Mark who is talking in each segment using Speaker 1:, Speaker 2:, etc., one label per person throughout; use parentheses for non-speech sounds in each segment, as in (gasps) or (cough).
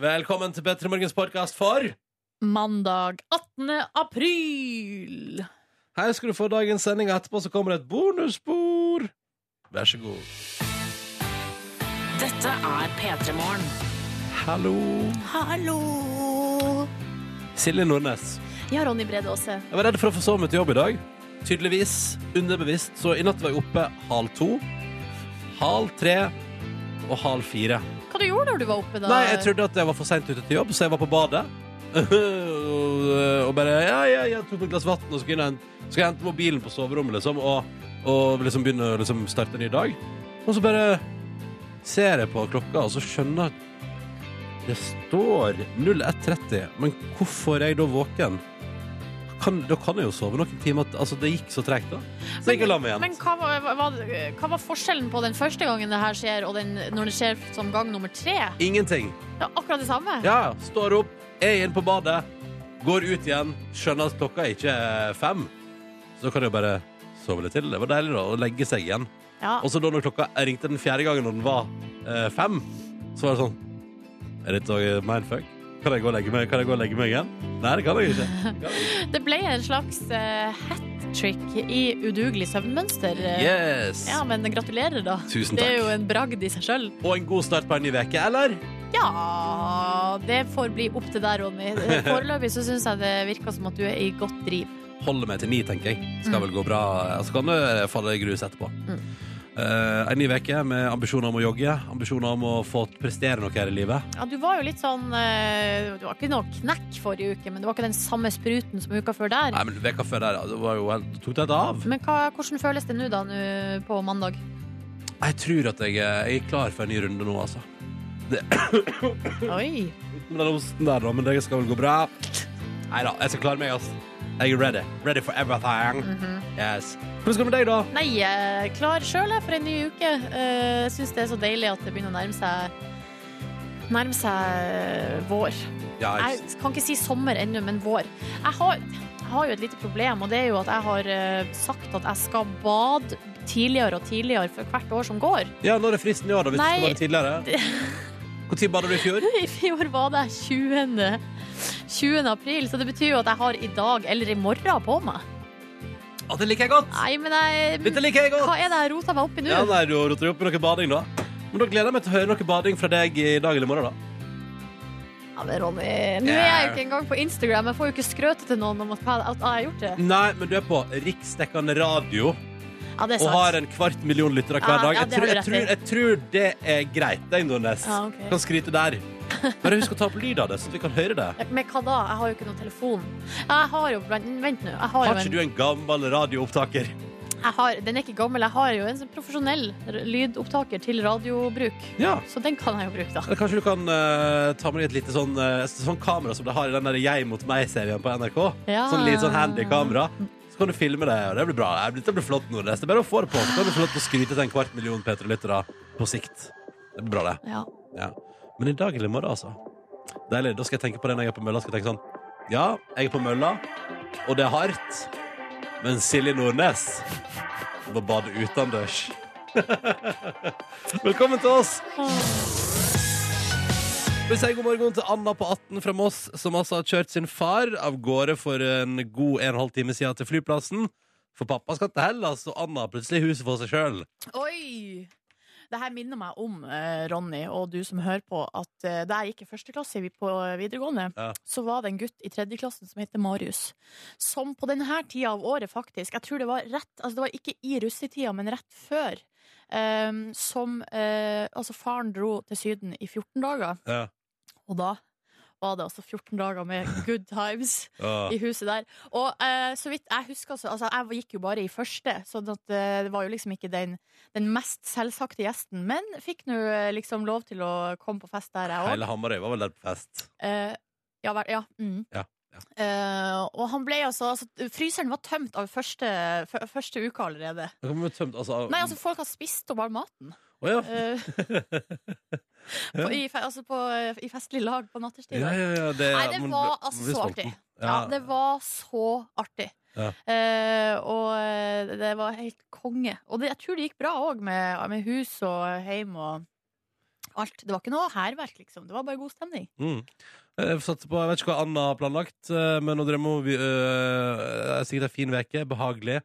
Speaker 1: Velkommen til Petter Morgens podkast for
Speaker 2: Mandag 18. april.
Speaker 1: Her skal du få dagens sending, og etterpå så kommer det et bonusspor. Vær så god.
Speaker 3: Dette er P3 Morgen.
Speaker 1: Hallo.
Speaker 2: Hallo!
Speaker 1: Silje Nordnes.
Speaker 2: Ja, Ronny Brede Aase.
Speaker 1: Jeg var redd for å forsove meg til jobb i dag. Tydeligvis. Underbevisst. Så i natt var jeg oppe halv to, halv tre og halv fire.
Speaker 2: Hva du gjorde du når du var oppe da?
Speaker 1: Nei, jeg trodde at jeg var for seint ute til jobb, så jeg var på badet. (laughs) og, og bare ja, ja, ja, tok meg et glass vann og skulle hente, skulle hente mobilen på soverommet, liksom. Og, og liksom begynne å liksom, starte en ny dag. Og så bare ser jeg på klokka, og så skjønner jeg at det står 01.30. Men hvorfor er jeg da våken? Kan, da kan jeg jo sove noen timer. Altså, det gikk så tregt, da. Så jeg gikk og la meg igjen.
Speaker 2: Men hva var, hva, hva var forskjellen på den første gangen det her skjer, og den, når det skjer som gang nummer tre?
Speaker 1: Ingenting.
Speaker 2: Det er akkurat det samme.
Speaker 1: Ja, ja. står opp, er igjen på badet, går ut igjen, skjønner at klokka er ikke er fem. Så da kan jeg bare sove litt til. Det var deilig da, å legge seg igjen.
Speaker 2: Ja.
Speaker 1: Og så da når klokka jeg ringte den fjerde gangen når den var eh, fem, så var det sånn Er dette også mindfuck? Kan jeg gå og legge meg, kan jeg gå og legge meg igjen? Nei, det kan jeg ikke. Det
Speaker 2: (laughs)
Speaker 1: kan jeg ikke.
Speaker 2: Det ble en slags eh, hat trick i udugelig søvnmønster.
Speaker 1: Yes!
Speaker 2: Ja, men gratulerer, da.
Speaker 1: Tusen
Speaker 2: Det er jo
Speaker 1: takk.
Speaker 2: en bragd i seg sjøl.
Speaker 1: Og en god start på en ny uke, eller?
Speaker 2: Ja, det får bli opp til deg,
Speaker 1: (laughs)
Speaker 2: Ronny. Foreløpig så syns jeg det virker som at du er i godt driv.
Speaker 1: Holder meg til ni, tenker jeg. Skal vel gå bra. Så kan det falle i grus etterpå.
Speaker 2: Mm.
Speaker 1: Eh, en ny uke med ambisjoner om å jogge, ambisjoner om å få prestere noe her i livet.
Speaker 2: Ja, du var jo litt sånn eh, Du var ikke noe knekk forrige uke, men det var ikke den samme spruten som uka før der.
Speaker 1: Nei, men veka før der, det var jo helt, tok det helt av.
Speaker 2: Men hva, hvordan føles det nå, da, nå på mandag?
Speaker 1: Jeg tror at jeg, er- jeg er klar for en ny runde nå, altså.
Speaker 2: Oi.
Speaker 1: Med den osten der, da, men det skal vel gå bra. Nei da, jeg skal klare meg, altså. Jeg er ready. Ready for everything. Yes. Hvordan skal det med deg, da?
Speaker 2: Nei, jeg er klar sjøl for en ny uke. Eh, Jeg syns det er så deilig at det begynner å nærme seg Nærme seg vår.
Speaker 1: Ja, jeg-
Speaker 2: Jeg kan ikke si sommer ennå, men vår. Jeg har, jeg har jo et lite problem, og det er jo at jeg har eh, sagt at jeg skal bade tidligere og tidligere for hvert år som går.
Speaker 1: ja når er fristen i år, da? Hvis
Speaker 2: Nei.
Speaker 1: du skulle være (laughs) tidligere? Når bada du i fjor?
Speaker 2: (laughs) I fjor var det 20. 20. april, så det betyr jo at jeg har i dag eller i morgen på meg.
Speaker 1: Å, det liker jeg godt!
Speaker 2: Nei, men jeg
Speaker 1: Dette liker jeg godt!
Speaker 2: Hva er det jeg rota meg opp i nå?
Speaker 1: Ja, nei, du roter jo opp i noe bading, da. Men da gleder jeg meg til å høre noe bading fra deg i dag eller i morgen, da.
Speaker 2: Ja, men Ronny, nå er jeg jo ikke engang på Instagram. Jeg får jo ikke skrøte til noen om at hva- at jeg har gjort det.
Speaker 1: Nei, men du er på riksdekkende radio.
Speaker 2: Ja, det er
Speaker 1: og har
Speaker 2: sant.
Speaker 1: en kvart million lyttere
Speaker 2: Ja,
Speaker 1: hver dag.
Speaker 2: ja,
Speaker 1: Jeg
Speaker 2: det
Speaker 1: tror,
Speaker 2: har du
Speaker 1: jeg
Speaker 2: rett i.
Speaker 1: tror, jeg tror det er greit, det, Nordnes.
Speaker 2: Ja, ok.
Speaker 1: Kan skryte
Speaker 2: (laughs)
Speaker 1: der. Bare husk å ta opp lyd av det, så vi kan høre det.
Speaker 2: Men hva da? Jeg har jo ikke noen telefon. Jeg har jo Vent, vent nå. Jeg har jo
Speaker 1: Har ikke
Speaker 2: en,
Speaker 1: du en gammel radioopptaker?
Speaker 2: jeg har, den er ikke gammel. Jeg har jo en sånn profesjonell r- lydopptaker til radiobruk.
Speaker 1: Ja.
Speaker 2: Så den kan jeg jo bruke, da.
Speaker 1: Eller kanskje du kan eh, ta med deg et lite sånn, eh, sånn kamera som de har i den der Jeg mot meg-serien på NRK.
Speaker 2: Ja.
Speaker 1: Sånn litt sånn handy kamera. Så kan du filme det, og det blir bra. Det blir, det blir flott, Nordnes. Det er bare å få det på. Så kan du få lov til å skryte til en kvart million P3-lyttere på sikt. Det blir bra, det.
Speaker 2: Ja.
Speaker 1: Ja. Men i dag eller i morgen, altså. Deilig. Da skal jeg tenke på det når jeg er på mølla. Skal jeg tenke sånn Ja, jeg er på mølla, og det er hardt, men Silje Nordnes må bade utendørs. (laughs) Velkommen til oss! Vi sier god morgen til Anna på 18 fra Moss, som altså har kjørt sin far av gårde for en god en og en halv time siden til flyplassen. For pappa skal til Hellas, og Anna har plutselig huset for seg sjøl.
Speaker 2: Oi! Det her minner meg om, eh, Ronny, og du som hører på, at eh, da jeg gikk i første klasse vi- på eh, videregående,
Speaker 1: Ja.
Speaker 2: så var det en gutt i tredje klassen som heter Marius. Som på denne tida av året, faktisk, jeg tror det var rett Altså, det var ikke i russetida, men rett før. eh, som eh, Altså, faren dro til Syden i 14 dager,
Speaker 1: Ja.
Speaker 2: og da var det altså 14 dager med good times
Speaker 1: Ja.
Speaker 2: i huset der. Og eh, så vidt jeg husker, så altså, jeg gikk jo bare i første, så sånn at, eh, det var jo liksom ikke den, den mest selvsagte gjesten. Men fikk nå eh, liksom lov til å komme på fest der, jeg òg.
Speaker 1: Hele Hamarøy var vel der på fest.
Speaker 2: Eh, ja, vel, ja. Mm.
Speaker 1: Ja, ja.
Speaker 2: Eh, og han ble altså, altså Fryseren var tømt av første, f første uka allerede.
Speaker 1: Det kan bli tømt, altså.
Speaker 2: Nei, altså, folk har spist opp all maten.
Speaker 1: Å
Speaker 2: (laughs)
Speaker 1: ja.
Speaker 2: Eh, på, i, fe- altså på, eh, I festlig lag på natterstid.
Speaker 1: (laughs) Ja, ja, ja, det,
Speaker 2: Nei, det
Speaker 1: man
Speaker 2: var
Speaker 1: blir-
Speaker 2: altså så
Speaker 1: blir sulten.
Speaker 2: artig.
Speaker 1: Ja.
Speaker 2: Ja, det var så artig.
Speaker 1: Ja.
Speaker 2: Eh, og eh, det var helt konge. Og det, jeg tror det gikk bra òg, med, med hus og heim og alt. Det var ikke noe hærverk, liksom. Det var bare god stemning.
Speaker 1: Mm. Jeg satte på, jeg vet ikke hva Anna har planlagt, eh, men å drømme om vi- eh, Det er sikkert en fin uke. Behagelig.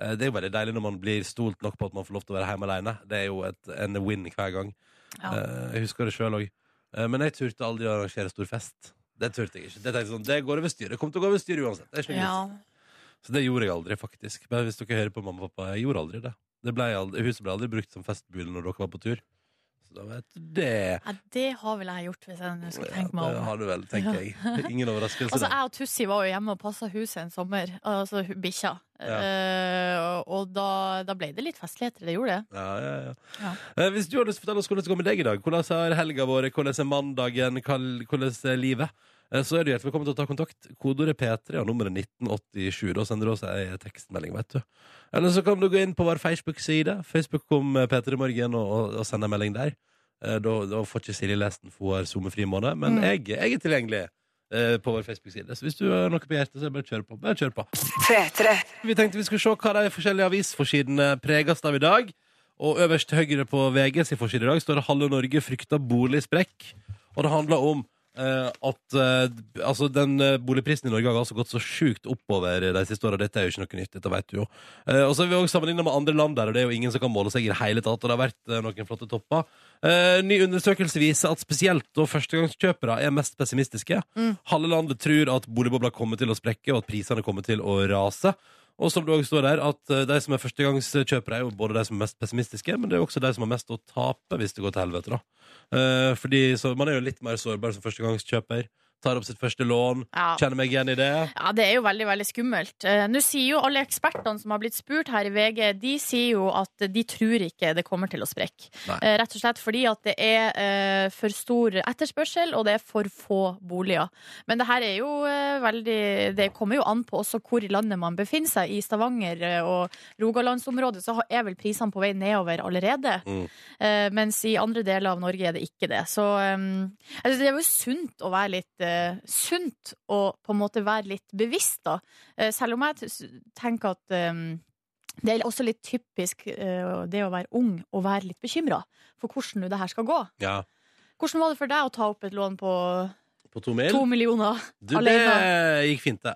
Speaker 1: Eh, Det er jo veldig deilig når man blir stolt nok på at man får lov til å være hjemme alene. Det er jo et, en win hver gang.
Speaker 2: Ja.
Speaker 1: Eh, Jeg husker det sjøl òg. Men jeg turte aldri å arrangere stor fest. Det turte jeg ikke. Det tenkte jeg sånn, det går over styret. Det kommer til å gå over styret uansett. Det er ikke noe
Speaker 2: Ja.
Speaker 1: vits. Så det gjorde jeg aldri, faktisk. Men hvis dere hører på mamma og pappa, jeg gjorde aldri det. det ble aldri, huset ble aldri brukt som festbule når dere var på tur. Så da vet du det.
Speaker 2: Nei, det har vel jeg gjort, hvis jeg nå skal tenke meg
Speaker 1: Ja, det
Speaker 2: om.
Speaker 1: har du vel, tenker jeg. Ingen overraskelse.
Speaker 2: (laughs) Altså,
Speaker 1: der.
Speaker 2: jeg og Tussi var jo hjemme og passa huset en sommer, altså hu- bikkja.
Speaker 1: Ja.
Speaker 2: Eh, og da, da ble det litt festligheter, det gjorde det.
Speaker 1: Ja, ja, ja.
Speaker 2: Ja.
Speaker 1: Eh, Hvis du har lyst til å fortelle oss hvordan det går med deg i dag, hvordan har helga vår, hvordan er mandagen, hva- hvordan er livet, eh, så er du hjertelig velkommen til å ta kontakt. Kodeordet P3 og nummeret 1987. Da sender du oss ei tekstmelding, vet du. Eller så kan du gå inn på vår Facebook-side, Facebook kom P3 Morgen, og, og, og sende en melding der. Eh, Da, da får ikke Silje lest den, for hun har sommerfri måned, men
Speaker 2: Mm.
Speaker 1: jeg, jeg er tilgjengelig. eh, På vår Facebook-side Så hvis du har noe på hjertet, så er det bare å kjøre på. Bare kjør på. Vi tenkte vi skulle se hva de forskjellige avisforsidene preges av i dag. Og øverst til høyre på VG sin forside i dag står det 'Halve Norge frykter boligsprekk'. Og det handler om eh, at eh, altså den eh, boligprisen i Norge har altså gått så sjukt oppover de siste åra. Dette er jo ikke noe nytt, dette vet du jo. Eh, og så er vi også sammenlignet med andre land der, og det er jo ingen som kan måle seg i det hele tatt. Og det har vært eh, noen flotte topper. Eh, ny undersøkelse viser at spesielt da førstegangskjøpere er mest pessimistiske.
Speaker 2: Mm.
Speaker 1: Halve landet tror at boligbobla kommer til å sprekke, og at prisene kommer til å rase. Og som det også står der, at eh, de som er førstegangskjøpere, er jo både de som er mest pessimistiske, men det er jo også de som har mest å tape hvis det går til helvete, da. Eh, fordi så man er jo litt mer sårbar som førstegangskjøper. Tar opp sitt første lån.
Speaker 2: Ja.
Speaker 1: Kjenner meg igjen i det.
Speaker 2: Ja, Det er jo veldig veldig skummelt. Eh, Nå sier jo alle ekspertene som har blitt spurt her i VG, de sier jo at de tror ikke det kommer til å sprekke.
Speaker 1: Nei.
Speaker 2: Eh, Rett og slett fordi at det er eh, for stor etterspørsel, og det er for få boliger. Men det her er jo eh, veldig Det kommer jo an på også hvor i landet man befinner seg. I Stavanger eh, og Rogalandsområdet så har- er vel prisene på vei nedover allerede.
Speaker 1: Mm.
Speaker 2: Eh, Mens i andre deler av Norge er det ikke det. Så eh, Altså, det er jo sunt å være litt eh, sunt og på en måte være litt bevisst, da. Eh, selv om jeg t s- tenker at eh, det er også litt typisk eh, det å være ung og være litt bekymra for hvordan nå det her skal gå.
Speaker 1: Ja.
Speaker 2: Hvordan var det for deg å ta opp et lån på
Speaker 1: På to mil.
Speaker 2: to millioner?
Speaker 1: Du,
Speaker 2: Alene.
Speaker 1: det gikk fint, det.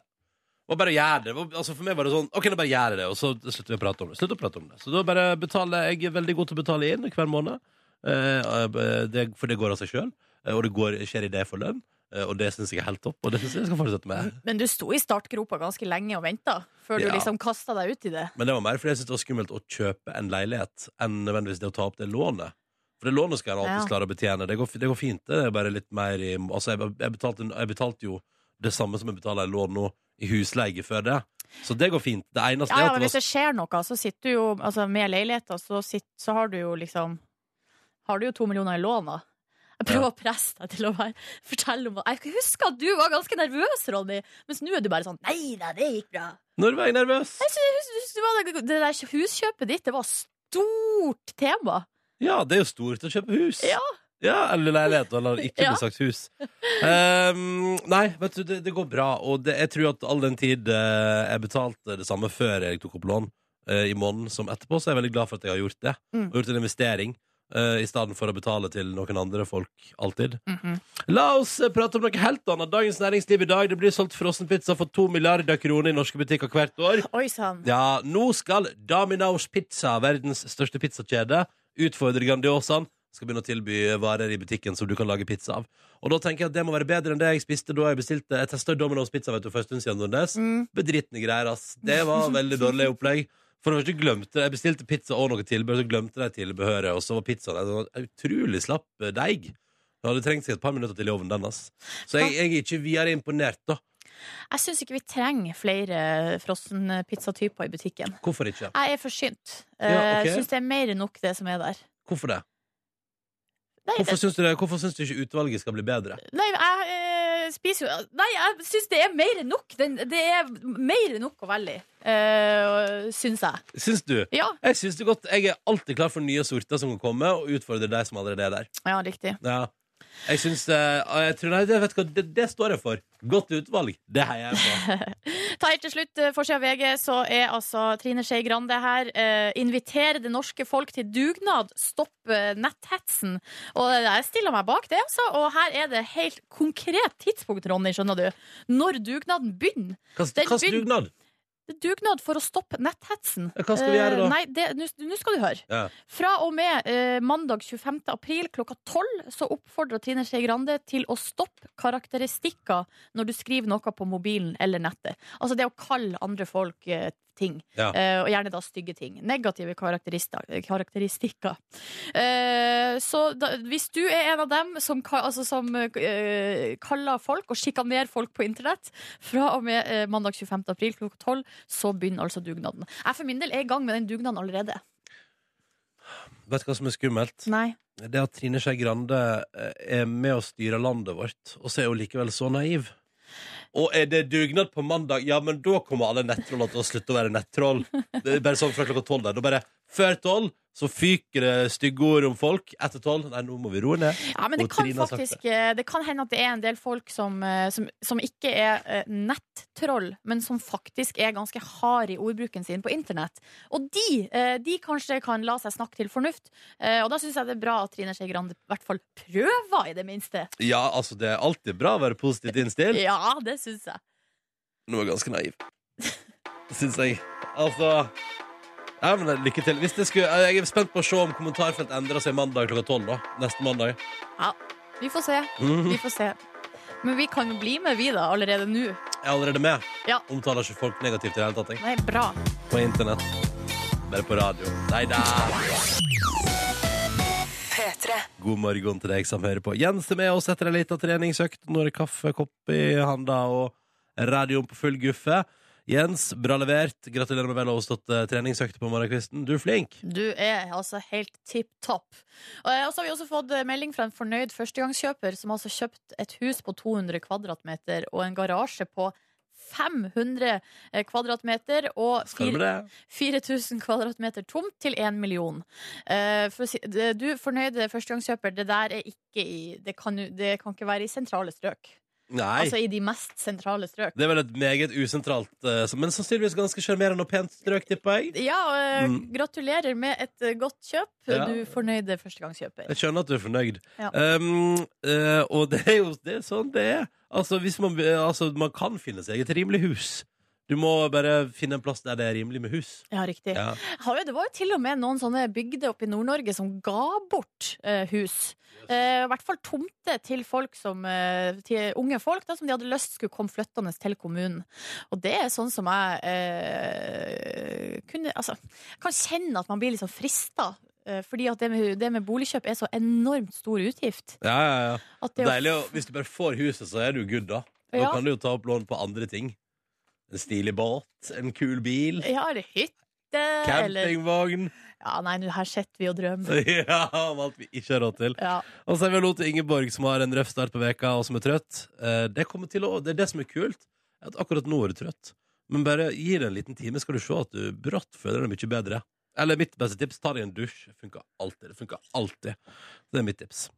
Speaker 1: Det var bare å gjøre det. Det var- Altså, for meg var det sånn Ok, da bare gjør jeg det, og så slutter vi å prate om det. Slutt å prate om det. Så da bare betaler jeg Jeg er veldig god til å betale inn hver måned, eh, eh, det, for det går av seg sjøl. Og det går, skjer i det for lønn. eh, Og det syns jeg er helt topp, og det syns jeg jeg skal fortsette med.
Speaker 2: Men du sto i startgropa ganske lenge og venta før
Speaker 1: Ja. Altså,
Speaker 2: du liksom kasta deg ut i det.
Speaker 1: Men det var mer fordi jeg syntes det var skummelt å kjøpe en leilighet enn nødvendigvis det å ta opp det lånet. For det lånet skal jeg alltid
Speaker 2: Ja.
Speaker 1: klare å betjene. Det går, det går fint. Det er bare litt mer i Altså, jeg, jeg, betalte, jeg betalte jo det samme som jeg betaler i lån nå, i husleie før det. Så det går fint. Det eneste
Speaker 2: Ja, ja,
Speaker 1: er at
Speaker 2: men
Speaker 1: det
Speaker 2: hvis
Speaker 1: var
Speaker 2: det skjer noe, så sitter du jo altså, med leiligheta, så, sitter- så har du jo liksom Har du jo to millioner i lån, da. Jeg prøver
Speaker 1: Ja.
Speaker 2: å presse deg til å være, fortelle om Jeg husker at du var ganske nervøs, Ronny, mens nå er du bare sånn Nei da, det gikk bra.
Speaker 1: Når var jeg nervøs?
Speaker 2: Jeg synes du var, det der huskjøpet ditt, det var stort tema.
Speaker 1: Ja, det er jo stort å kjøpe hus.
Speaker 2: Ja.
Speaker 1: Ja, eller
Speaker 2: (laughs)
Speaker 1: leilighet, eller ikke
Speaker 2: Ja.
Speaker 1: bli sagt hus. Ehm, nei, vet du, det, det går bra. Og det, jeg tror at all den tid eh, jeg betalte det samme før jeg tok opp lån eh, i måneden som etterpå, så er jeg veldig glad for at jeg har gjort det.
Speaker 2: Mm.
Speaker 1: Og gjort en investering eh, i stedet for å betale til noen andre folk alltid.
Speaker 2: Mhm.
Speaker 1: La oss eh, prate om noe helt annet. Dagens Næringsliv i dag. Det blir solgt frossenpizza for to milliarder kroner i norske butikker hvert år.
Speaker 2: Oi sann.
Speaker 1: Ja, nå skal Domino's Pizza, verdens største pizzakjede, utfordre Grandiosaen. Skal begynne å tilby varer i butikken som du kan lage pizza av. Og da tenker jeg at det må være bedre enn det jeg spiste da jeg bestilte Jeg testa Domino's Pizza vet du, for en stund siden. Nordnes.
Speaker 2: Mm.
Speaker 1: Bedritne greier, ass. Det var veldig dårlig opplegg. For det første glemte Jeg bestilte pizza og noe tilbehør, så glemte de tilbehøret, og så var pizzaen en sånn utrolig slapp eh, deig. Det hadde trengt seg et par minutter til i ovnen, den, ass. Så jeg, jeg er ikke videre imponert, da.
Speaker 2: Jeg syns ikke vi trenger flere eh, frossenpizzatyper i butikken.
Speaker 1: Hvorfor ikke?
Speaker 2: Jeg er forsynt.
Speaker 1: Ja,
Speaker 2: Eh,
Speaker 1: ok.
Speaker 2: Jeg syns det er mer enn nok, det som er der.
Speaker 1: Hvorfor det?
Speaker 2: Nei,
Speaker 1: Hvorfor syns du, det? Hvorfor syns du ikke utvalget skal bli bedre?
Speaker 2: Nei, jeg eh, spiser jo Nei, jeg syns det er mer enn nok. Den, det er mer enn nok å velge i, uh, syns jeg.
Speaker 1: Syns du?
Speaker 2: Ja,
Speaker 1: Jeg syns det godt. Jeg er alltid klar for nye sorter som kan komme, og utfordre de som allerede er der.
Speaker 2: ja riktig.
Speaker 1: Ja. Jeg syns eh, jeg tror, nei, det, vet du hva, det, det står jeg for. Godt utvalg. Det heier jeg på.
Speaker 2: Ta helt til slutt, eh, forsida av VG, så er altså Trine Skei Grande her. Eh, inviterer det norske folk til dugnad. Stopp eh, netthetsen. Og jeg stiller meg bak det, altså. Og her er det helt konkret tidspunkt, Ronny, skjønner du. Når dugnaden begynner.
Speaker 1: Hva
Speaker 2: Den
Speaker 1: slags
Speaker 2: begyn-
Speaker 1: dugnad?
Speaker 2: Det er dugnad for å stoppe netthetsen.
Speaker 1: Ja, hva skal vi gjøre da?
Speaker 2: Eh, Nei, det- Nå nå skal du høre.
Speaker 1: Ja.
Speaker 2: Fra og med eh, mandag 25. april klokka 12 så oppfordrer Trine Skei Grande til å stoppe karakteristikker når du skriver noe på mobilen eller nettet. Altså det å kalle andre folk eh, ting.
Speaker 1: Ja.
Speaker 2: Eh, og gjerne da stygge ting. Negative karakterista- karakteristikker. Eh, så da, hvis du er en av dem som, ka- altså, som eh, kaller folk og sjikanerer folk på internett, fra og med eh, mandag 25. april klokka 12, så begynner altså dugnaden. Jeg for min del er i gang med den dugnaden allerede.
Speaker 1: Vet du hva som er skummelt?
Speaker 2: Nei.
Speaker 1: Det at Trine Skei Grande eh, er med og styrer landet vårt, og så er hun likevel så naiv. Og er det dugnad på mandag, ja, men da kommer alle nettrollene til å slutte å være nettroll. Det er bare sånn fra klokka tolv der. Da bare Før tolv så fyker det stygge ord om folk. Etter tolv Nei, nå må vi roe ned.
Speaker 2: Ja, men det
Speaker 1: Og
Speaker 2: kan
Speaker 1: Trine har sagt
Speaker 2: faktisk eh, Det kan hende at det er en del folk som, eh, som, som ikke er eh, nettroll, men som faktisk er ganske hard i ordbruken sin på internett. Og de, eh, de kanskje kan la seg snakke til fornuft. Eh, Og da syns jeg det er bra at Trine Skei Grande i hvert fall prøver, i det minste.
Speaker 1: Ja, altså, det er alltid bra å være positivt innstilt.
Speaker 2: Ja, det syns jeg.
Speaker 1: Nå er jeg ganske naiv. Syns jeg. Altså ja, men Lykke til. Hvis det skulle, jeg er spent på å se om kommentarfelt endrer seg mandag klokka tolv. da. Neste mandag.
Speaker 2: Ja, vi får se.
Speaker 1: Mhm.
Speaker 2: Vi får se. Men vi kan jo bli med, vi, da, allerede nå.
Speaker 1: Jeg er allerede med.
Speaker 2: Ja.
Speaker 1: Omtaler ikke folk negativt i det hele tatt. jeg.
Speaker 2: Nei, bra.
Speaker 1: På internett. Bare på radio. Nei da! God morgen til deg som hører på. Jens er med oss etter ei lita treningsøkt. Nå er det kaffekopp i handa og radioen på full guffe. Jens, bra levert. Gratulerer med vel overstått eh, treningsøkt på morgenkvisten. Du er flink.
Speaker 2: Du er altså helt tipp topp. Og eh, og så har vi også fått eh, melding fra en fornøyd førstegangskjøper som altså kjøpt et hus på 200 kvadratmeter og en garasje på 500 eh, kvadratmeter og
Speaker 1: Skal du med
Speaker 2: fire-
Speaker 1: det?
Speaker 2: 4000 kvadratmeter tomt til 1 million. Eh, For å si, det- du fornøyde førstegangskjøper, det der er ikke i Det kan, jo- det kan ikke være i sentrale strøk.
Speaker 1: Nei.
Speaker 2: Altså i de mest sentrale strøk.
Speaker 1: det er vel et meget usentralt, eh, men sannsynligvis ganske sjarmerende og pent strøk, tipper jeg.
Speaker 2: Ja, og eh,
Speaker 1: Mm.
Speaker 2: gratulerer med et eh, godt kjøp,
Speaker 1: Ja.
Speaker 2: du fornøyde førstegangskjøper.
Speaker 1: Jeg skjønner at du er fornøyd.
Speaker 2: Ja.
Speaker 1: Um, eh, og det er jo det er sånn det er. Altså, hvis man, eh, altså, man kan finne seg et rimelig hus. Du må bare finne en plass der det er rimelig med hus.
Speaker 2: Ja, riktig.
Speaker 1: Ja.
Speaker 2: Har jo- Det var jo til og med noen sånne bygder oppe i Nord-Norge som ga bort eh, hus. Eh, I hvert fall tomter til folk som eh, Til unge folk da, som de hadde lyst skulle komme flyttende til kommunen. Og det er sånn som jeg eh, kunne Altså, jeg kan kjenne at man blir liksom frista. eh, Fordi at det med, det med boligkjøp er så enormt stor utgift.
Speaker 1: Ja, ja, ja.
Speaker 2: At det å-
Speaker 1: Deilig. å- Hvis du bare får huset, så er du good, da. Da
Speaker 2: Ja.
Speaker 1: kan du jo ta opp lån på andre ting. En stilig båt, en kul bil,
Speaker 2: Ja, eller hytte, eller
Speaker 1: campingvogn (laughs)
Speaker 2: Ja, nei, nå her sitter vi og drømmer.
Speaker 1: Ja, om alt vi ikke har råd til.
Speaker 2: Ja.
Speaker 1: Og så er vi hallo til Ingeborg, som har en røff start på veka, og som er trøtt. Eh, Det, kommer til å, det er det som er kult, at akkurat nå er du trøtt. Men bare gi det en liten time, skal du se at du brått føler deg mye bedre. Eller mitt beste tips, ta deg en dusj. Funker alltid. Det funker alltid. Det er mitt tips.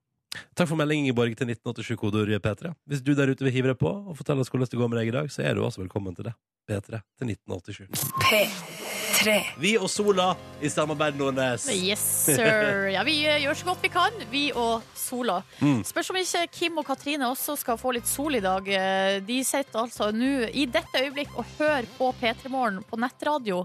Speaker 1: Takk for melding, Ingeborg, til 1987-kodeord P3. Hvis du der ute vil hive deg på og fortelle oss hvordan det går med deg i dag, så er du også velkommen til det. P3 til 1987. Vi og Sola i samarbeid, Nordnes.
Speaker 2: Yes,
Speaker 1: (laughs)
Speaker 2: sir. Ja, vi eh, gjør så godt vi kan, vi og sola.
Speaker 1: Mm.
Speaker 2: Spørs om ikke Kim og Katrine også skal få litt sol i dag. Eh, De sitter altså nå i dette øyeblikk og hører på P3 Morgen på nettradio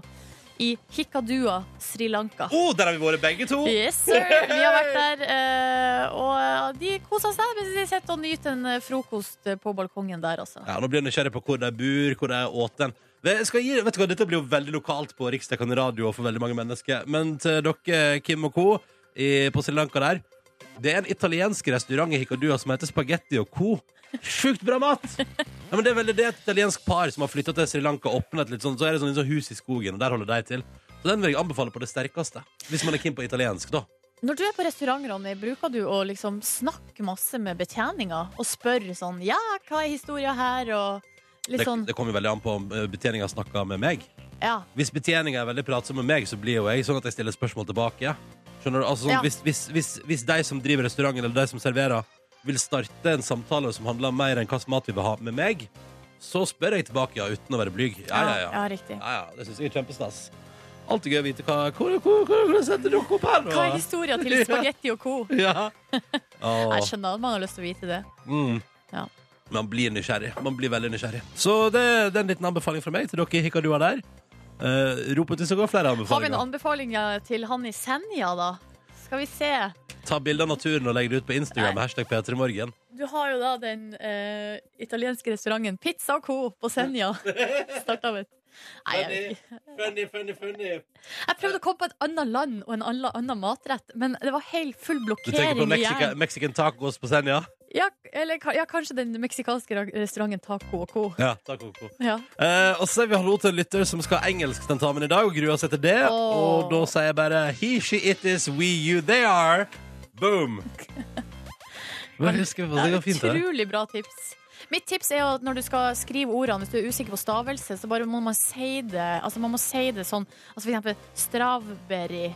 Speaker 2: i Hikkadua, Sri Lanka.
Speaker 1: Å, der har vi vært begge to!
Speaker 2: Yes, sir! Vi har vært der. eh, Og eh, de koser seg mens de sitter og nyter en eh, frokost eh, på balkongen der, altså.
Speaker 1: Ja, Nå blir jeg nysgjerrig på hvor de bor, hvor de åt den. Det skal jeg gi, vet du hva, Dette blir jo veldig lokalt på riksdekkende radio og for veldig mange mennesker. Men til dere, Kim og co. I, på Sri Lanka der Det er en italiensk restaurant i Hikadua som heter Spagetti og co. Sjukt bra mat! Ja, men det er veldig det er et italiensk par som har flytta til Sri Lanka og åpnet litt sånn. Så er det sånn, litt sånn hus i skogen, og der holder de til. Så den vil jeg anbefale på det sterkeste. Hvis man er keen på italiensk, da.
Speaker 2: Når du er på restaurant, Ronny, bruker du å liksom snakke masse med betjeninga og spørre sånn Ja, hva er historia her? Og litt
Speaker 1: Det,
Speaker 2: sånn
Speaker 1: det kommer jo veldig an på om eh, betjeninga snakker med meg.
Speaker 2: Ja.
Speaker 1: Hvis betjeninga er veldig pratsom med meg, så blir jo jeg sånn at jeg stiller spørsmål tilbake. Skjønner du? Altså, sånn,
Speaker 2: Ja.
Speaker 1: hvis, hvis, hvis, hvis de som driver restauranten, eller de som serverer, vil starte en samtale som handler om mer enn hva slags mat vi vil ha med meg, så spør jeg tilbake, ja, uten å være blyg. Ja, ja, ja.
Speaker 2: ja riktig.
Speaker 1: ja, ja det syns jeg er kjempestas. Alltid gøy å vite hva Hvor, hvor, hvor, hvor setter dere opp her,
Speaker 2: Hva er historia
Speaker 1: (laughs)
Speaker 2: til spagetti og co.? (laughs)
Speaker 1: Ja. Åh.
Speaker 2: Jeg skjønner at man har lyst til å vite det.
Speaker 1: Mm.
Speaker 2: Ja.
Speaker 1: Man blir nysgjerrig. Man blir veldig nysgjerrig. Så det, det er en liten anbefaling fra meg til dere i Hikadua der. Eh, rop ut hvis det går flere
Speaker 2: Har vi
Speaker 1: anbefalinger.
Speaker 2: noen anbefalinger til han i Senja, da? Skal vi se.
Speaker 1: Ta bilde av naturen og legg det ut på Instagram med hashtag P3morgen.
Speaker 2: Du har jo da den eh, italienske restauranten Pizza og Co. på Senja.
Speaker 1: (laughs)
Speaker 2: Starta med Nei, jeg, vet ikke.
Speaker 1: Funny, funny, funny.
Speaker 2: jeg prøvde å komme på et annet land og en alle- annen matrett, men det var helt full
Speaker 1: Du tenker på
Speaker 2: blokkering i
Speaker 1: Mexica,
Speaker 2: hjernen.
Speaker 1: Mexican tacos på Senja?
Speaker 2: Ja, eller ka- ja, kanskje den meksikanske ra- restauranten Taco og Co.
Speaker 1: Ja. Taco, co.
Speaker 2: Ja.
Speaker 1: Eh, og så sier vi hallo til en lytter som skal ha engelsktentamen i dag og gruer seg til det.
Speaker 2: Åh.
Speaker 1: Og da sier jeg bare He, she, it is, we, you, they are.
Speaker 2: (laughs)
Speaker 1: Boom. Hva husker vi på? Det går fint, det.
Speaker 2: Utrolig bra tips. Mitt tips er jo at når du skal skrive ordene, hvis du er usikker på stavelse, så bare må man si det. Altså man må si det sånn altså For eksempel strawberry.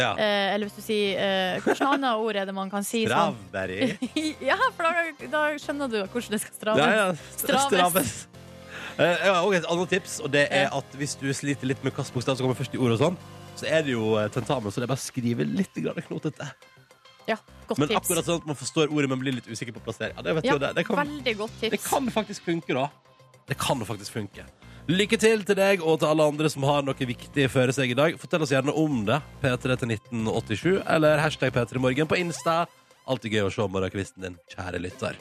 Speaker 1: Ja.
Speaker 2: Eh, eller hvis du sier eh, Hvilket annet ord er det man kan si sånn?
Speaker 1: Strawberry.
Speaker 2: (laughs) ja, for da, da skjønner du hvordan det skal straves.
Speaker 1: Ja, ja.
Speaker 2: Straves.
Speaker 1: Straves. Eh, Jeg har også et annet tips, og det er at hvis du sliter litt med hvilken bokstav som kommer først i ordet, og sånn, så er det jo eh, tentamen, så det er bare å skrive litt grann knotete.
Speaker 2: Ja, godt
Speaker 1: Men
Speaker 2: tips.
Speaker 1: akkurat sånn at man forstår ordet, men blir litt usikker på plassering. Ja, det, vet
Speaker 2: ja,
Speaker 1: du, det, det, kan,
Speaker 2: Veldig godt tips.
Speaker 1: det kan faktisk funke, da. Det kan jo faktisk funke. Lykke til til deg og til alle andre som har noe viktig føre seg i dag. Fortell oss gjerne om det. P3 til 1987 eller hashtag P3morgen på Insta. Alltid gøy å se morgenkvisten din, kjære lytter.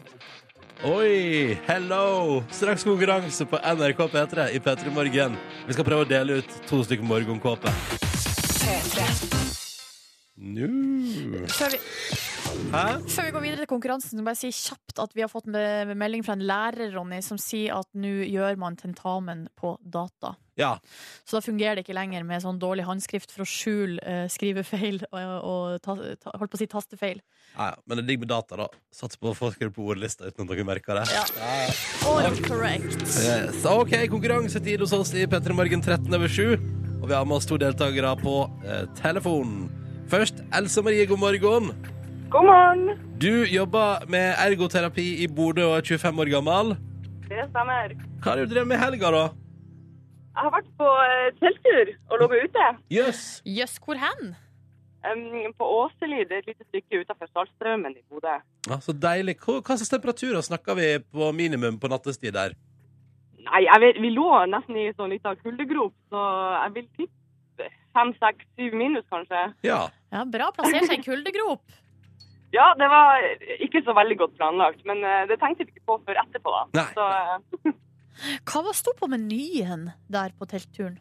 Speaker 1: Oi, hello! Straks konkurranse på NRK P3 i P3 Morgen. Vi skal prøve å dele ut to stykker morgenkåpe. Nå
Speaker 2: Før, vi,
Speaker 1: Hæ?
Speaker 2: før vi går videre til konkurransen, så må jeg si kjapt at vi har fått med, med melding fra en lærer, Ronny, som sier at nå gjør man tentamen på data.
Speaker 1: Ja.
Speaker 2: Så da fungerer det ikke lenger med sånn dårlig håndskrift for å skjule eh, skrivefeil og, og ta, ta, holdt på å si tastefeil.
Speaker 1: Ja, ja, men det ligger med data, da. Sats på å få skrevet på ordlista uten at dere merker det.
Speaker 2: Ja. All correct.
Speaker 1: Yes. OK, konkurransetid hos oss i P3 Morgen 13 over 7. Og vi har med oss to deltakere på eh, telefonen. Først Else Marie, god morgen.
Speaker 3: God morgen.
Speaker 1: Du jobber med ergoterapi i Bodø og er 25 år gammel.
Speaker 3: Det stemmer.
Speaker 1: Hva har du drevet med i helga, da?
Speaker 3: Jeg har vært på eh, telttur og lå meg ute
Speaker 1: Jøss.
Speaker 2: Jøss, hvor hen?
Speaker 3: em, på Åseli. Det er et lite stykke utenfor Saltstraumen i Bodø.
Speaker 1: Ja, så deilig. Hva, hva slags temperaturer snakker vi på minimum på nattestid der?
Speaker 3: Nei, jeg vet, vi lå nesten i sånn liten kuldegrop, så jeg vil tippe fem, seks, syv minus, kanskje.
Speaker 1: Ja.
Speaker 2: Ja, Bra plassert seg i kuldegrop.
Speaker 3: Ja, det var ikke så veldig godt planlagt, men eh, det tenkte vi ikke på før etterpå, da.
Speaker 1: Nei.
Speaker 3: Så eh,
Speaker 2: Hva var sto på menyen der på teltturen?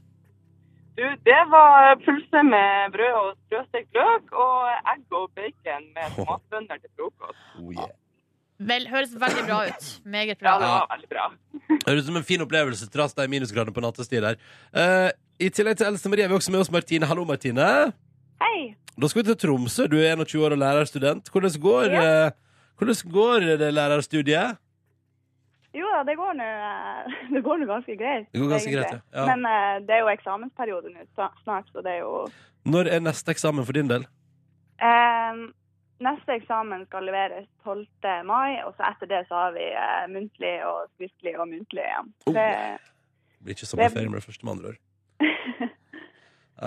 Speaker 3: du, det var pølse med brød og sprøstekt løk og egg og bacon med tomatbønner til frokost.
Speaker 1: Oh, yeah.
Speaker 2: Vel, høres veldig bra ut. Meget
Speaker 3: Ja,
Speaker 2: bra.
Speaker 3: det var veldig bra.
Speaker 1: Høres ut som en fin opplevelse trass de minusgradene på nattestid der. Eh, I tillegg til Else Marie er vi også med oss Martine. Hallo, Martine.
Speaker 4: Hei.
Speaker 1: Da skal vi til Tromsø. Du er 21 år og lærerstudent. Hvordan går, eh, hvordan går det lærerstudiet?
Speaker 4: Jo da, det går nå eh, (laughs) det går nå ganske greit.
Speaker 1: Det går ganske
Speaker 4: egentlig.
Speaker 1: greit, ja. Ja.
Speaker 4: Men eh, det er jo eksamensperiode nå sta- snart, så det er jo
Speaker 1: Når er neste eksamen for din del?
Speaker 4: Ehm, Neste eksamen skal leveres 12. mai, og så etter det så har vi eh, muntlig og skriftlig og muntlig igjen.
Speaker 1: Oh.
Speaker 4: Det,
Speaker 1: Det blir ikke sommerferie med det første med andre (laughs) år.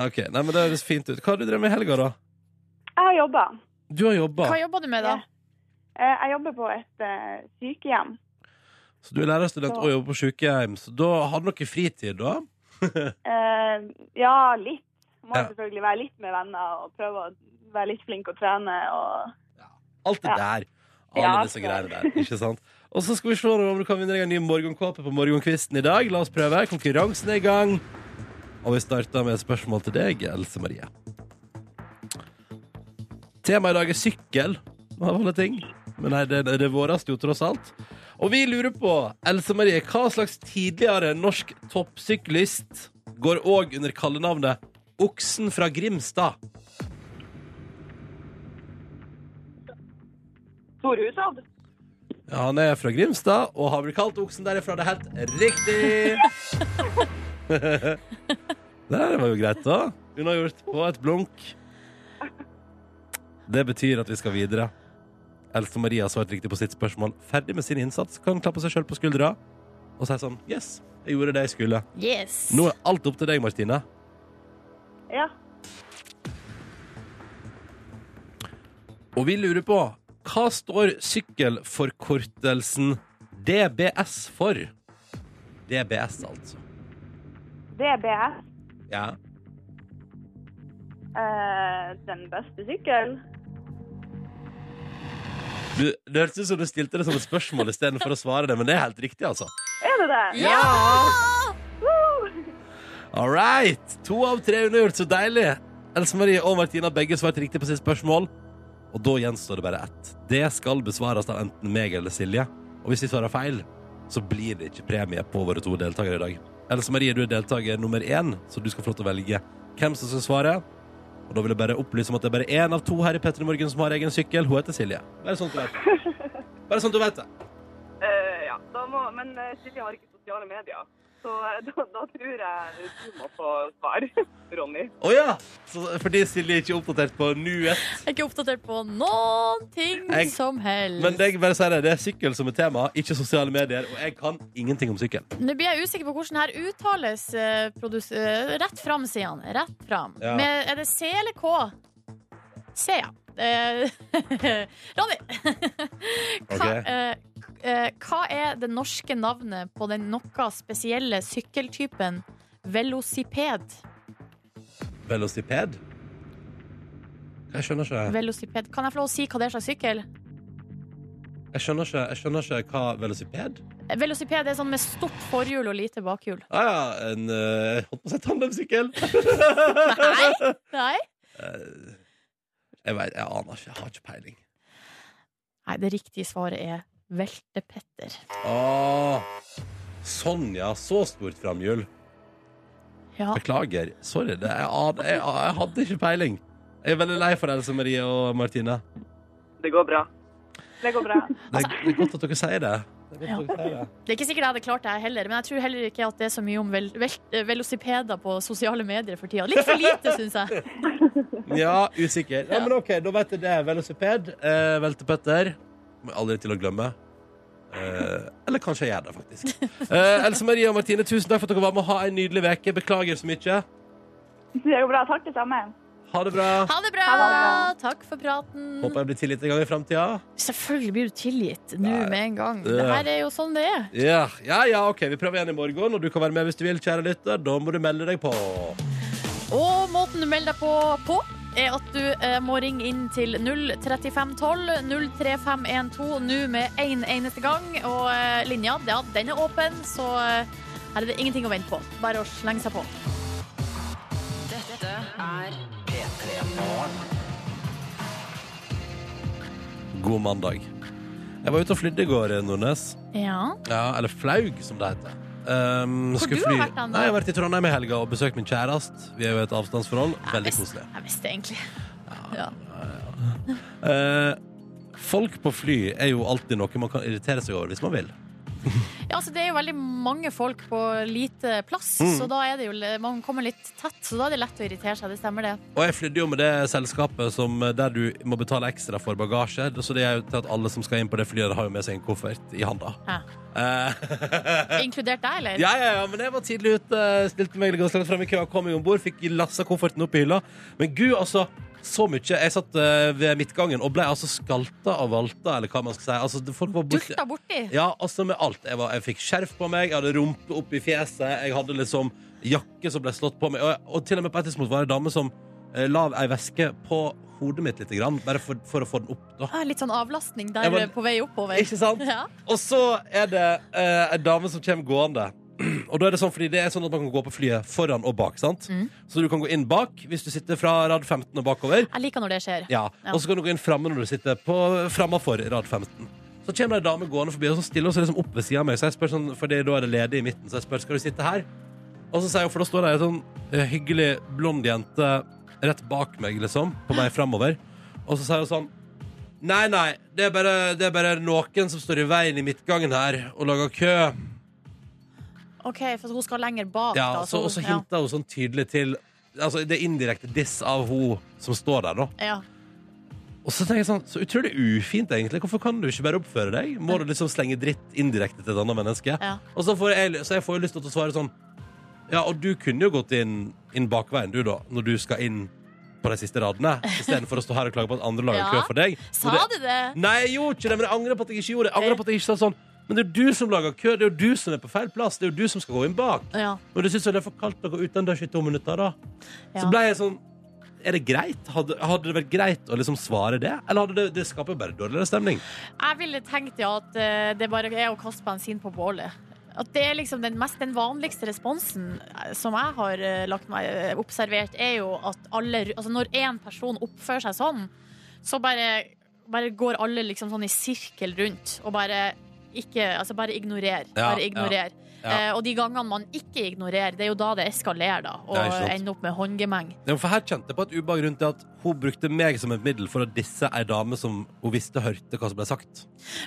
Speaker 1: Ok, nei, men Det høres fint ut. Hva har du drevet med i helga, da?
Speaker 4: jeg har jobba.
Speaker 1: Du har jobba,
Speaker 2: Hva jobber du med, da?
Speaker 4: Eh, Jeg jobber på et eh, sykehjem.
Speaker 1: så du er lærerstudent og jobber på sykehjem. Så da har du noe fritid, da?
Speaker 4: Eh, Ja, litt. Må
Speaker 1: Ja.
Speaker 4: selvfølgelig være litt med venner og prøve å være litt flink og trene og
Speaker 1: Alt det
Speaker 4: Ja.
Speaker 1: der. Alle
Speaker 4: Ja,
Speaker 1: disse
Speaker 4: så-
Speaker 1: greiene der. Ikke sant? Og så skal vi se om du kan vinne deg en ny morgenkåpe på morgenkvisten i dag. La oss prøve. Konkurransen er i gang. Og vi starter med et spørsmål til deg, Else Marie. Temaet i dag er sykkel, av alle ting. Men nei, det, det våres jo tross alt. Og vi lurer på, Else Marie, hva slags tidligere norsk toppsyklist går òg under kallenavnet Oksen fra Grimstad?
Speaker 3: Tor Hushovd.
Speaker 1: Ja, han er fra Grimstad og har blitt kalt oksen derifra. Det er helt riktig! (laughs) det her var jo greit, da. Unnagjort på et blunk. Det betyr at vi skal videre. Else Marie har svart riktig på sitt spørsmål. Ferdig med sin innsats. Kan klappe seg sjøl på skuldra. og sier sånn Yes, jeg gjorde det jeg skulle.
Speaker 2: Yes.
Speaker 1: Nå er alt opp til deg, Martine.
Speaker 4: Ja.
Speaker 1: Og vi lurer på hva står sykkelforkortelsen DBS for? DBS, altså.
Speaker 4: DBS,
Speaker 1: Ja.
Speaker 4: eh, den beste sykkel.
Speaker 1: Du, det hørtes ut som du stilte det som et spørsmål istedenfor å svare det, men det er helt riktig, altså.
Speaker 4: Er det det?
Speaker 1: All right. To av tre undergjort, så deilig. Else Marie og Martina har begge svart riktig på sitt spørsmål. Og da gjenstår det bare ett. Det skal besvares av enten meg eller Silje. Og hvis vi svarer feil, så blir det ikke premie på våre to deltakere i dag. Else Marie, du er deltaker nummer én, så du skal få lov til å velge hvem som skal svare. Og da vil jeg bare opplyse om at det er bare én av to her i Petter i Morgen som har egen sykkel. Hun heter Silje. Bare sånn at du vet det. Bare sånn at du vet det.
Speaker 3: Eh, ja, da må, men eh, Silje har ikke sosiale medier, så eh, (laughs) da, da tror jeg du må få svar, (laughs) Ronny.
Speaker 1: Å ja! Så, fordi Silje er ikke oppdatert på nuet.
Speaker 2: Jeg er ikke oppdatert på noen ting
Speaker 1: Jeg-
Speaker 2: som helst.
Speaker 1: Men det, jeg bare sier det, det er sykkel som er tema, ikke sosiale medier. Og jeg kan ingenting om sykkel.
Speaker 2: Nå blir jeg usikker på hvordan her uttales eh, produs... eh, Rett fram, sier han. Rett fram.
Speaker 1: Ja.
Speaker 2: Med, er det C eller K? C, ja. Eh, (laughs) Ronny! (laughs) hva,
Speaker 1: Ok.
Speaker 2: eh, k- eh, hva er det norske navnet på den noe spesielle sykkeltypen velociped?
Speaker 1: Velociped? Jeg skjønner ikke
Speaker 2: velociped? Kan jeg få lov å si hva det er slags sykkel?
Speaker 1: Jeg skjønner ikke, jeg skjønner ikke hva velociped
Speaker 2: Eh, Velociped er sånn med stort forhjul og lite
Speaker 1: (laughs)
Speaker 2: bakhjul.
Speaker 1: ah, ja, en eh, Jeg holdt på å si tandemsykkel.
Speaker 2: Nei. Nei?
Speaker 1: Eh, jeg vet, jeg aner ikke. Jeg har ikke peiling.
Speaker 2: Nei, det riktige svaret er veltepetter.
Speaker 1: Åh, Ah, sånn, ja. Så stort framhjul.
Speaker 2: Ja.
Speaker 1: Beklager. Sorry. Det, jeg, aner- jeg, jeg hadde ikke peiling. Jeg er veldig lei for Else Marie og Martine.
Speaker 3: Det går bra.
Speaker 4: Det går bra.
Speaker 1: Det er, det er godt at dere sier det. Altså- Det er godt at dere sier det.
Speaker 2: Det er ikke sikkert jeg hadde klart det her heller, men jeg tror heller ikke at det er så mye om vel, vel, eh, velocipeder på sosiale medier for tida. Litt for (laughs) lite, syns jeg.
Speaker 1: Ja, usikker. Ja, men OK, da vet jeg det. Velociped, eh, veltepetter. Kommer aldri til å glemme. Eh, eller kanskje jeg gjør det, faktisk. (laughs) Eh, Else Marie og Martine, tusen takk for at dere var med. Ha en nydelig uke. Beklager så mye.
Speaker 4: Det går bra. Takk det samme.
Speaker 1: Ha det bra.
Speaker 2: Ha det bra!
Speaker 4: Ha
Speaker 2: Takk for praten.
Speaker 1: Håper jeg blir tilgitt en gang i framtida.
Speaker 2: Selvfølgelig blir du tilgitt nå
Speaker 1: Nei.
Speaker 2: med en gang.
Speaker 1: Ja.
Speaker 2: Det her er jo sånn det er.
Speaker 1: Ja, ja, ja, OK. Vi prøver igjen i morgen, og du kan være med hvis du vil, kjære lytter. Da må du melde deg på.
Speaker 2: Og måten du melder deg på på, er at du eh, må ringe inn til 03512 03512 nå med én en eneste gang. Og eh, linja, ja, den er åpen, så eh, her er det ingenting å vente på. Bare å slenge seg på.
Speaker 5: Dette er P3.
Speaker 1: God mandag. Jeg var ute og flydde i går, eh, Nordnes.
Speaker 2: Ja.
Speaker 1: Ja, eller flaug, som det heter. Um,
Speaker 2: Hvor
Speaker 1: skulle
Speaker 2: du har
Speaker 1: fly-
Speaker 2: vært da, Anna?
Speaker 1: Nei, Jeg har vært i Trondheim i helga og besøkt min kjæreste. Vi er jo i et avstandsforhold. Veldig koselig.
Speaker 2: Jeg visste egentlig. Ja.
Speaker 1: Eh, folk på fly er jo alltid noe man kan irritere seg over hvis man vil.
Speaker 2: Ja, altså det er jo veldig mange folk på lite plass,
Speaker 1: Mm.
Speaker 2: så da er det jo man kommer litt tett, så da er det lett å irritere seg. Det stemmer, det.
Speaker 1: Og jeg flydde jo med det selskapet som, eh, der du må betale ekstra for bagasje. Så det er jo til at alle som skal inn på det flyet, har jo med seg en koffert i handa.
Speaker 2: Ja.
Speaker 1: Eh, (laughs)
Speaker 2: Inkludert deg, eller?
Speaker 1: Ja, ja, ja, men jeg var tidlig ute. Stilte meg godt langt frem i køa, kom meg om bord, fikk lassa kofferten opp i hylla. Men gud, altså, så mye. Jeg satt eh, ved midtgangen og ble altså skalta og valta, eller hva man skal si. Altså, det- folk var borte.
Speaker 2: Dulta borti.
Speaker 1: Ja, altså med alt. Jeg, var, jeg fikk skjerf på meg, jeg hadde rumpe opp i fjeset, jeg hadde liksom jakke som ble slått på meg, og, og til og med på et tidspunkt var det en dame som eh, la ei veske på hodet mitt lite grann, bare for, for å få den opp, da.
Speaker 2: Ah, Litt sånn avlastning der
Speaker 1: Jeg
Speaker 2: eh,
Speaker 1: var-
Speaker 2: på vei oppover.
Speaker 1: Ikke sant?
Speaker 2: Ja.
Speaker 1: Og så er det eh, ei dame som kommer gående. Og da er det sånn, fordi det er sånn at man kan gå på flyet foran og bak. sant?
Speaker 2: Mm.
Speaker 1: Så du kan gå inn bak hvis du sitter fra rad 15 og bakover.
Speaker 2: Jeg liker når det skjer.
Speaker 1: Ja,
Speaker 2: Ja.
Speaker 1: Og så kan du gå inn framme når du sitter på, framafor rad 15. Så kommer det ei dame gående forbi og så stiller hun seg liksom opp ved siden av meg. Så jeg spør sånn, fordi da er det ledig i midten, så jeg spør skal du sitte her. Og så sier hun, for da står det ei sånn eh, hyggelig blond jente rett bak meg, liksom, på vei framover. Og så sier hun sånn Nei, nei, det er, bare, det er bare noen som står i veien i midtgangen her og lager kø.
Speaker 2: OK, for hun skal lenger bak,
Speaker 1: Ja,
Speaker 2: da.
Speaker 1: så, og så
Speaker 2: ja.
Speaker 1: hinter hun sånn tydelig til Altså, det er indirekte diss av hun som står der, da.
Speaker 2: Ja.
Speaker 1: Og så tenker jeg sånn, så utrolig ufint egentlig. Hvorfor kan du ikke bare oppføre deg? Må du liksom slenge dritt indirekte til et annet menneske?
Speaker 2: Ja.
Speaker 1: Og så får jeg, så jeg får jo lyst til å svare sånn Ja, og du kunne jo gått inn, inn bakveien, du, da, når du skal inn på de siste radene. Istedenfor å stå her og klage på at andre lager
Speaker 2: Ja.
Speaker 1: kø for deg. Og
Speaker 2: Sa
Speaker 1: det-
Speaker 2: du det?
Speaker 1: Nei, jeg gjorde ikke det, men jeg angrer på at jeg ikke gjorde det. Jeg angrer på at jeg ikke sa sånn Men det er jo du som lager kø. Det er jo du som er på feil plass. Det er jo du som skal gå inn bak.
Speaker 2: Ja.
Speaker 1: Men du syns jo det er for kaldt å gå utendørs i to minutter, da?
Speaker 2: Ja.
Speaker 1: Så ble jeg sånn Er det greit? Hadde, hadde det vært greit å liksom svare det? Eller hadde det, det skaper jo bare dårligere stemning?
Speaker 2: Jeg ville tenkt ja, at eh, det bare er å kaste bensin på bålet. At det er liksom den, mest, den vanligste responsen eh, som jeg har eh, lagt meg, eh, observert, er jo at alle ru- altså Når én person oppfører seg sånn, så bare, bare går alle liksom sånn i sirkel rundt og bare ikke Altså bare ignorer.
Speaker 1: Ja,
Speaker 2: bare ignorer.
Speaker 1: ja, ja.
Speaker 2: Eh, og de gangene man ikke ignorerer, det er jo da det eskalerer, da. Og
Speaker 1: Det er ikke sant.
Speaker 2: ender opp med håndgemeng.
Speaker 1: Ja, for her kjente jeg på et ubehag rundt det at hun brukte meg som et middel for å disse ei dame som hun visste hørte hva som ble sagt.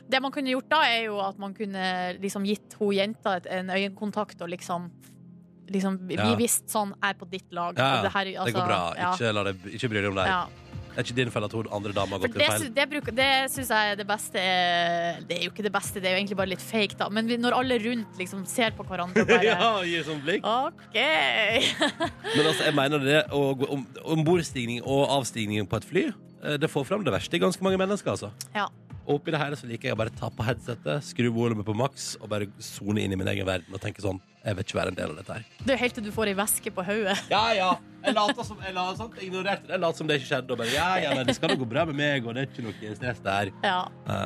Speaker 2: Det man kunne gjort da, er jo at man kunne liksom gitt hun jenta et, en øyekontakt og liksom Liksom, vi
Speaker 1: Ja.
Speaker 2: visste sånn, jeg er på ditt lag.
Speaker 1: Ja,
Speaker 2: og
Speaker 1: det,
Speaker 2: her- altså,
Speaker 1: går bra.
Speaker 2: ja,
Speaker 1: Ikke, la det, ikke bry deg om det.
Speaker 2: ja.
Speaker 1: Det er ikke din feil at hun andre dama har
Speaker 2: For det,
Speaker 1: gått til feil.
Speaker 2: sy- det, bruker- det syns jeg er det beste eh, Det er jo ikke det beste, det er jo egentlig bare litt fake, da. Men vi, når alle rundt liksom ser på hverandre og bare
Speaker 1: (laughs) ja, gi sånn blikk.
Speaker 2: OK! (laughs)
Speaker 1: Men altså, jeg mener det å gå om- Ombordstigning og avstigning på et fly eh, Det får fram det verste i ganske mange mennesker altså.
Speaker 2: Ja.
Speaker 1: Og oppi det her så liker jeg å bare ta på headsetet Skru volumet på maks Og bare zone inn i min egen verden Og tenke sånn, jeg vil ikke være en del av dette her
Speaker 2: Det er jo helt til du får ei væske på hodet.
Speaker 1: Ja, ja, jeg later som, jeg later, sant? Jeg ignorerte det, jeg later som det ikke skjedde Og bare, ja, ja, men det skal jo gå bra med meg Og det er ikke noe stress der
Speaker 2: Ja.
Speaker 1: ja.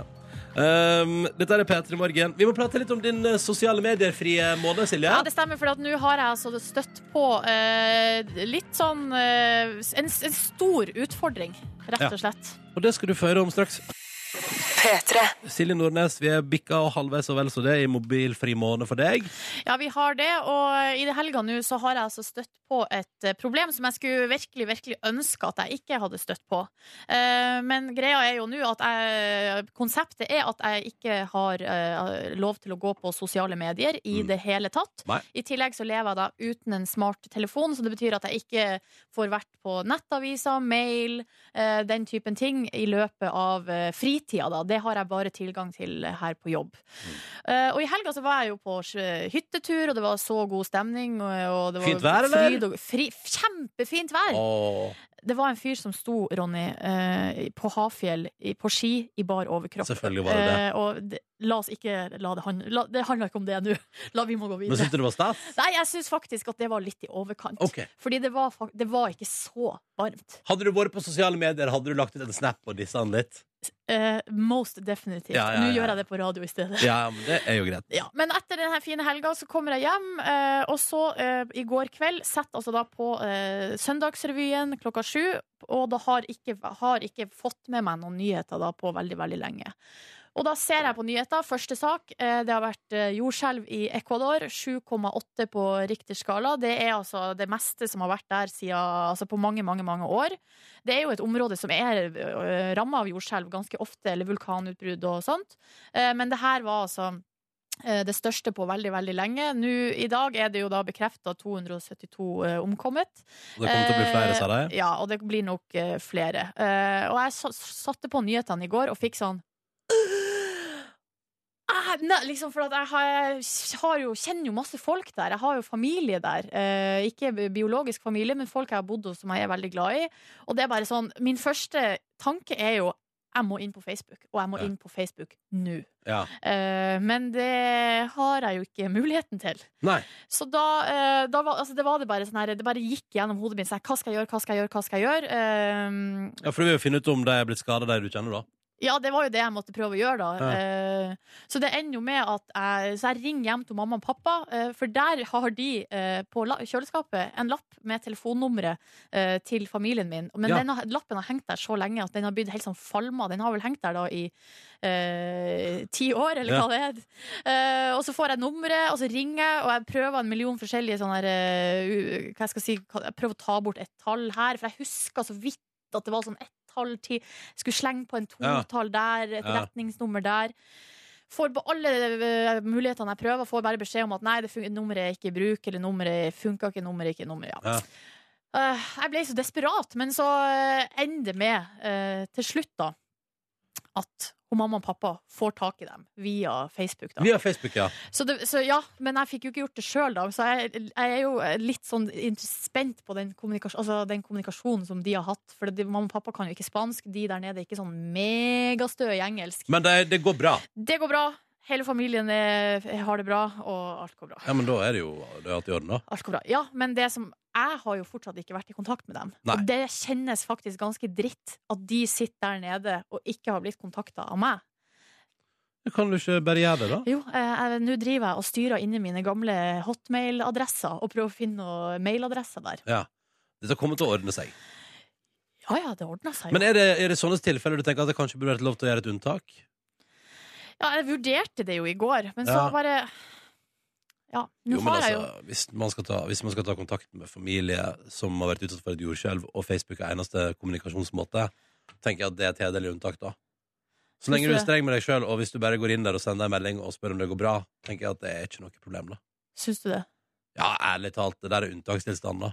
Speaker 1: um, Dette er Peter i morgen Vi må prate litt om din eh, sosiale medier-frie måned, Silje
Speaker 2: Ja, det stemmer, for at nå har jeg altså støtt på eh, litt sånn eh, en, en stor utfordring, rett
Speaker 1: Ja.
Speaker 2: og slett.
Speaker 1: Og det skal du få høre om straks
Speaker 5: P3.
Speaker 1: Silje Nordnes, vi er bikka og halvveis og vel så det i mobilfri måned for deg.
Speaker 2: Ja, vi har det, og i det helga nå så har jeg altså støtt på et eh, problem som jeg skulle virkelig, virkelig ønske at jeg ikke hadde støtt på. Eh, Men greia er jo nå at jeg, konseptet er at jeg ikke har eh, lov til å gå på sosiale medier i
Speaker 1: Mm.
Speaker 2: det hele tatt.
Speaker 1: Nei.
Speaker 2: I tillegg så lever jeg da uten en smarttelefon, så det betyr at jeg ikke får vært på nettaviser, mail, eh, den typen ting i løpet av eh, fritida, da. Det har jeg bare tilgang til her på jobb.
Speaker 1: Mm.
Speaker 2: Eh, og i helga så var jeg jo på sj- hyttetur, og det var så god stemning. Og, og det var
Speaker 1: Fint vær, eller?
Speaker 2: fryd og- fri, kjempefint vær!
Speaker 1: Åh,
Speaker 2: Det var en fyr som sto, Ronny, eh, på Hafjell i- på ski i bar overkropp.
Speaker 1: Selvfølgelig var det det.
Speaker 2: Eh, og det, la oss ikke la det handle la, Det handler ikke om det nå. (laughs) La vi må gå
Speaker 1: Men
Speaker 2: videre.
Speaker 1: syntes du det var stas?
Speaker 2: Nei, jeg syns faktisk at det var litt i overkant.
Speaker 1: Ok.
Speaker 2: Fordi det var, fak- det var ikke så varmt.
Speaker 1: Hadde du vært på sosiale medier, hadde du lagt ut en snap og dissa han litt?
Speaker 2: Eh, most definitivt.
Speaker 1: Ja, ja,
Speaker 2: Nå
Speaker 1: ja.
Speaker 2: gjør jeg det på radio i stedet.
Speaker 1: Ja, men det er jo greit.
Speaker 2: Ja, men etter denne fine helga så kommer jeg hjem, eh, og så eh, i går kveld setter altså da på eh, Søndagsrevyen klokka sju, og da har ikke, har ikke fått med meg noen nyheter da på veldig, veldig lenge. Og da ser jeg på nyheter. Første sak, eh, det har vært eh, jordskjelv i Ecuador. 7,8 på Richter-skala. Det er altså det meste som har vært der siden, altså på mange, mange mange år. Det er jo et område som er ramma av jordskjelv ganske ofte, eller vulkanutbrudd og sånt. Eh, Men det her var altså eh, det største på veldig veldig lenge. Nå I dag er det jo da bekrefta 272 eh, omkommet.
Speaker 1: Og det kommer til å bli flere, sa de.
Speaker 2: Eh, Ja, og det blir nok eh, flere. Eh, og jeg sa- satte på nyhetene i går og fikk sånn (gasps) Ah, nei, liksom for at jeg har, har jo, kjenner jo masse folk der. Jeg har jo familie der. Eh, ikke bi- biologisk familie, men folk jeg har bodd hos som jeg er veldig glad i. Og det er bare sånn Min første tanke er jo jeg må inn på Facebook, og jeg må
Speaker 1: Ja.
Speaker 2: inn på Facebook nå.
Speaker 1: Ja.
Speaker 2: Eh, men det har jeg jo ikke muligheten til.
Speaker 1: Nei.
Speaker 2: Så da, eh, da var, altså det var det bare sånn her Det bare gikk gjennom hodet mitt. Sånn, her, hva skal jeg gjøre, hva skal jeg gjøre, hva skal jeg gjøre? Eh,
Speaker 1: Ja, for du vil jo finne ut om de er blitt skada, de du kjenner, da.
Speaker 2: ja, det var jo det jeg måtte prøve å gjøre, da.
Speaker 1: Ja.
Speaker 2: Eh, så det ender jo med at jeg, så jeg ringer hjem til mamma og pappa, eh, for der har de eh, på la- kjøleskapet en lapp med telefonnummeret eh, til familien min. Men
Speaker 1: Ja.
Speaker 2: den har- lappen har hengt der så lenge at den har blitt helt sånn falma. Den har vel hengt der da i eh, ti år, eller
Speaker 1: Ja.
Speaker 2: hva det er. Eh, og så får jeg nummeret, og så ringer jeg, og jeg prøver en million forskjellige sånne her, eh, u- Hva jeg skal si, hva- jeg prøver å ta bort et tall her, for jeg husker så vidt at det var sånn ett tall til skulle slenge på en
Speaker 1: Ja.
Speaker 2: totall der, et
Speaker 1: Ja.
Speaker 2: retningsnummer der. Får på alle eh, mulighetene jeg prøver, får bare beskjed om at nei, det fun nummeret er ikke i bruk, eller nummeret funka ikke, nummeret er ikke i nummer. Ja.
Speaker 1: Ja.
Speaker 2: Eh, jeg ble så desperat, men så eh, ender det med, eh, til slutt, da, at hun mamma og pappa får tak i dem via Facebook. da.
Speaker 1: Via Facebook, ja.
Speaker 2: Så, det, så ja, men jeg fikk jo ikke gjort det sjøl, da. Så jeg, jeg er jo litt sånn inter- spent på den, kommunikasjon, altså den kommunikasjonen som de har hatt. For det, mamma og pappa kan jo ikke spansk. De der nede er ikke sånn megastø i engelsk.
Speaker 1: Men det, det går bra.
Speaker 2: Det går bra. Hele familien er, har det bra, og alt går bra.
Speaker 1: Ja, men da er det jo det er alt i orden, da.
Speaker 2: Alt går bra. Ja, men det som jeg har jo fortsatt ikke vært i kontakt med dem.
Speaker 1: Nei.
Speaker 2: Og det kjennes faktisk ganske dritt at de sitter der nede og ikke har blitt kontakta av meg.
Speaker 1: Kan du ikke bare gjøre det, da?
Speaker 2: Jo, eh, jeg- nå driver jeg og styrer inni mine gamle hotmail-adresser og prøver å finne noen mailadresser der.
Speaker 1: Ja. Dette kommer til å ordne seg.
Speaker 2: Ja ja, det ordna seg. jo.
Speaker 1: Men er det, er det sånne tilfeller du tenker at det kanskje burde vært lov til å gjøre et unntak?
Speaker 2: Ja, jeg vurderte det jo i går, men
Speaker 1: Ja.
Speaker 2: så bare Ja, nå
Speaker 1: Jo, men
Speaker 2: har jeg
Speaker 1: altså,
Speaker 2: jo
Speaker 1: hvis man, skal ta, hvis man skal ta kontakt med familie som har vært utsatt for et jordskjelv, og Facebook er eneste kommunikasjonsmåte, tenker jeg at det er et hederlig unntak, da. Så lenge du er
Speaker 2: Synes du
Speaker 1: streng med deg sjøl, og hvis du bare går inn der og sender en melding og spør om det går bra, tenker jeg at det er ikke noe problem, da.
Speaker 2: Syns du det?
Speaker 1: Ja, ærlig talt, det der er unntakstilstand, da.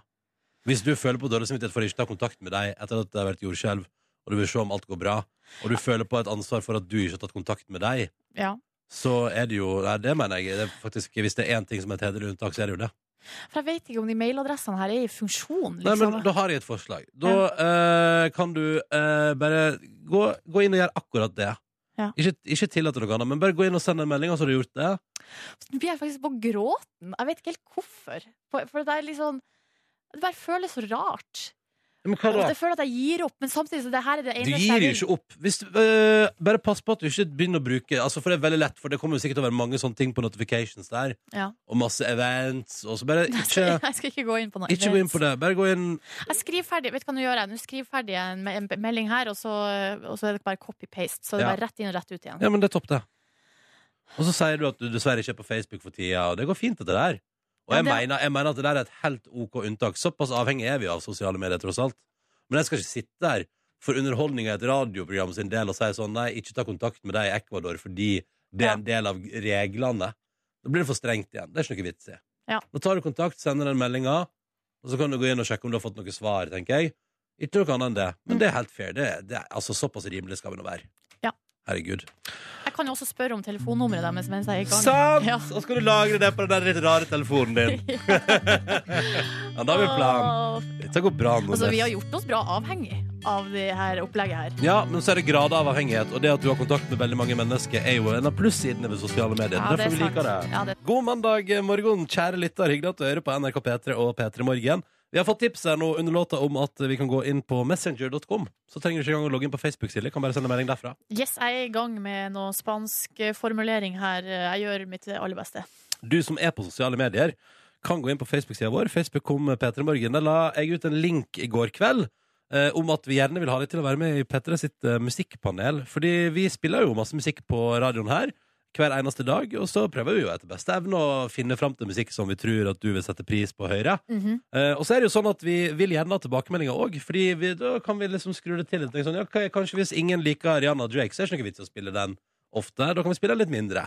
Speaker 1: Hvis du føler på dårlig samvittighet for å ikke ta kontakt med deg etter at det har vært jordskjelv, og du vil se om alt går bra, og du føler på et ansvar for at du ikke har tatt kontakt med deg,
Speaker 2: Ja.
Speaker 1: så er det jo Nei, det mener jeg. Det er faktisk, hvis det er én ting som er et hederlig unntak, så er det jo det.
Speaker 2: For jeg vet ikke om de mailadressene her er i funksjon,
Speaker 1: Nei,
Speaker 2: liksom.
Speaker 1: men Da har jeg et forslag. Da eh, kan du eh, bare gå, gå inn og gjøre akkurat det.
Speaker 2: Ja.
Speaker 1: Ikke, ikke tillate noe annet, men bare gå inn og send en melding, og så har du gjort det.
Speaker 2: Nå blir jeg faktisk på gråten. Jeg vet ikke helt hvorfor. For- For det er litt sånn Det bare føles så rart.
Speaker 1: Ja, Men hva da?
Speaker 2: Jeg føler at jeg gir opp, men samtidig så det her er det
Speaker 1: Du
Speaker 2: eneste
Speaker 1: gir jo
Speaker 2: jeg vil.
Speaker 1: ikke opp. Hvis, du- eh, bare pass på at du ikke begynner å bruke Altså For det er veldig lett, for det kommer jo sikkert til å være mange sånne ting på notifications der.
Speaker 2: Ja.
Speaker 1: Og masse events. Og så
Speaker 2: (laughs)
Speaker 1: bare
Speaker 2: Jeg skal,
Speaker 1: ikke,
Speaker 2: jeg skal ikke gå inn på noe.
Speaker 1: ikke gå inn på det. Bare gå inn
Speaker 2: Jeg skriver ferdig, vet du hva nå gjør jeg? Nå skriver jeg ferdig en, me- en melding her, og så, og så er det bare copy-paste. Så det er
Speaker 1: Ja.
Speaker 2: bare rett inn og rett ut igjen.
Speaker 1: Ja, men det er topp, det. Og så sier du at du dessverre ikke er på Facebook for tida, og det går fint, dette der. Og
Speaker 2: Ja,
Speaker 1: jeg,
Speaker 2: det-
Speaker 1: mener, jeg mener at det der er et helt OK unntak. Såpass avhengig er vi av sosiale medier, tross alt. Men jeg skal ikke sitte der for underholdning av et radioprogram sin del og si sånn nei, ikke ta kontakt med deg i Ecuador fordi det er en del av reglene. Da blir det for strengt igjen. Det er ikke noe vits i.
Speaker 2: Ja.
Speaker 1: Nå tar du kontakt, sender den meldinga, og så kan du gå inn og sjekke om du har fått noe svar, tenker jeg. Ikke noe annet enn det. Men det er helt fair. Det, det er, altså, såpass rimelig skal vi nå være.
Speaker 2: Mm. Ja.
Speaker 1: Herregud.
Speaker 2: Jeg kan jo også spørre om telefonnummeret deres mens jeg er i gang.
Speaker 1: Sant!
Speaker 2: Ja.
Speaker 1: Og så skal du lagre det på den der litt rare telefonen
Speaker 2: (laughs)
Speaker 1: din. ja, da har vi en plan.
Speaker 2: Åh.
Speaker 1: Dette går bra nå.
Speaker 2: Altså, vi har
Speaker 1: Ness.
Speaker 2: gjort oss bra avhengig av det her opplegget her.
Speaker 1: Ja, men så er det grader av avhengighet, og det at du har kontakt med veldig mange mennesker, er jo en av plussidene ved sosiale medier.
Speaker 2: Ja, det er
Speaker 1: Derfor vi
Speaker 2: sant.
Speaker 1: liker det.
Speaker 2: Ja, det-
Speaker 1: God mandag morgen, kjære lytter. Hyggelig at du hører på NRK P3 og P3 Morgen. Vi har fått tips her nå under låta om at vi kan gå inn på messenger.com. Så trenger du ikke engang å logge inn på Facebook-side. Kan bare sende melding derfra.
Speaker 2: Yes, jeg er i gang med noe spansk eh, formulering her. Jeg gjør mitt aller beste.
Speaker 1: Du som er på sosiale medier, kan gå inn på Facebook-sida vår. Facebook kom Peter Morgen. Der la jeg ut en link i går kveld eh, om at vi gjerne vil ha deg til å være med i Petra sitt eh, musikkpanel. Fordi vi spiller jo masse musikk på radioen her hver eneste dag, og så prøver vi jo etter beste evne å finne fram til musikk som vi tror at du vil sette pris på høyere. Eh, og så er det jo sånn at vi vil gjerne ha tilbakemeldinger òg, Fordi vi, da kan vi liksom skru det til litt. Tenke Sånn, ja, k- kanskje hvis ingen liker Rihanna og Drake, så er det ikke noe vits i å spille den ofte. Da kan vi spille den litt mindre.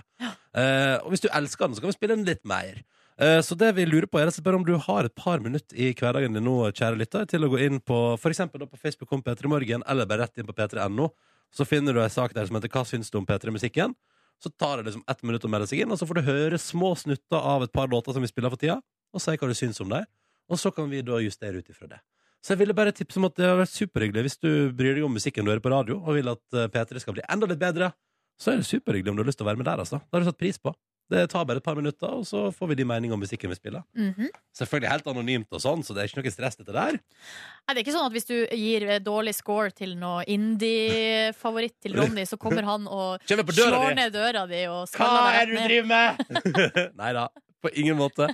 Speaker 1: Eh, og hvis du elsker den, så kan vi spille den litt mer. Eh, Så det vi lurer på er rett og slett bare om du har et par minutter i hverdagen din nå, kjære lytter, til å gå inn på for eksempel da på Facebook om P3 Morgen, eller bare rett inn på p3.no. Så finner du ei sak der som heter 'Hva syns du om P3-musikken?' Så tar det liksom ett minutt å melde seg inn, og så får du høre små snutter av et par låter som vi spiller for tida, og si hva du syns om dem. Og så kan vi da justere ut ifra det. Så jeg ville bare tipse om at det har vært superhyggelig hvis du bryr deg om musikken du hører på radio, og vil at eh, P3 skal bli enda litt bedre. Så er det superhyggelig om du har lyst til å være med der, altså. Det har du satt pris på. Det tar bare et par minutter, og så får vi de mening om musikken vi spiller.
Speaker 2: Mhm.
Speaker 1: Selvfølgelig helt anonymt og sånn, så det er ikke noe stress dette der.
Speaker 2: Nei, det er ikke sånn at hvis du gir eh, dårlig score til noe indie-favoritt
Speaker 1: (laughs)
Speaker 2: til Ronny, så kommer han og
Speaker 1: Kjenner på døra
Speaker 2: slår
Speaker 1: di!
Speaker 2: ned døra di og
Speaker 1: Hva
Speaker 2: skaller deg rett
Speaker 1: er det du
Speaker 2: ned.
Speaker 1: driver med?! (laughs) Nei da, på ingen måte.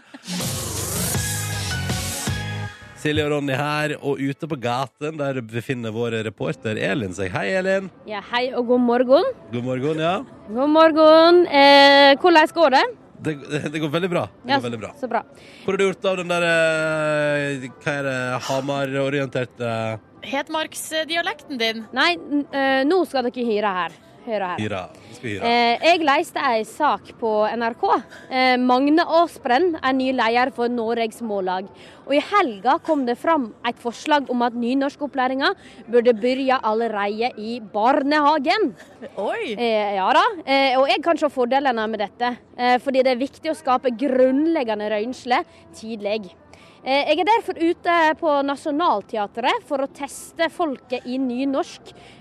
Speaker 1: Silje og Ronny her, og ute på gaten der befinner vår reporter Elin seg. Hei, Elin.
Speaker 6: Ja, hei og god morgen.
Speaker 1: God morgen, ja.
Speaker 6: God morgen. Eh, hvordan går det?
Speaker 1: Det, det går veldig bra. Det
Speaker 6: Ja,
Speaker 1: går veldig bra.
Speaker 6: Så bra.
Speaker 1: Hvor har du gjort av den der eh, Hva er det? eh, Hamar-orienterte
Speaker 2: Hedmarksdialekten din.
Speaker 6: Nei, n- eh, nå skal dere høre her.
Speaker 7: Hør her.
Speaker 1: Hira. Vi skal hira.
Speaker 7: Eh, jeg leiste ei sak på NRK. Eh, Magne Aasbrenn er ny leder for Norges Mållag. Og i helga kom det fram et forslag om at nynorskopplæringa burde begynne allerede i barnehagen.
Speaker 2: Oi!
Speaker 7: Eh, ja da, eh, og jeg kan se fordelene med dette. Eh, fordi det er viktig å skape grunnleggende røynsle tidlig. Eh, jeg er derfor ute på Nationaltheatret for å teste folket i nynorsk,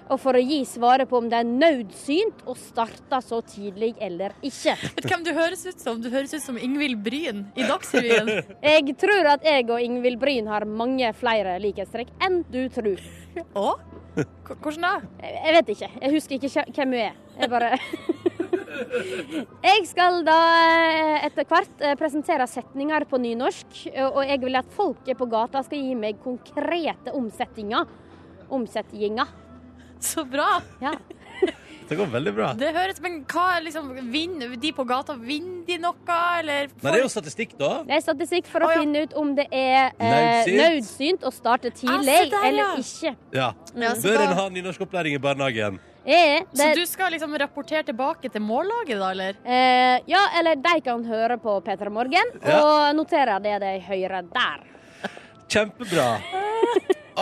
Speaker 7: og for å gi svaret på om det er nødsynt å starte så tidlig eller ikke.
Speaker 2: Vet du hvem du høres ut som? Du høres ut som Ingvild Bryn i Dagsrevyen.
Speaker 7: Jeg tror at jeg og Ingvild Bryn har mange flere likhetstrekk enn du tror.
Speaker 2: Å? K- Hvordan da?
Speaker 7: Jeg jeg vet ikke. Jeg husker ikke kje- hvem hun er. Jeg bare Jeg skal da eh, etter hvert eh, presentere setninger på nynorsk, eh, og jeg vil at folket på gata skal gi meg konkrete omsetninger. Omsetninger.
Speaker 2: Så bra!
Speaker 7: Ja.
Speaker 1: Det går veldig bra.
Speaker 2: Det høres Men hva liksom vinner De på gata, vinner de noe, eller?
Speaker 1: Nei, det er jo statistikk, da.
Speaker 7: Det er statistikk for å
Speaker 2: Å, ja.
Speaker 7: finne ut om det er eh,
Speaker 1: Nødsynt.
Speaker 7: nødsynt å starte tidlig
Speaker 2: Ja, se der, Ah, ja.
Speaker 7: eller ikke.
Speaker 1: Ja.
Speaker 2: Ja, så
Speaker 1: Bør
Speaker 2: da-
Speaker 1: en ha nynorskopplæring i barnehagen?
Speaker 7: Eh,
Speaker 2: Så
Speaker 7: det,
Speaker 2: du skal liksom rapportere tilbake til mållaget, da, eller?
Speaker 7: eh, ja, eller de kan høre på P3 Morgen
Speaker 1: Ja.
Speaker 7: og notere det de hører der.
Speaker 1: Kjempebra.
Speaker 2: Ah.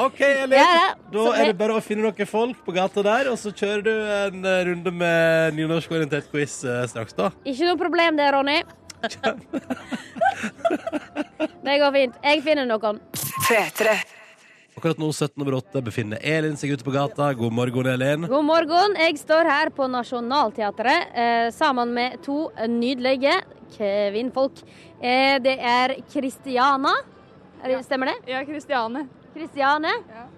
Speaker 1: OK, Elin.
Speaker 7: Ja, ja.
Speaker 1: Da
Speaker 7: Så
Speaker 1: er
Speaker 7: vi-
Speaker 1: det bare å finne noen folk på gata der, og så kjører du en eh, runde med nynorskorientert quiz eh, straks, da.
Speaker 7: Ikke noe problem det, Ronny. det går fint. Jeg finner noen.
Speaker 3: P3.
Speaker 1: (laughs) Akkurat nå, 17 over 8, befinner Elin seg ute på gata. God morgen, Elin.
Speaker 7: God morgen. Jeg står her på Nationaltheatret eh, sammen med to nydelige kvinnfolk. Eh, det er Kristiana, er det- stemmer det?
Speaker 8: Ja, Kristiane.
Speaker 7: Kristiane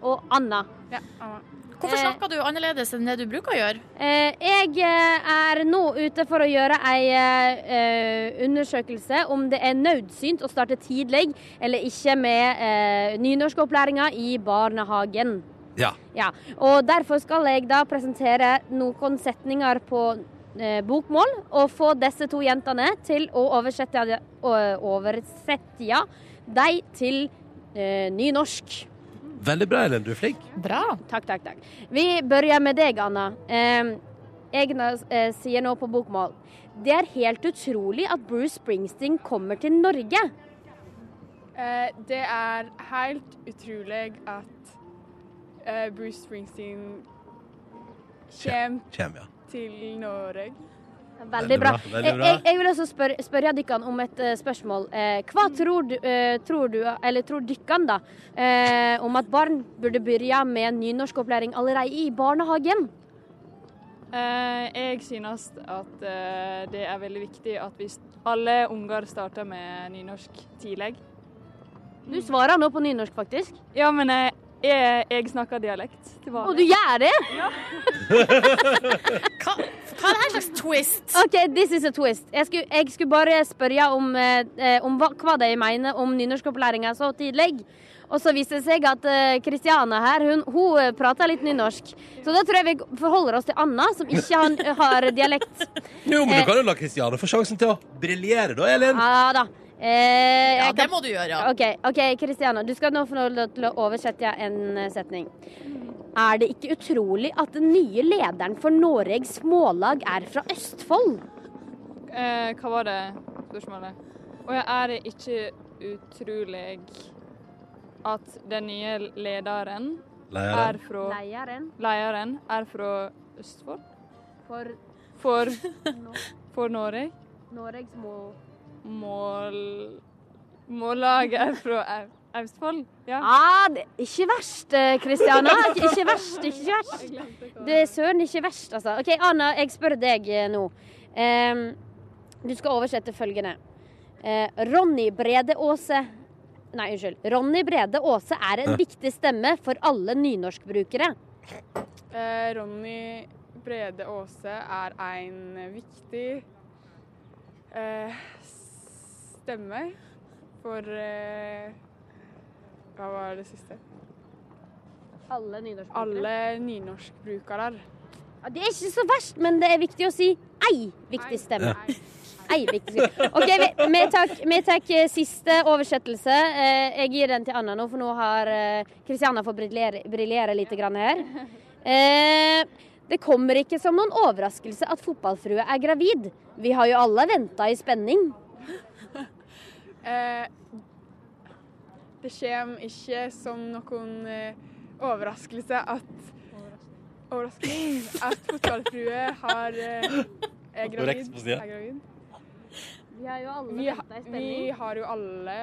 Speaker 7: og Anna.
Speaker 2: Hvorfor
Speaker 7: Eh.
Speaker 2: snakker du annerledes enn det du bruker å gjøre?
Speaker 7: Eh, jeg eh, er nå ute for å gjøre ei eh, undersøkelse om det er nødsynt å starte tidlig eller ikke med eh, nynorskopplæringa i barnehagen.
Speaker 1: Ja.
Speaker 7: Og derfor skal jeg da presentere noen setninger på eh, bokmål og få disse to jentene til å oversette, eh, å oversette ja, de til eh, nynorsk.
Speaker 1: Veldig bra, Elin. Du er flink.
Speaker 2: Bra.
Speaker 7: Takk, takk, takk. Vi begynner med deg, Anna. Eh, jeg nå- eh, sier nå på bokmål. Det er helt utrolig at Bruce Springsteen kommer til Norge.
Speaker 8: Eh, det er helt utrolig at eh, Bruce Springsteen kommer
Speaker 1: Kjem, ja.
Speaker 8: til Norge.
Speaker 7: Veldig bra. Eh,
Speaker 1: Veldig bra.
Speaker 7: Jeg, jeg vil også spørre, spørre dere om et eh, spørsmål. Eh, hva tror, du- eh, tror du, eller tror dere da, eh, om at barn burde begynne med nynorskopplæring allerede i barnehagen?
Speaker 8: Eh, jeg synes at eh, det er veldig viktig at vi st- alle unger starter med nynorsk tidlig.
Speaker 7: Du svarer nå på nynorsk, faktisk.
Speaker 8: Ja, men eh, jeg, jeg snakker dialekt til
Speaker 7: Og
Speaker 8: vanlig.
Speaker 7: du gjør det?
Speaker 2: Hva, hva er det her slags twist?
Speaker 7: OK, this is a twist. Jeg skulle, jeg skulle bare spørre om, eh, eh, om hva, hva de mener om nynorskopplæringa så tidlig. Og så viser det seg at eh, Kristiane her, hun, hun eh, prater litt nynorsk. Så da tror jeg vi forholder oss til Anna, som ikke har, har dialekt.
Speaker 1: Jo, men du kan jo la Kristiane få sjansen til å briljere, da, Elin.
Speaker 7: eh. Ja da. Eh,
Speaker 2: Ja,
Speaker 7: jeg
Speaker 2: det
Speaker 7: kan...
Speaker 2: må du gjøre, ja.
Speaker 7: OK, ok, Kristiana. Du skal nå få lov til å oversette en eh, setning. Er det ikke utrolig at den nye lederen for Noregs Smålag er fra Østfold?
Speaker 8: Eh, hva var det spørsmålet? Og jeg er det ikke utrolig at den nye lederen
Speaker 1: Leier.
Speaker 8: er fra
Speaker 7: Leieren
Speaker 8: Lederen er fra Østfold.
Speaker 7: for
Speaker 8: For,
Speaker 7: Nor-
Speaker 8: for Norge.
Speaker 7: Noregs Mål...
Speaker 8: Mål... Mållaget er fra Au- Østfold.
Speaker 7: Ja,
Speaker 8: Ja.
Speaker 7: Ah, det er ikke verst, eh, (laughs) Kristiana. Ikke ikke verst, ikke
Speaker 8: Jeg
Speaker 7: verst.
Speaker 8: glemte hva
Speaker 7: Det er søren ikke verst, altså. OK, Anna, jeg spør deg eh, nå. Em, du skal oversette følgende. Eh, Ronny Brede Aase Nei, unnskyld. Ronny Brede Aase er en viktig stemme for alle nynorskbrukere.
Speaker 8: Eh, Ronny Brede Aase er en viktig eh, stemme for eh, Hva var det siste?
Speaker 7: Alle nynorskbrukere.
Speaker 8: Alle nynorskbrukere.
Speaker 7: Ja, Det er ikke så verst, men det er viktig å si ei viktig stemme.
Speaker 8: Ei.
Speaker 7: Ei viktig stemme. OK, vi, vi, tar, vi tar eh, siste oversettelse. Eh, jeg gir den til Anna nå, for nå har Kristiana fått briljere, briljere litt grann her. Eh, Det kommer ikke som noen overraskelse at fotballfrue er gravid. Vi har jo alle venta i spenning.
Speaker 8: Eh, det kommer ikke som noen eh, overraskelse at Overraskelse at fotballfrue har eh, er
Speaker 1: Nå
Speaker 8: gravid.
Speaker 1: rekker på siden.
Speaker 8: Er gravid.
Speaker 7: Vi har jo alle
Speaker 8: Vi, ha-
Speaker 7: venta i
Speaker 8: vi
Speaker 7: spenning.
Speaker 8: har jo alle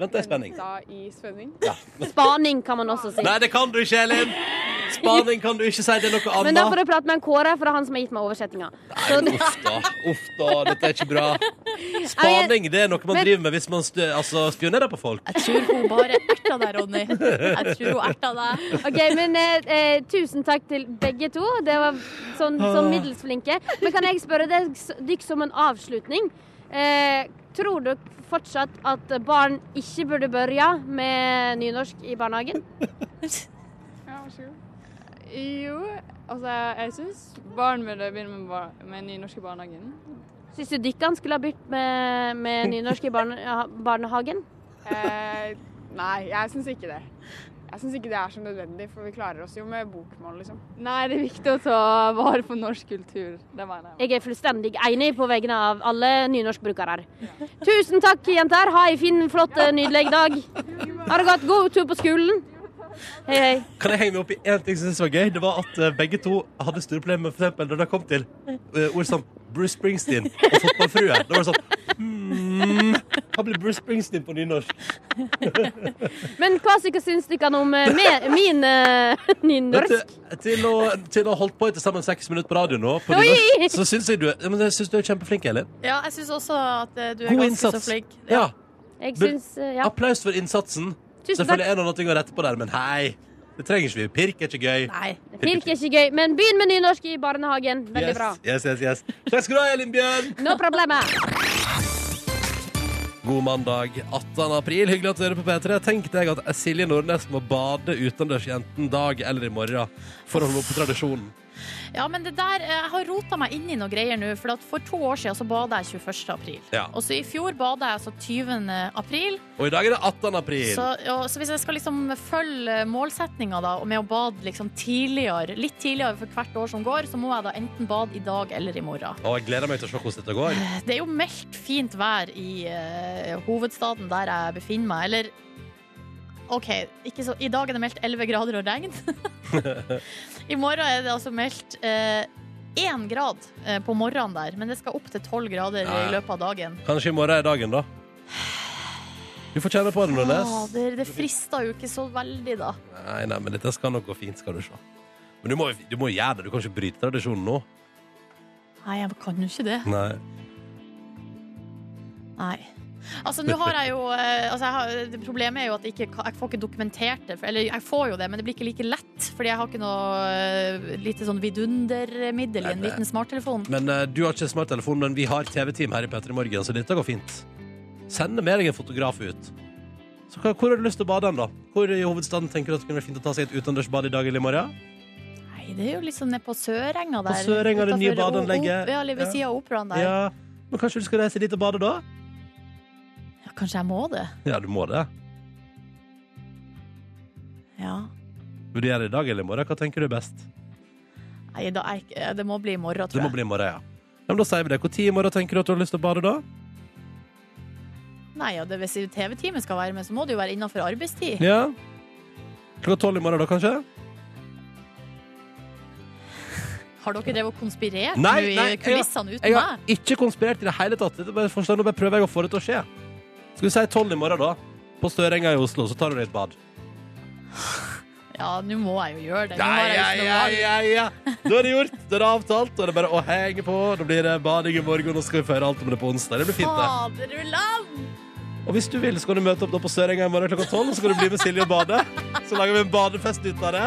Speaker 1: Vent, det er spenning.
Speaker 8: venta i spenning.
Speaker 7: Spaning kan man også si.
Speaker 1: Nei, det kan du ikke, Elin! Spaning kan du ikke si. Det er noe
Speaker 7: Men da
Speaker 1: annet.
Speaker 7: får du prate med en Kåre, for det er han som har gitt meg oversettinga. Så det-
Speaker 1: Uff da. Uff da, dette er ikke
Speaker 7: (laughs)
Speaker 1: bra. Spaning det er noe man
Speaker 7: Men-
Speaker 1: driver med hvis man stu- altså, spionerer på folk.
Speaker 2: Jeg tror hun bare erta deg, Ronny. Jeg tror hun erta deg.
Speaker 7: (laughs) OK, men eh, eh, tusen takk til begge to. Det var sånn, sånn middels flinke. Men kan jeg spørre deg s- dykk som en avslutning? Eh, tror du fortsatt at barn ikke burde børja med nynorsk i barnehagen?
Speaker 8: Ja, vær så god.
Speaker 9: Jo, altså jeg syns barn burde begynne med, bar med nynorsk i barnehagen.
Speaker 7: Syns du dykkene skulle ha begynt med, med nynorsk i barne, ha- barnehagen?
Speaker 8: Eh, nei, jeg syns ikke det. Jeg syns ikke det er så nødvendig, for vi klarer oss jo med bokmål, liksom.
Speaker 9: Nei, det er viktig å ta vare på norsk kultur. Det mener jeg.
Speaker 7: Jeg er fullstendig enig på vegne av alle nynorskbrukere. Tusen takk, jenter. Ha en fin, flott, eh, nydelig dag. Har det gått god tur på skolen? Hei, hei.
Speaker 1: Kan jeg henge meg opp i en ting som jeg synes var gøy? Det var at eh, begge to hadde store problemer med for eksempel når det kom til eh, ord som Bruce Springsteen og fotballfrue. Da var det sånn hmm, Hva blir Bruce Springsteen på nynorsk?
Speaker 7: Men hva syke syns dere om eh, me- min eh, (laughs) nynorsk?
Speaker 1: Til, til, å, til å ha holdt på i til sammen seks minutter på radio nå, på
Speaker 7: Oi!
Speaker 1: nynorsk, så syns jeg du, er- ja, men jeg synes du er kjempeflink, Elin.
Speaker 2: Ja, jeg syns også at eh, du er
Speaker 1: God
Speaker 2: ganske så
Speaker 1: innsats.
Speaker 2: flink.
Speaker 1: Ja.
Speaker 7: Jeg syns eh, Ja,
Speaker 1: Applaus for innsatsen.
Speaker 7: tusen
Speaker 1: Selvfølgelig
Speaker 7: takk.
Speaker 1: er det noe å rette på der, men hei, det trenger ikke vi. Pirk er ikke gøy.
Speaker 2: Nei.
Speaker 7: Pirk er ikke gøy, men begynn med nynorsk i barnehagen. Veldig bra.
Speaker 1: Yes, yes, yes. Takk skal du ha, Elin Bjørn.
Speaker 7: No problemer.
Speaker 1: (laughs) God mandag 18. april. Hyggelig at du hører på P3. Tenk deg at Silje Nordnes må bade utendørs i enten dag eller i morgen for å holde oppe tradisjonen.
Speaker 2: Ja, men det der eh, Jeg har rota meg inn i noe greier nå, for at for to år siden så bada jeg 21. april.
Speaker 1: Ja.
Speaker 2: Og så i fjor bada jeg altså 20. april.
Speaker 1: Og i dag er det 18. april.
Speaker 2: Så, ja, så hvis jeg skal liksom følge målsetninga da, og med å bade liksom tidligere, litt tidligere for hvert år som går, så må jeg da enten bade i dag eller i morgen.
Speaker 1: Og jeg gleder meg til å se hvordan dette går.
Speaker 2: Det er jo meldt fint vær i eh, hovedstaden der jeg befinner meg, eller OK, ikke så, i dag er det meldt 11 grader og regn. (laughs) I morgen er det altså meldt eh, én grad eh, på morgenen der, men det skal opp til 12 grader i
Speaker 1: Ja.
Speaker 2: løpet av dagen.
Speaker 1: Kanskje i morgen er dagen, da. Du får kjenne på det, Nordnes.
Speaker 2: Åh, det, det frister jo ikke så veldig, da.
Speaker 1: Nei, nei, men dette skal nok gå fint, skal du se. Men du må, du må gjøre det. Du kan ikke bryte tradisjonen nå.
Speaker 2: Nei, jeg kan jo ikke det.
Speaker 1: Nei.
Speaker 2: Nei. Altså, nå har jeg jo eh, altså, jeg har, det Problemet er jo at jeg, ikke, kan- jeg får ikke dokumentert det. for- Eller jeg får jo det, men det blir ikke like lett. Fordi jeg har ikke noe eh, lite sånn vidundermiddel i en
Speaker 1: Nei, det-
Speaker 2: liten smarttelefon.
Speaker 1: Men eh, du har ikke smarttelefon, men vi har TV-team her i P3 Morgen, så dette går fint. Send med deg en fotograf ut. Så hva, hvor har du lyst til å bade den, da? Hvor i hovedstaden tenker du at det kunne være fint å ta seg et utendørsbad i dag eller i morgen?
Speaker 2: Nei, det er jo liksom nede på Sørenga der.
Speaker 1: På Sørenga, det nye
Speaker 2: utenfor O-
Speaker 1: badeanlegget.
Speaker 2: O- Ja, eller ved
Speaker 1: Ja.
Speaker 2: siden av operaen der. Ja.
Speaker 1: Ja, men kanskje du skal reise dit og bade da?
Speaker 2: kanskje jeg må det.
Speaker 1: Ja, du må det.
Speaker 2: Ja.
Speaker 1: Vil du gjøre det i dag eller i morgen? Hva tenker du er best?
Speaker 2: Nei, da, er ikke- det må bli i morgen, tror
Speaker 1: Det må
Speaker 2: jeg.
Speaker 1: bli i morgen, ja. ja men da sier vi det. Hvor tid i morgen tenker du at du har lyst til å bade da?
Speaker 2: Nei, ja, det, Hvis TV-teamet skal være med, så må det jo være innenfor arbeidstid.
Speaker 1: Ja. Klokka tolv i morgen da, kanskje?
Speaker 2: Har dere drevet og konspirert
Speaker 1: Nei,
Speaker 2: nå i
Speaker 1: nei, jeg-
Speaker 2: kulissene uten
Speaker 1: Jeg
Speaker 2: meg?
Speaker 1: har ikke konspirert i det hele tatt. Dette er bare forslag. Nå bare prøver jeg å få det til å skje. Skal vi si tolv i morgen, da? På Størenga i Oslo, så tar du deg et bad.
Speaker 2: Ja, nå må jeg jo gjøre det. Nå
Speaker 1: Ja,
Speaker 2: har jeg jo
Speaker 1: ja,
Speaker 2: ikke noe
Speaker 1: ja,
Speaker 2: valg.
Speaker 1: ja, ja. Da er det gjort, da er det avtalt, og det er bare å henge på. Da blir det bading i morgen, og så skal vi føre alt om det på onsdag. Det blir fint, det.
Speaker 2: Faderullan!
Speaker 1: Og hvis du vil, så kan du møte opp da på Sørenga i morgen klokka tolv, og så kan du bli med Silje og bade. Så lager vi en badefest ut av det.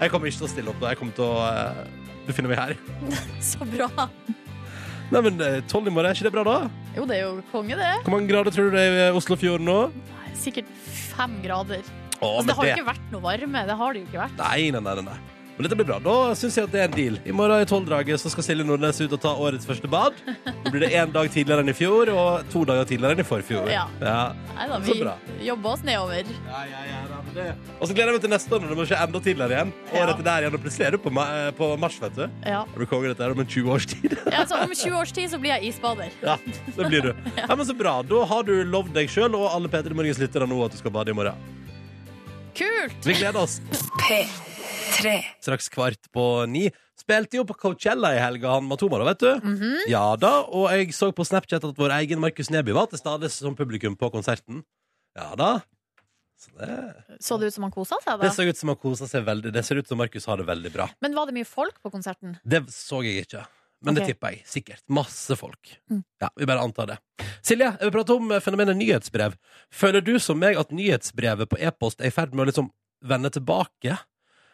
Speaker 1: Jeg kommer ikke til å stille opp da. Jeg kommer til å eh, Du finner meg her.
Speaker 2: Så bra.
Speaker 1: Nei, men eh, tolv i morgen, er ikke det bra, da?
Speaker 2: Jo, det er jo konge, det.
Speaker 1: Hvor mange grader tror du det er i Oslofjorden nå?
Speaker 2: Sikkert fem grader.
Speaker 1: Å,
Speaker 2: altså,
Speaker 1: men
Speaker 2: det har jo ikke vært noe varme. Det har det jo ikke vært.
Speaker 1: Nei, nei, nei, nei, nei. Men dette blir bra. Da syns jeg at det er en deal. I morgen i tolvdraget så skal Silje Nordnes ut og ta årets første bad. Nå blir det én dag tidligere enn i fjor, og to dager tidligere enn i forfjor.
Speaker 2: Ja.
Speaker 1: ja.
Speaker 2: Nei da,
Speaker 1: Så bra.
Speaker 2: vi jobber oss nedover.
Speaker 1: Ja, ja, ja, da. Det. Og så gleder jeg meg til neste år når det må skje enda tidligere igjen. Året etter der igjen, og plutselig er du på, ma- eh, på mars, vet du.
Speaker 2: Ja.
Speaker 1: Er du konge dette her om en 20 års tid? (laughs)
Speaker 2: Ja, altså, om 20 års tid så blir jeg isbader.
Speaker 1: Ja, det blir du. Ja, men så bra. Da har du lovd deg sjøl og alle P3 Morgens lyttere nå at du skal bade i morgen.
Speaker 2: Kult!
Speaker 1: Vi gleder oss.
Speaker 5: P3.
Speaker 1: Straks kvart på ni. Spilte jo på Coachella i helga, han Matoma, da, vet du. Ja da, og jeg så på Snapchat at vår egen Markus Neby var til stede som publikum på konserten. Ja da. Så det,
Speaker 2: Så det ut som han kosa seg da?
Speaker 1: det så ut som han kosa seg veldig. Det ser ut som Markus har det veldig bra.
Speaker 2: Men var det mye folk på konserten?
Speaker 1: Det så jeg ikke. Men
Speaker 2: Ok.
Speaker 1: det tipper jeg. Sikkert. Masse folk.
Speaker 2: Mm.
Speaker 1: Ja, Vi bare antar det. Silje, jeg vil prate om eh, fenomenet nyhetsbrev. Føler du som meg at nyhetsbrevet på e-post er i ferd med å liksom vende tilbake?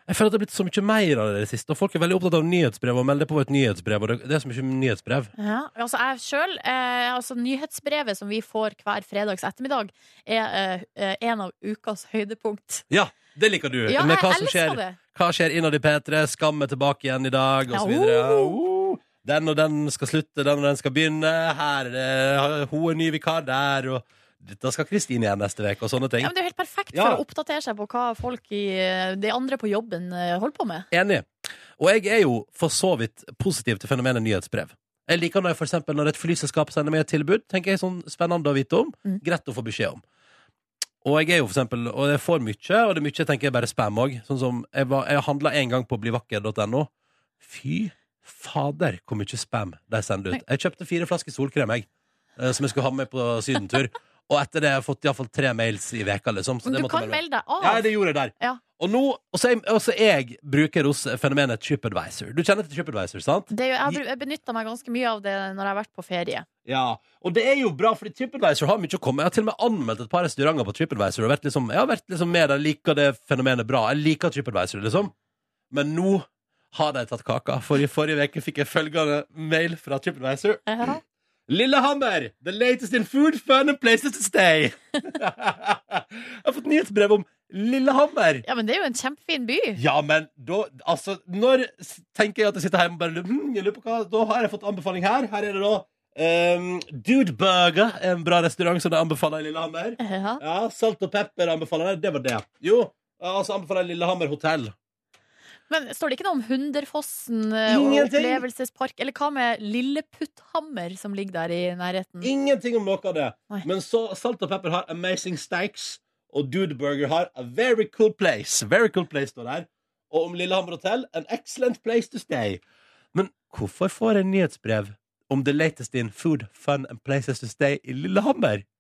Speaker 1: Jeg føler at det er blitt så mye mer av det i det siste, og folk er veldig opptatt av nyhetsbrev og melder på et nyhetsbrev, og det- det er så mye nyhetsbrev.
Speaker 2: Ja, altså jeg sjøl eh, altså Nyhetsbrevet som vi får hver fredags ettermiddag, er eh, eh, en av ukas høydepunkt.
Speaker 1: Ja, det liker du.
Speaker 2: Ja,
Speaker 1: Med
Speaker 2: jeg
Speaker 1: hva
Speaker 2: elsker
Speaker 1: som skjer,
Speaker 2: det!
Speaker 1: hva skjer innad i P3, Skam er tilbake igjen i dag, og så videre.
Speaker 2: Ja, oh.
Speaker 1: Oh, Den og den skal slutte, den og den skal begynne. Her er det hun er ny vikar der, og dette skal Kristine igjen neste uke, og sånne ting.
Speaker 2: Ja, men det er jo helt perfekt
Speaker 1: Ja.
Speaker 2: for å oppdatere seg på hva folk i eh, de andre på jobben eh, holder på med.
Speaker 1: Enig. Og jeg er jo for så vidt positiv til fenomenet nyhetsbrev. Jeg liker når jeg for eksempel når et flyselskap sender meg et tilbud, tenker jeg sånn spennende å vite om,
Speaker 2: Mm.
Speaker 1: greit å få beskjed om. Og jeg er jo for eksempel, og jeg får mye, og det er mye jeg tenker jeg bare spam òg. Sånn som jeg, var, jeg handla en gang på blivakker.no. Fy fader, hvor mye spam de sender ut. Jeg kjøpte fire flasker solkrem, jeg, eh, som jeg skulle ha med på
Speaker 2: (laughs)
Speaker 1: sydentur. Og etter det har jeg fått iallfall tre mails i veka, liksom. Så
Speaker 2: Men
Speaker 1: det
Speaker 2: du
Speaker 1: måtte
Speaker 2: kan
Speaker 1: jeg bare-
Speaker 2: melde deg av.
Speaker 1: ja, det gjorde jeg der.
Speaker 2: Ja.
Speaker 1: Og nå, og så, er- og så jeg bruker hos fenomenet TripAdvisor. Du kjenner til TripAdvisor, sant?
Speaker 2: Det er jo, jeg br- jeg benytta meg ganske mye av det når jeg har vært på ferie.
Speaker 1: Ja. Og det er jo bra, fordi TripAdvisor har mye å komme med. Jeg har til og med anmeldt et par restauranter på TripAdvisor. Og vært liksom, jeg har vært liksom med der, liker det fenomenet bra. Jeg liker TripAdvisor, liksom. Men nå har de tatt kaka. For i forrige uke fikk jeg følgende mail fra TripAdvisor.
Speaker 2: Ja.
Speaker 1: Lillehammer! The latest in food, fun and places to stay. (laughs) jeg har fått nyhetsbrev om Lillehammer.
Speaker 2: Ja, men det er jo en kjempefin by.
Speaker 1: Ja, men da Altså, når s- tenker jeg at jeg sitter hjemme og bare lurer, hm, jeg lurer på hva Da har jeg fått anbefaling her. Her er det da ehm, Dude Burger, en bra restaurant som de anbefaler i Lillehammer.
Speaker 2: Ja.
Speaker 1: Ja, Salt og pepper anbefaler de. Det var det. Jo, altså anbefaler jeg Lillehammer hotell.
Speaker 2: Men står det ikke noe om Hunderfossen eh, og
Speaker 1: Ingenting.
Speaker 2: opplevelsespark? Eller hva med Lilleputthammer som ligger der i nærheten?
Speaker 1: Ingenting om noe av det.
Speaker 2: Nei.
Speaker 1: Men så Salt og pepper har Amazing Steaks, og Dude Burger har A Very Cool Place. Very Cool Place står der. Og om Lillehammer hotell An Excellent Place to Stay. Men hvorfor får jeg nyhetsbrev om the latest in food, fun and places to stay i Lillehammer? (laughs)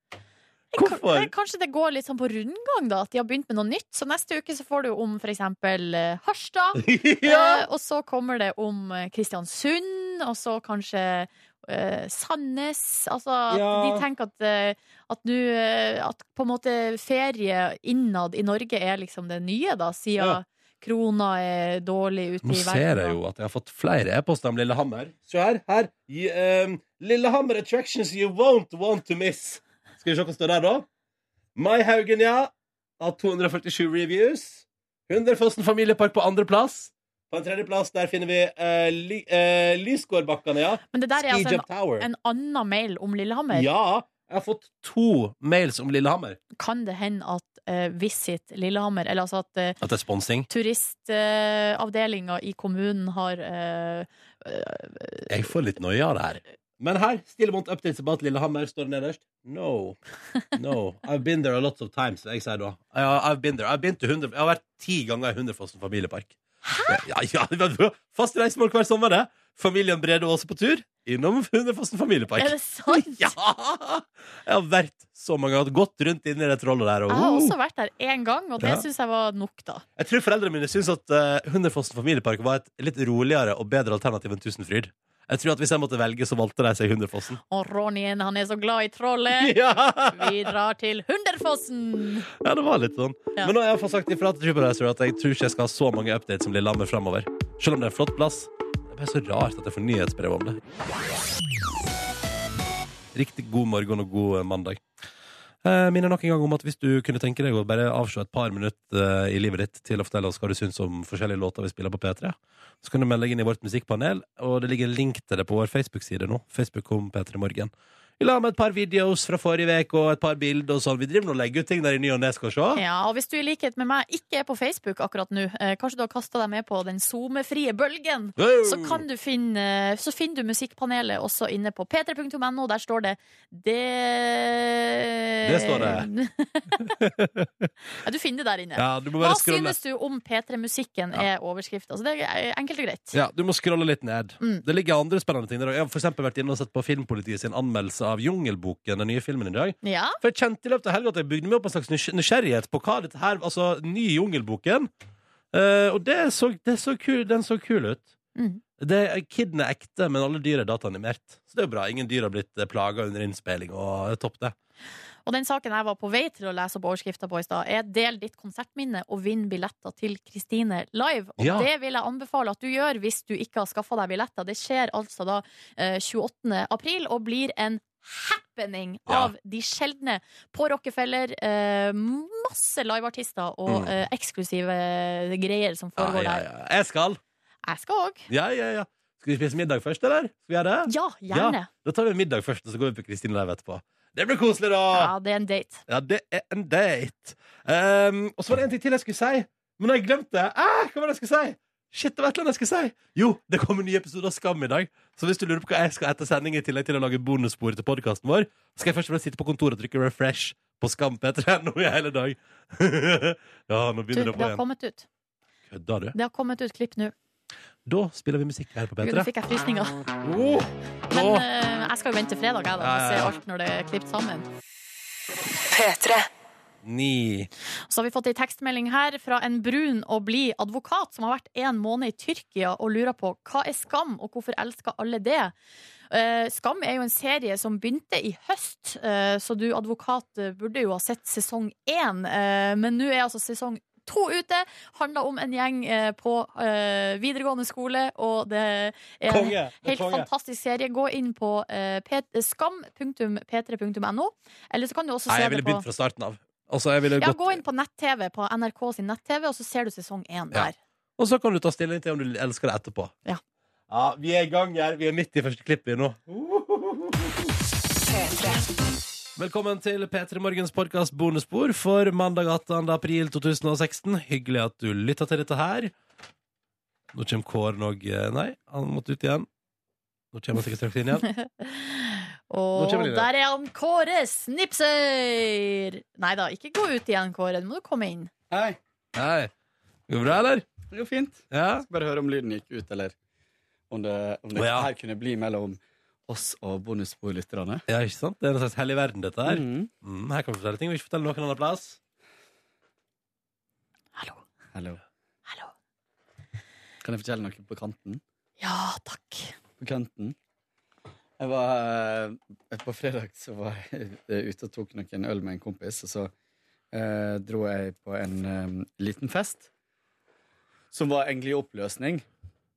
Speaker 1: Hvorfor?
Speaker 2: Kan- Kanskje det går litt sånn på rundgang, da? At de har begynt med noe nytt? Så neste uke så får du om for eksempel eh, Harstad.
Speaker 1: ja!
Speaker 2: eh, Og så kommer det om eh, Kristiansund, og så kanskje eh, Sandnes. Altså at
Speaker 1: Ja.
Speaker 2: de tenker at, eh, at nå eh, At på en måte ferie innad i Norge er liksom det nye, da, siden
Speaker 1: Ja.
Speaker 2: krona er dårlig ute
Speaker 1: Nå
Speaker 2: i verden.
Speaker 1: ser
Speaker 2: og-
Speaker 1: jeg jo at jeg har fått flere e-poster om Lillehammer. Se her. her. I, ehm, Lillehammer attractions you won't want to miss. Skal vi se hva står der, da? Mai Haugen, ja. Har 247 reviews. Hunderfossen familiepark på andreplass. På en tredjeplass der finner vi uh, ly, eh, Lysgårdbakkene, ja.
Speaker 2: Men det der er altså en,
Speaker 1: Skijump Tower.
Speaker 2: en annen mail om Lillehammer.
Speaker 1: Ja. Jeg har fått to mails om Lillehammer.
Speaker 2: Kan det hende at eh, Visit Lillehammer, eller altså at
Speaker 1: At det er sponsing?
Speaker 2: turistavdelinga i kommunen har eh, eh,
Speaker 1: Jeg får litt noia av det her. Men her, stille vondt updates about Lillehammer, står det nederst. No. No. I've been there a lot of times, jeg sier da. Ja, I've been there. I've been to 100, jeg har vært ti ganger i Hunderfossen familiepark. Hæ? Ja, ja, det var fast reisemål hver sommer, det. Familien Brede Aase på tur innom Hunderfossen
Speaker 2: (laughs)
Speaker 1: familiepark.
Speaker 2: Er det sant?
Speaker 1: Ja! Jeg har vært så mange ganger, gått rundt inn i det trollet der. Og,
Speaker 2: Jeg har også vært der én gang, og det
Speaker 1: Ja.
Speaker 2: syns jeg var nok, da.
Speaker 1: Jeg tror foreldrene mine syns at eh, Hunderfossen familiepark var et litt roligere og bedre alternativ enn Tusenfryd. Jeg tror at hvis jeg måtte velge, så valgte de seg Hunderfossen.
Speaker 2: Og Ronjen, han er så glad i (laughs) trollet.
Speaker 1: (laughs) Ja.
Speaker 2: Vi drar til Hunderfossen!
Speaker 1: Ja, det var litt sånn.
Speaker 2: Ja.
Speaker 1: Men nå har jeg fått sagt ifra til TripAdvisor at jeg tror ikke jeg skal ha så mange updates som Lillehammer framover. Selv om det er en flott plass. Det er bare så rart at jeg får nyhetsbrev om det. Riktig god morgen og god eh, mandag. Eh, Minner nok en gang om at hvis du kunne tenke deg å bare avse et par minutter eh, i livet ditt til å fortelle oss hva du syns om forskjellige låter vi spiller på P3, så kan du melde deg inn i vårt musikkpanel, og det ligger en link til det på vår Facebook-side nå. Facebook om P3 Morgen. Vi la med et par videoer fra forrige uke og et par bilder og sånn. Vi driver nå og legger ut ting der i ny og ne, skal vi se.
Speaker 2: Ja, og hvis du i likhet med meg ikke er på Facebook akkurat nå, eh, kanskje du har kasta deg med på den SoMe-frie bølgen,
Speaker 1: Wow!
Speaker 2: så, kan du finne, så finner du Musikkpanelet også inne på p3.no. Der står det Det
Speaker 1: Det står det.
Speaker 2: (laughs) ja, du finner det der inne.
Speaker 1: Ja, du må
Speaker 2: Hva
Speaker 1: bare scrolle.
Speaker 2: synes du om P3-musikken er overskrifta? Altså, det er enkelt og greit.
Speaker 1: Ja, du må scrolle litt ned.
Speaker 2: Mm.
Speaker 1: Det ligger andre spennende ting der. også. Jeg har for eksempel vært inne og sett på Filmpolitiet sin anmeldelse av Jungelboken, den nye filmen i dag.
Speaker 2: Ja,
Speaker 1: For jeg kjente i løpet av helga at jeg bygde meg opp en slags nysg- nysgjerrighet på hva dette her Altså, ny Jungelboken. Eh, og det så, det så kul, den så kul ut.
Speaker 2: Mm.
Speaker 1: Det, kidden er ekte, men alle dyr er dataanimert. Så det er jo bra. Ingen dyr har blitt plaga under innspilling, og det er topp, det.
Speaker 2: Og den saken jeg var på vei til å lese opp overskrifta på i stad, er 'Del ditt konsertminne og vinn billetter til Kristine live'. Og
Speaker 1: Ja.
Speaker 2: det vil jeg anbefale at du gjør hvis du ikke har skaffa deg billetter. Det skjer altså da eh, 28. april og blir en happening
Speaker 1: Ja.
Speaker 2: av de sjeldne på Rockefeller. Eh, masse liveartister og
Speaker 1: Mm.
Speaker 2: eh, eksklusive greier som
Speaker 1: Ja,
Speaker 2: foregår
Speaker 1: ja,
Speaker 2: der.
Speaker 1: ja. Jeg skal.
Speaker 2: Jeg skal òg.
Speaker 1: Ja, ja, ja. Skal vi spise middag først, eller? Skal vi gjøre det?
Speaker 2: Ja, gjerne.
Speaker 1: Da tar vi middag først, og så går vi på Kristine Leiv etterpå. Det blir koselig, da!
Speaker 2: Ja, det er en date.
Speaker 1: Ja, det er en date. Ehm, og så var det en ting til jeg skulle si, men jeg glemte det. Ah, hva var det jeg skulle si? Shit, det var et eller annet jeg skulle si. Jo, det kommer en ny episode av Skam i dag. Så hvis du lurer på hva jeg skal etter sending, i tillegg til å lage bonusspor til podkasten vår, skal jeg først og fremst sitte på kontoret og trykke refresh på Skam P3 nå i hele dag. (laughs) ja, nå
Speaker 2: Du, det
Speaker 1: begynner det på
Speaker 2: har
Speaker 1: igjen.
Speaker 2: kommet ut.
Speaker 1: Kødda du?
Speaker 2: Det har kommet ut klipp nå.
Speaker 1: Da spiller vi musikk her på
Speaker 2: Gud, nå
Speaker 1: P3.
Speaker 2: fikk jeg frysninger.
Speaker 1: Oh,
Speaker 2: Men
Speaker 1: Åh.
Speaker 2: eh, jeg skal jo vente til fredag, jeg, da.
Speaker 1: Ja,
Speaker 2: og
Speaker 1: ja,
Speaker 2: Se
Speaker 1: ja.
Speaker 2: alt når det er klippet sammen.
Speaker 5: P3.
Speaker 1: ni.
Speaker 2: Så har vi fått ei tekstmelding her fra en brun og blid advokat som har vært en måned i Tyrkia og lurer på hva er skam, og hvorfor elsker alle det? Eh, Skam er jo en serie som begynte i høst, eh, så du advokat eh, burde jo ha sett sesong én. eh, Men nå er altså sesong to ute. Handler om en gjeng eh, på eh, videregående skole, og det er en
Speaker 1: Konge.
Speaker 2: Helt
Speaker 1: konge.
Speaker 2: fantastisk serie. Gå inn på eh, p- skam.p3.no. Eller så kan du også
Speaker 1: Nei,
Speaker 2: se
Speaker 1: jeg ville
Speaker 2: det på
Speaker 1: begynt fra starten av. Altså, jeg ville
Speaker 2: ja,
Speaker 1: gått
Speaker 2: Gå inn på nett-TV, på NRK sin nett-TV, og så ser du sesong én
Speaker 1: Ja.
Speaker 2: der.
Speaker 1: Og så kan du ta stilling til om du elsker det etterpå.
Speaker 2: Ja.
Speaker 1: Ja, Vi er i gang her. Vi er midt i første klippet nå. Velkommen til P3 Morgens podkast bonusspor for mandag 18. april 2016. Hyggelig at du lytta til dette her. Nå kommer Kåren òg Nei, han måtte ut igjen. Nå kommer han sikkert straks inn
Speaker 10: (laughs)
Speaker 1: igjen. Nå
Speaker 2: Og
Speaker 1: kommer de der.
Speaker 2: der er han Kåre Snipser! Nei da, ikke gå ut igjen, Kåre. Nå må du komme inn.
Speaker 10: Hei.
Speaker 1: Hei. Går det bra, eller?
Speaker 10: Det går fint.
Speaker 1: Ja?
Speaker 10: Jeg skal bare høre om lyden gikk ut, eller om det, om det
Speaker 1: Å, ja.
Speaker 10: her kunne bli mellom oss og bonusbordlytterne.
Speaker 1: ja, ikke sant? Det er en slags hellig verden, dette her.
Speaker 10: Mm.
Speaker 1: Mm, her kan vi fortelle ting vi ikke forteller noen annen plass.
Speaker 2: Hallo.
Speaker 10: Hallo.
Speaker 2: Hallo.
Speaker 10: Kan jeg fortelle noe på kanten?
Speaker 2: Ja, takk.
Speaker 10: På kanten? Jeg var, eh, på fredag så var jeg eh, ute og tok noen øl med en kompis, og så eh, dro jeg på en eh, liten fest. Som var egentlig i oppløsning.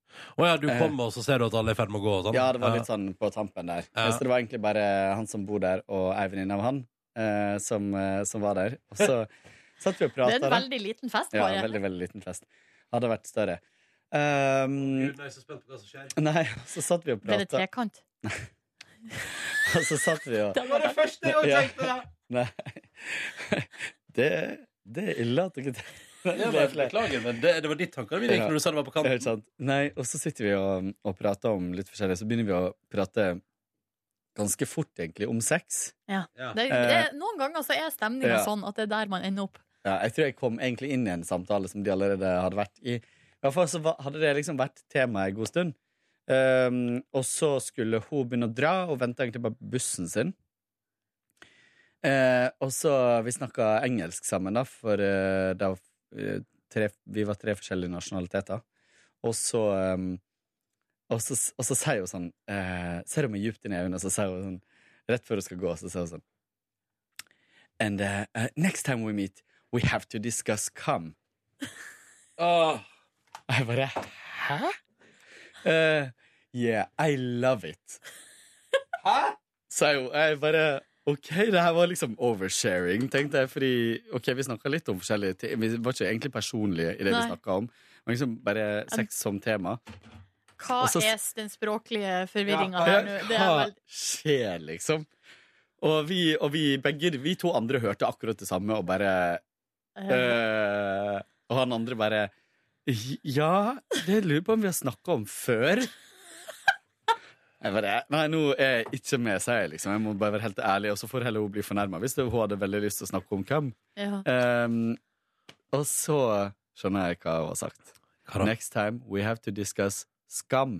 Speaker 1: Å ja, du
Speaker 10: Eh.
Speaker 1: kommer, og så ser du at alle er i ferd med å gå og sånn?
Speaker 10: Ja, det var litt sånn på tampen der.
Speaker 1: Ja.
Speaker 10: Så det var egentlig bare han som bor der, og ei venninne av han, eh, som, eh, som var der. Og
Speaker 1: (laughs)
Speaker 10: så satt vi
Speaker 2: Det
Speaker 10: og prata.
Speaker 2: er en veldig liten fest,
Speaker 10: ja,
Speaker 2: Kåre.
Speaker 10: veldig, veldig liten fest. Hadde vært større. Um,
Speaker 1: Gud, jeg er så spent på hva som skjer.
Speaker 10: nei, så satt vi og
Speaker 2: Ble det
Speaker 10: prata.
Speaker 2: trekant?
Speaker 10: Og så satt vi og
Speaker 1: Det var det første jeg
Speaker 10: Ja.
Speaker 1: tenkte!
Speaker 10: (laughs) Nei. Det, det er ille at (laughs) dere
Speaker 1: Ja, men, beklager, men det, det var ditt tanker mine gikk når du sa det var på
Speaker 10: Ja,
Speaker 1: kanten.
Speaker 10: Ikke sant? Nei, og så sitter vi og, og prater om litt forskjellig, så begynner vi å prate ganske fort, egentlig, om sex.
Speaker 1: Ja.
Speaker 2: Det, det, er- noen ganger så er stemninga
Speaker 10: Eh, Ja.
Speaker 2: sånn at det er der man ender opp.
Speaker 10: Ja, jeg tror jeg kom egentlig inn i en samtale som de allerede hadde vært i. I hvert fall så va- hadde det liksom vært tema en god stund. Ehm, og så skulle hun begynne å dra, og vente egentlig bare på bussen sin. Eh, og så Vi snakka engelsk sammen, da, for eh, da, eh, tre, vi var tre forskjellige nasjonaliteter. Og så ehm, og så, og så sier hun sånn eh, Ser hun meg djupt inn i øynene, og så sier hun sånn Rett før hun skal gå, så sier hun sånn And eh, eh, next time we meet We have to discuss come. Åh. Og jeg bare Hæ? Eh, yeah, I love it. Hæ? Så jeg, jeg bare OK, det her var liksom oversharing, tenkte jeg. Fordi ok, vi snakka litt om forskjellige ting. Vi var ikke egentlig personlige i det
Speaker 2: Nei.
Speaker 10: vi snakka om. Men liksom bare sex som tema.
Speaker 2: Hva
Speaker 10: Og så-
Speaker 2: er den språklige forvirringa
Speaker 10: Ja, eh,
Speaker 2: her nå? Det er
Speaker 10: Hva
Speaker 2: vel
Speaker 10: skjer, liksom? Og vi, og vi begge, vi to andre hørte akkurat det samme, og bare
Speaker 2: eh,
Speaker 10: eh, Og han andre bare Ja, det lurer jeg på om vi har snakka om før. Jeg bare, Nei, nå er jeg ikke med, sier jeg. liksom Jeg må bare være helt ærlig, og så får heller hun bli fornærma hvis det- hun hadde veldig lyst til å snakke om hvem.
Speaker 2: ja.
Speaker 10: Ehm, og så skjønner jeg hva hun har sagt.
Speaker 1: Hva da?
Speaker 10: Next time we have to discuss skam.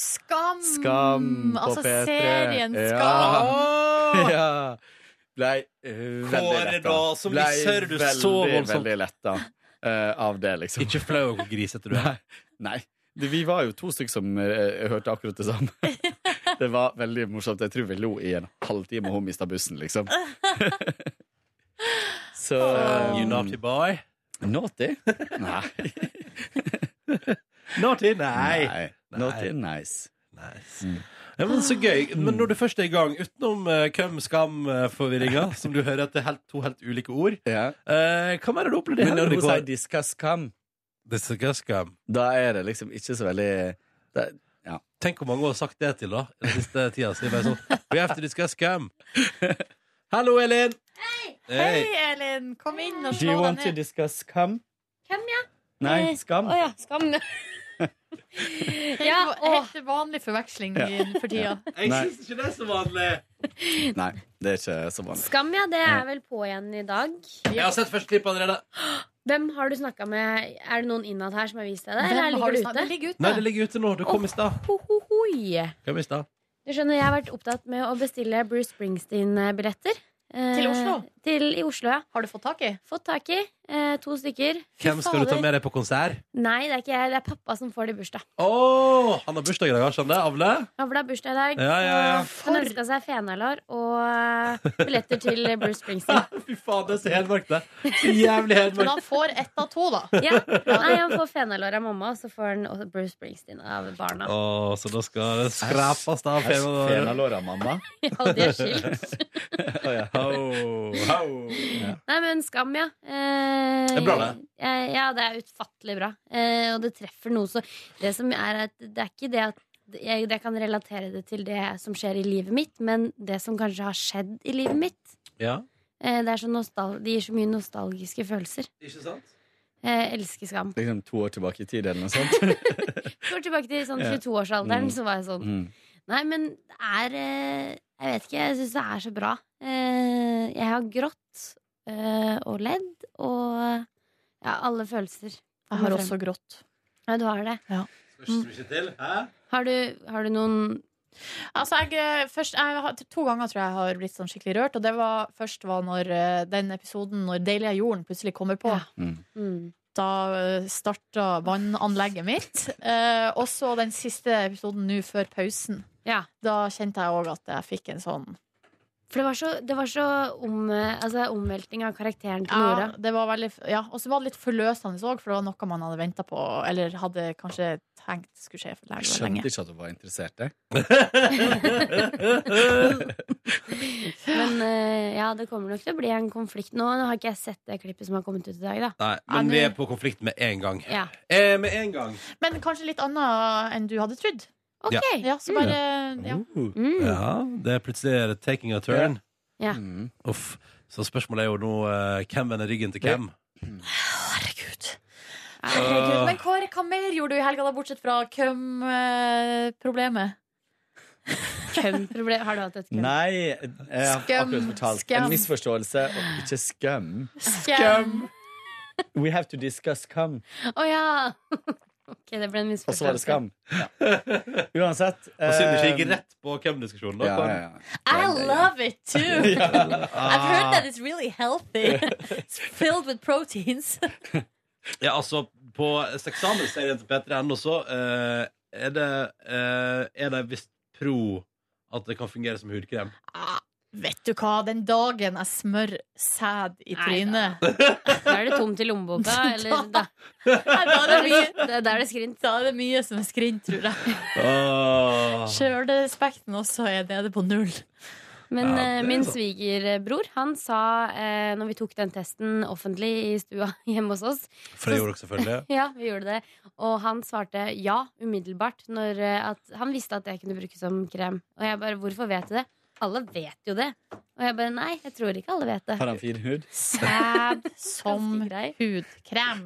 Speaker 2: Skam!
Speaker 10: Skam på
Speaker 2: altså
Speaker 10: P3.
Speaker 2: serien
Speaker 10: Ja.
Speaker 2: Skam.
Speaker 10: ja. Blei eh, veldig
Speaker 1: Kåre
Speaker 10: letta.
Speaker 1: da, som
Speaker 10: Blei
Speaker 1: misser du så
Speaker 10: veldig,
Speaker 1: voldsomt.
Speaker 10: Veldig letta eh, av det, liksom.
Speaker 1: (laughs) Ikke flau over hvor grisete du er.
Speaker 10: Nei. Nei. Det- Vi var jo to stykker som eh, hørte akkurat det samme.
Speaker 1: (laughs)
Speaker 10: det var veldig morsomt. Jeg tror vi lo i en halvtime, og hun mista bussen,
Speaker 1: (laughs)
Speaker 10: liksom. Så
Speaker 1: Um,
Speaker 10: um,
Speaker 1: You naughty boy.
Speaker 10: Naughty? Nei.
Speaker 1: Naughty,
Speaker 10: Nei. Naughty nice.
Speaker 1: Nice. Mm. Ja, men så gøy. Men når du først er i gang, utenom uh, hvem skam-forvirringa, (laughs) som du hører at det er helt, to helt ulike ord,
Speaker 10: Ja.
Speaker 1: eh, hva mer har du opplevd i
Speaker 10: Men når
Speaker 1: helgen?
Speaker 10: hun sier
Speaker 1: Kåre?
Speaker 10: 'discuss come',
Speaker 1: Det er ikke skam.
Speaker 10: da er det liksom ikke så veldig det,
Speaker 1: Tenk hvor mange hun har sagt det til da den siste tida. Så det er bare sånn We have to discuss scam. (laughs) Hallo, Elin!
Speaker 2: Hei, Elin! Kom inn og
Speaker 10: Do you
Speaker 2: slå
Speaker 10: want to
Speaker 2: deg ned.
Speaker 10: discuss come?
Speaker 7: Hvem, ja?
Speaker 10: Nei,
Speaker 7: Eh,
Speaker 10: skam.
Speaker 7: Å ja, skam.
Speaker 2: Helt,
Speaker 7: ja, å.
Speaker 2: helt vanlig forveksling i- for tida.
Speaker 1: Jeg
Speaker 10: Nei.
Speaker 1: syns ikke det er så vanlig.
Speaker 10: Nei, det er ikke så vanlig.
Speaker 7: Skam, ja. Det er vel på igjen i dag.
Speaker 1: Jeg har sett første klipp allerede.
Speaker 7: Hvem har du snakka med? Er det noen innad her som har vist deg det?
Speaker 2: Hvem
Speaker 7: Eller
Speaker 2: har
Speaker 7: ligger
Speaker 2: du
Speaker 7: det
Speaker 2: snakket-
Speaker 7: ute?
Speaker 2: Det ligger ute.
Speaker 1: Nei, det ligger ute nå. Det kom i stad.
Speaker 7: Ho, ho, hoi.
Speaker 1: Kom i stad.
Speaker 7: Du skjønner, jeg har vært opptatt med å bestille Bruce Springsteen-billetter. Eh,
Speaker 2: Til Oslo?
Speaker 7: Til i Oslo, ja.
Speaker 2: Har du fått tak i?
Speaker 7: Fått tak i. Eh, to stykker. Fy
Speaker 1: Hvem skal du ta
Speaker 7: fader.
Speaker 1: med deg på konsert?
Speaker 7: Nei, det er ikke jeg. Det er pappa som får det i bursdag.
Speaker 1: Åh, han har bursdag i dag, har ikke han det? Avle?
Speaker 7: Avla bursdag i dag.
Speaker 1: Ja, ja, ja.
Speaker 7: så Han ønska seg fenalår og eh, billetter til Bruce Springsteen.
Speaker 1: (laughs) Fy faen, det er så helmørkt, det. (laughs) Så jævlig
Speaker 2: Men
Speaker 1: helmørkt.
Speaker 2: han får ett av to, da.
Speaker 7: Ja. Nei, han får fenalår av mamma, og så får han også Bruce Springsteen av barna.
Speaker 1: Åh, så da skal det skrapes av fenalåret.
Speaker 10: Fenalåra, mamma.
Speaker 7: Ja, og de er skilt.
Speaker 10: (laughs) Å, ja.
Speaker 1: Au, au.
Speaker 7: Nei, men Skam, ja. Eh,
Speaker 1: Det er bra, det.
Speaker 7: eh, ja, det er utfattelig bra. Eh, og det treffer noe så Det som er at det er ikke det at jeg, jeg kan relatere det til det som skjer i livet mitt, men det som kanskje har skjedd i livet mitt.
Speaker 1: Ja,
Speaker 7: Eh, det, er så nostal det gir så mye nostalgiske følelser.
Speaker 1: ikke sant?
Speaker 7: Eh, elsker Skam.
Speaker 10: Liksom to år tilbake i tid, eller noe sånt.
Speaker 7: Går tilbake til sånn
Speaker 10: Ja.
Speaker 7: 22-årsalderen,
Speaker 10: Mm.
Speaker 7: så var jeg sånn
Speaker 10: Mm.
Speaker 7: Nei, men det er eh, Jeg vet ikke, jeg syns det er så bra. Eh, jeg har grått eh, og ledd og ja, alle følelser.
Speaker 2: Jeg har også grått.
Speaker 7: Ja, du har det.
Speaker 1: Skal ikke så mye til, hæ?
Speaker 7: Har du, har du noen
Speaker 2: Altså, jeg, eh, først, jeg, har- to ganger tror jeg jeg har blitt sånn skikkelig rørt. Og det var, først var når eh, den episoden når Deilige jorden plutselig kommer på.
Speaker 7: Ja.
Speaker 10: Mm.
Speaker 7: mm.
Speaker 2: Da starta vannanlegget mitt. Eh, og så den siste episoden nå før pausen.
Speaker 7: Ja.
Speaker 2: Da kjente jeg òg at jeg fikk en sånn
Speaker 7: For det var så, det var så om, eh, altså, omveltning av karakteren til Nora.
Speaker 2: Ja, det var veldig Ja, og så var det litt forløsende òg, for det var noe man hadde venta på, eller hadde kanskje tenkt skulle skje for
Speaker 10: Jeg
Speaker 2: lenge.
Speaker 10: skjønte
Speaker 2: lenge.
Speaker 10: ikke at hun var interessert. Jeg.
Speaker 7: Men eh, ja, det kommer nok til å bli en konflikt nå. Nå har ikke jeg sett det klippet som har kommet ut i dag, da.
Speaker 1: Nei,
Speaker 2: Ja,
Speaker 1: men
Speaker 2: nå-
Speaker 1: vi er på konflikt med en gang.
Speaker 7: Ja.
Speaker 1: Eh, med en gang.
Speaker 2: Men kanskje litt annet enn du hadde trodd.
Speaker 7: Ok!
Speaker 2: Ja, så bare ja. Oh.
Speaker 10: Uh.
Speaker 7: Mm.
Speaker 1: Ja, det er plutselig er det taking a turn.
Speaker 7: Ja.
Speaker 10: Mm.
Speaker 1: Uff. Så spørsmålet er jo nå eh, hvem vender ryggen til hvem?
Speaker 2: Herregud. Herregud. Men Kåre, hva mer gjorde du i helga, da, bortsett fra eh, køm-problemet?
Speaker 7: Problem, har du hatt et kødd?
Speaker 10: Nei, jeg har
Speaker 2: Skum.
Speaker 10: akkurat fortalt
Speaker 2: Skum.
Speaker 10: en misforståelse. Og ikke skum.
Speaker 2: Skam!
Speaker 10: We have to discuss cum.
Speaker 7: Å ja! (laughs) ok, det ble en
Speaker 10: Og så var det
Speaker 7: misforståelse.
Speaker 10: skam. Ja. Uansett.
Speaker 1: Og synd det ikke
Speaker 10: eh,
Speaker 1: gikk rett på hvem-diskusjonen.
Speaker 10: Ja,
Speaker 1: da.
Speaker 10: ja, ja.
Speaker 2: I love it (laughs) too!
Speaker 10: (laughs)
Speaker 2: I've heard that it's really healthy. It's filled with proteins.
Speaker 1: Ja, altså, på eksamensserien til P3N også eh, er det eh, Er de visst pro at det kan fungere som hudkrem?
Speaker 2: Ah, vet du hva, den dagen jeg smør sæd i
Speaker 7: Nei,
Speaker 2: trynet
Speaker 7: Da er det tomt i lommeboka. Eller, da,
Speaker 2: Nei, da,
Speaker 7: da,
Speaker 2: er det mye,
Speaker 7: da er det skrint.
Speaker 2: da er det mye som er skrint, tror jeg.
Speaker 1: Åh.
Speaker 2: Sjølrespekten også er nede på null.
Speaker 7: Men
Speaker 11: Ja, det
Speaker 7: eh,
Speaker 11: er
Speaker 7: min
Speaker 11: sant.
Speaker 7: svigerbror han sa, eh, når vi tok den testen offentlig i stua (laughs) hjemme hos oss
Speaker 1: For det gjorde dere (laughs) selvfølgelig.
Speaker 7: Ja, vi gjorde det. Og han svarte ja umiddelbart. Når eh, at han visste at det kunne brukes som krem. Og jeg bare 'hvorfor vet du det?' Alle vet jo det. Og jeg bare 'nei, jeg tror ikke alle vet det'.
Speaker 10: Har han fin hud?
Speaker 2: Sæd (laughs) som hudkrem.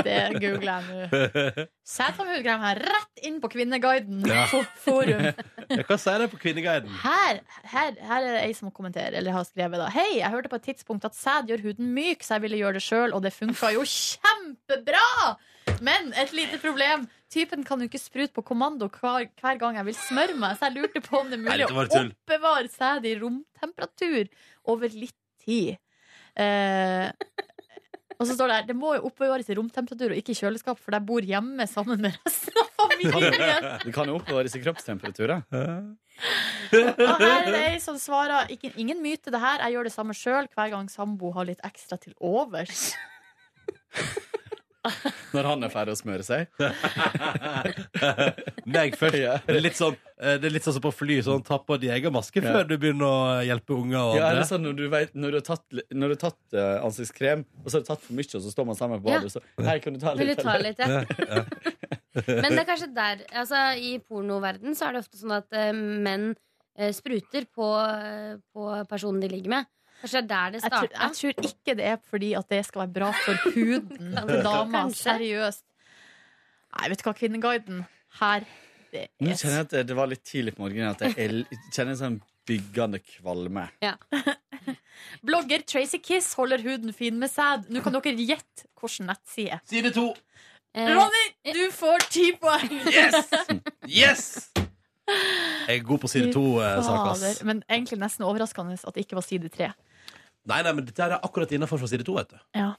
Speaker 2: Det googler jeg nå. Sæd som hudkrem her, rett inn på Kvinneguiden
Speaker 1: Ja.
Speaker 2: på (laughs) forum.
Speaker 1: Jeg kan si det på Kvinneguiden.
Speaker 2: Her, her, her er det ei som kommenterer Eller har skrevet da Hei, jeg hørte på et tidspunkt at sæd gjør huden myk Så jeg ville gjøre det selv Og det funket jo kjempebra Men et lite problem Typen kan jo ikke sprute på kommando hver, hver gang jeg vil smøre meg Så jeg lurte på om det er
Speaker 1: Nei,
Speaker 2: mulig
Speaker 1: dette var
Speaker 2: Å
Speaker 1: tull.
Speaker 2: oppbevare sæd i romtemperatur Over litt tid eh, Og så står det her Det må jo oppbevares i romtemperatur og ikke i kjøleskap For jeg bor hjemme sammen med resten
Speaker 1: (laughs)
Speaker 2: av familien
Speaker 10: Du kan jo oppbevares i kroppstemperaturer.
Speaker 2: Og her er det ei som svarer ikke, Ingen myte det her, jeg gjør det samme sjøl hver gang sambo har litt ekstra til overs.
Speaker 10: Når han er ferdig å smøre seg.
Speaker 1: Meg først. Det er litt sånn, eh, det er litt sånn som på fly, sånn ta på din egen maske
Speaker 10: Ja.
Speaker 1: før du begynner å hjelpe unger og
Speaker 10: Ja, eller
Speaker 1: andre.
Speaker 10: sånn når du, vet, når du har tatt, li- når du har tatt eh, ansiktskrem, og så har du tatt for mye, og så står man sammen på
Speaker 7: Ja.
Speaker 10: badet, og så Her kan du ta litt.
Speaker 7: Vil du ta litt, ja? (laughs) Men det er
Speaker 10: Men
Speaker 7: kanskje der altså, I pornoverden så er det ofte sånn at eh, menn eh, spruter på, eh, på personen de ligger med. Kanskje det er der det
Speaker 2: Jeg tror,
Speaker 7: starta.
Speaker 2: jeg tror ikke det er fordi at det skal være bra for huden til dama.
Speaker 7: Kanskje.
Speaker 2: Seriøst. Nei, vet du hva, Kvinneguiden. Her. Det
Speaker 10: Nå
Speaker 2: er
Speaker 10: kjenner jeg at eh, det- det var litt tidlig på morgenen at jeg el- kjenner en sånn byggende kvalme.
Speaker 2: Blogger Tracy Kiss holder huden fin med sæd. Nå kan dere gjette hvilken nettside.
Speaker 1: Side to.
Speaker 7: Eh,
Speaker 2: Ronny, du får ti poeng!
Speaker 1: Yes! Yes! Jeg er god på side eh, to-sak, ass.
Speaker 2: Fader, Men egentlig nesten overraskende at det ikke var side tre.
Speaker 1: Nei, nei, men dette her er akkurat innafor fra side to, vet du.
Speaker 2: Ja.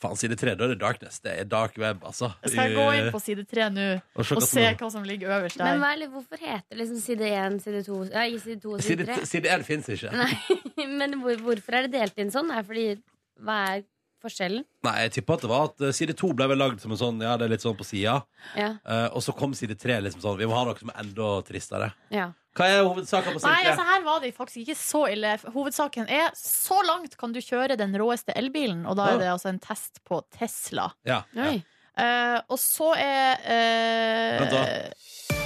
Speaker 1: Faen, side tre, da er det darkness. Det er dark web, altså. Eh,
Speaker 2: Skal jeg gå inn på side tre nå
Speaker 1: Og se hva
Speaker 2: og
Speaker 1: som
Speaker 2: se
Speaker 1: er-
Speaker 2: hva som ligger øverst der?
Speaker 7: Men hva er, li- hvorfor heter det liksom side 1, side 2 ja, Ikke side 2 og side
Speaker 1: Side,
Speaker 7: 3.
Speaker 1: t- side én fins ikke. Nei.
Speaker 7: Nei, (laughs) men hvor, hvorfor er det delt inn sånn? Er det fordi Hva er forskjellen?
Speaker 1: jeg tipper at det var at eh, side to ble vel lagd som en sånn Ja, det er litt sånn på sida.
Speaker 7: Ja.
Speaker 1: Eh, og så kom side tre liksom sånn. Vi må ha noe som er enda tristere.
Speaker 7: ja.
Speaker 1: Hva er hovedsaken på
Speaker 2: Nei,
Speaker 1: side
Speaker 2: altså
Speaker 1: tre?
Speaker 2: her var det faktisk ikke så ille. Hovedsaken er så langt kan du kjøre den råeste elbilen, og da
Speaker 1: Ja.
Speaker 2: er det altså en test på Tesla.
Speaker 1: Ja.
Speaker 2: Eh, og så er eh,
Speaker 1: Vent, da.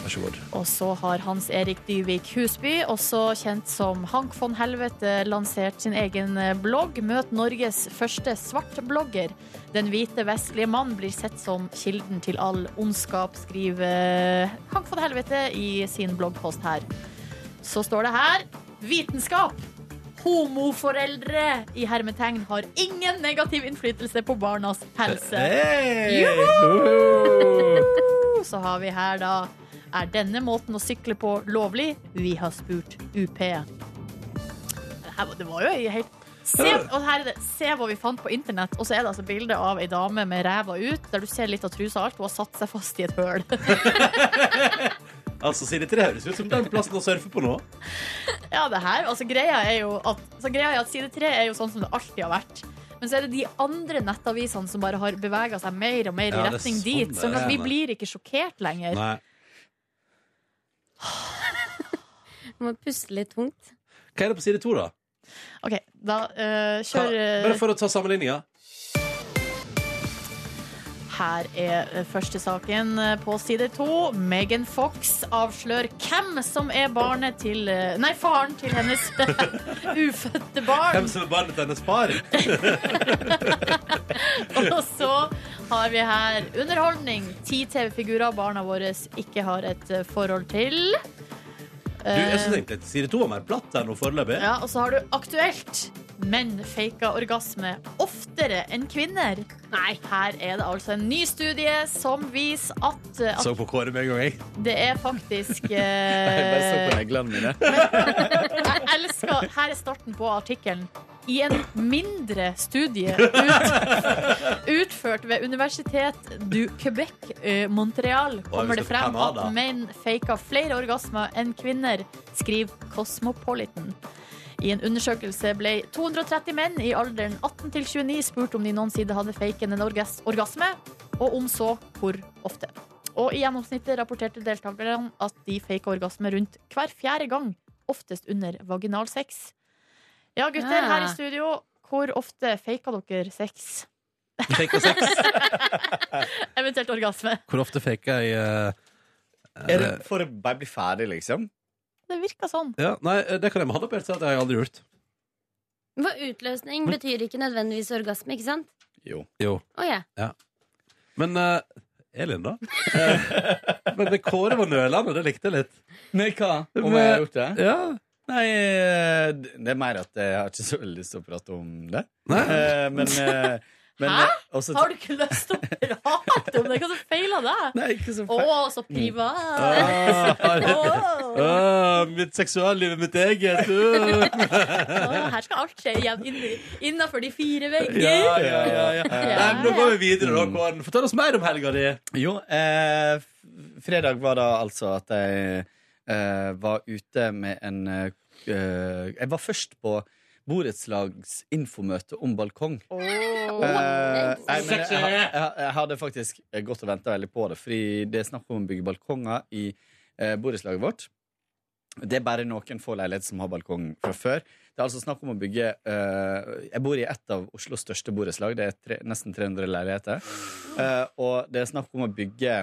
Speaker 1: Vær så god.
Speaker 2: Og så har Hans Erik Dyvik Husby, også kjent som Hank von Helvete, lansert sin egen blogg. Møt Norges første svartblogger. Den hvite vestlige mann blir sett som kilden til all ondskap, skriver eh, Hank von Helvete i sin bloggpost her. Så står det her Vitenskap. Homoforeldre i hermetegn har ingen negativ innflytelse på barnas helse.
Speaker 1: Hey!
Speaker 2: Juhu! Så har vi her da Er denne måten å sykle på lovlig? Vi har spurt UP. Det, her, var- det var jo ei helt Se, og her er det, se hva vi fant på internett. Og så er det altså bilde av ei dame med ræva ut, der du ser litt av trusa og alt. Hun har satt seg fast i et høl. (laughs)
Speaker 1: Altså, side tre høres ut som den plassen å surfe på nå.
Speaker 2: Ja, det her, altså greia er jo at, altså, greia er at side 3 er jo sånn som det alltid har vært. Men så er det de andre nettavisene som bare har bevega seg mer og mer i
Speaker 1: Ja, det er
Speaker 2: retning
Speaker 1: sånn
Speaker 2: dit.
Speaker 1: det
Speaker 2: Sånn
Speaker 1: er,
Speaker 2: at vi
Speaker 1: nei.
Speaker 2: blir ikke sjokkert lenger.
Speaker 1: Nei.
Speaker 7: Må puste litt tungt.
Speaker 1: Hva er det på side to, da?
Speaker 2: OK, da eh,
Speaker 1: Ta,
Speaker 2: kjør eh,
Speaker 1: bare for å ta sammenligninga.
Speaker 2: Her er eh, første saken eh, på side to. Megan Fox avslører hvem som er barnet til eh, Nei, faren til hennes (laughs) ufødte barn.
Speaker 1: Hvem som er barnet til hennes far?
Speaker 2: Og så har vi her underholdning. Ti TV-figurer barna våre ikke har et eh, forhold til.
Speaker 1: Du, jeg synes
Speaker 2: Eh,
Speaker 1: egentlig at side to var mer platt her nå foreløpig.
Speaker 2: ja, og så har du aktuelt. Menn faker orgasme oftere enn kvinner. Nei. Her er det altså en ny studie som viser at, eh,
Speaker 1: Så på Kåre med en gang, jeg.
Speaker 2: at det er
Speaker 1: (laughs)
Speaker 2: faktisk
Speaker 10: Jeg bare så på
Speaker 2: eh,
Speaker 10: neglene mine.
Speaker 2: Jeg elsker Her er starten på artikkelen. I en mindre studie ut, utført ved universitet du Quebec, eh, Montreal, kommer det
Speaker 1: hvis det er
Speaker 2: frem
Speaker 1: Canada.
Speaker 2: at menn faker flere orgasmer enn kvinner, skriver Cosmopolitan. I en undersøkelse ble 230 menn i alderen 18 til 29 spurt om de noensinne hadde faken en orgas orgasme, og om så, hvor ofte. Og i gjennomsnittet rapporterte deltakerne at de fake orgasme rundt hver fjerde gang, oftest under vaginal sex. Ja, gutter,
Speaker 7: Ja.
Speaker 2: her i studio, hvor ofte faka dere sex?
Speaker 1: (laughs) Fake sex.
Speaker 2: Eventuelt orgasme.
Speaker 1: Hvor ofte faker jeg eh,
Speaker 10: Er det for å bare bli ferdig, liksom?
Speaker 2: Det virka sånn.
Speaker 1: Ja, nei, eh, det kan jeg med hånda på hjertet si at jeg har aldri gjort.
Speaker 7: For utløsning betyr ikke nødvendigvis orgasme, ikke sant?
Speaker 10: Jo.
Speaker 7: Å ja.
Speaker 1: Ja. Men eh, Elin, da? Eh, men det Kåre var nølende, det likte jeg litt.
Speaker 10: Nei, hva? Om jeg har gjort det? Nei, eh, det er mer at jeg har ikke så veldig lyst til å prate om det. Eh, Men, eh, men
Speaker 2: Hæ?
Speaker 10: eh, også-
Speaker 2: Har du ikke lyst til å prate om det? Hva er det som feiler deg?
Speaker 10: Nei, ikke så
Speaker 2: Å, så privat.
Speaker 1: Ah, mitt seksualliv er mitt eget. Uh.
Speaker 2: Å, her skal alt skje igjen innafor de fire vegger.
Speaker 1: Ja, ja, ja, ja. Nei, men nå går vi videre, da, Kåren. Fortell oss mer om helga di.
Speaker 10: Jo, eh, f- fredag var da altså at jeg eh, var ute med en eh, Jeg var først på borettslags infomøte om balkong. Eh, nei, men jeg, jeg, jeg, jeg hadde faktisk gått og venta veldig på det, fordi det er snakk om å bygge balkonger i eh, borettslaget vårt. Det er bare noen få leiligheter som har balkong fra før. Det er altså snakk om å bygge eh, Jeg bor i et av Oslos største borettslag. Det er tre, nesten 300 leiligheter. Eh, og det er snakk om å bygge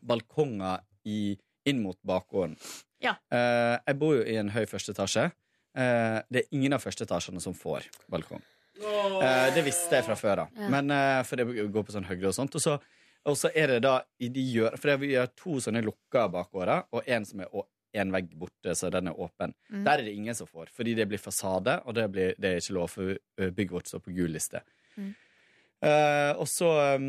Speaker 10: balkonger i, inn mot bakgården.
Speaker 2: Ja.
Speaker 10: Eh, jeg bor jo i en høy første etasje. Eh, det er ingen av første etasjene som får balkong. Eh, det visste jeg fra før, da.
Speaker 11: Ja.
Speaker 10: Men, eh, for det går på sånn høyde og sånt. Og så, og så er det da i de gjør, For vi har to sånne lukka bakgårder, og en som er å- en vegg borte, så den er åpen.
Speaker 11: Mm.
Speaker 10: Der er det ingen som får, fordi det blir fasade, og det, blir, det er ikke lov for eh, bygget vårt står på gul liste.
Speaker 11: Mm.
Speaker 10: Eh, og så eh,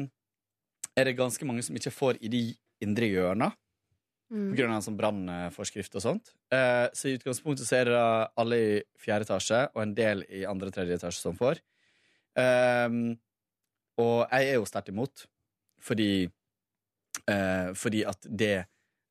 Speaker 10: er det ganske mange som ikke får i de indre hjørna.
Speaker 11: Mm.
Speaker 10: På grunn av en sånn brannforskrift og sånt. Eh, så i utgangspunktet så er det da alle i fjerde etasje og en del i andre og tredje etasje som får. Ehm, og jeg er jo sterkt imot, fordi eh, Fordi at det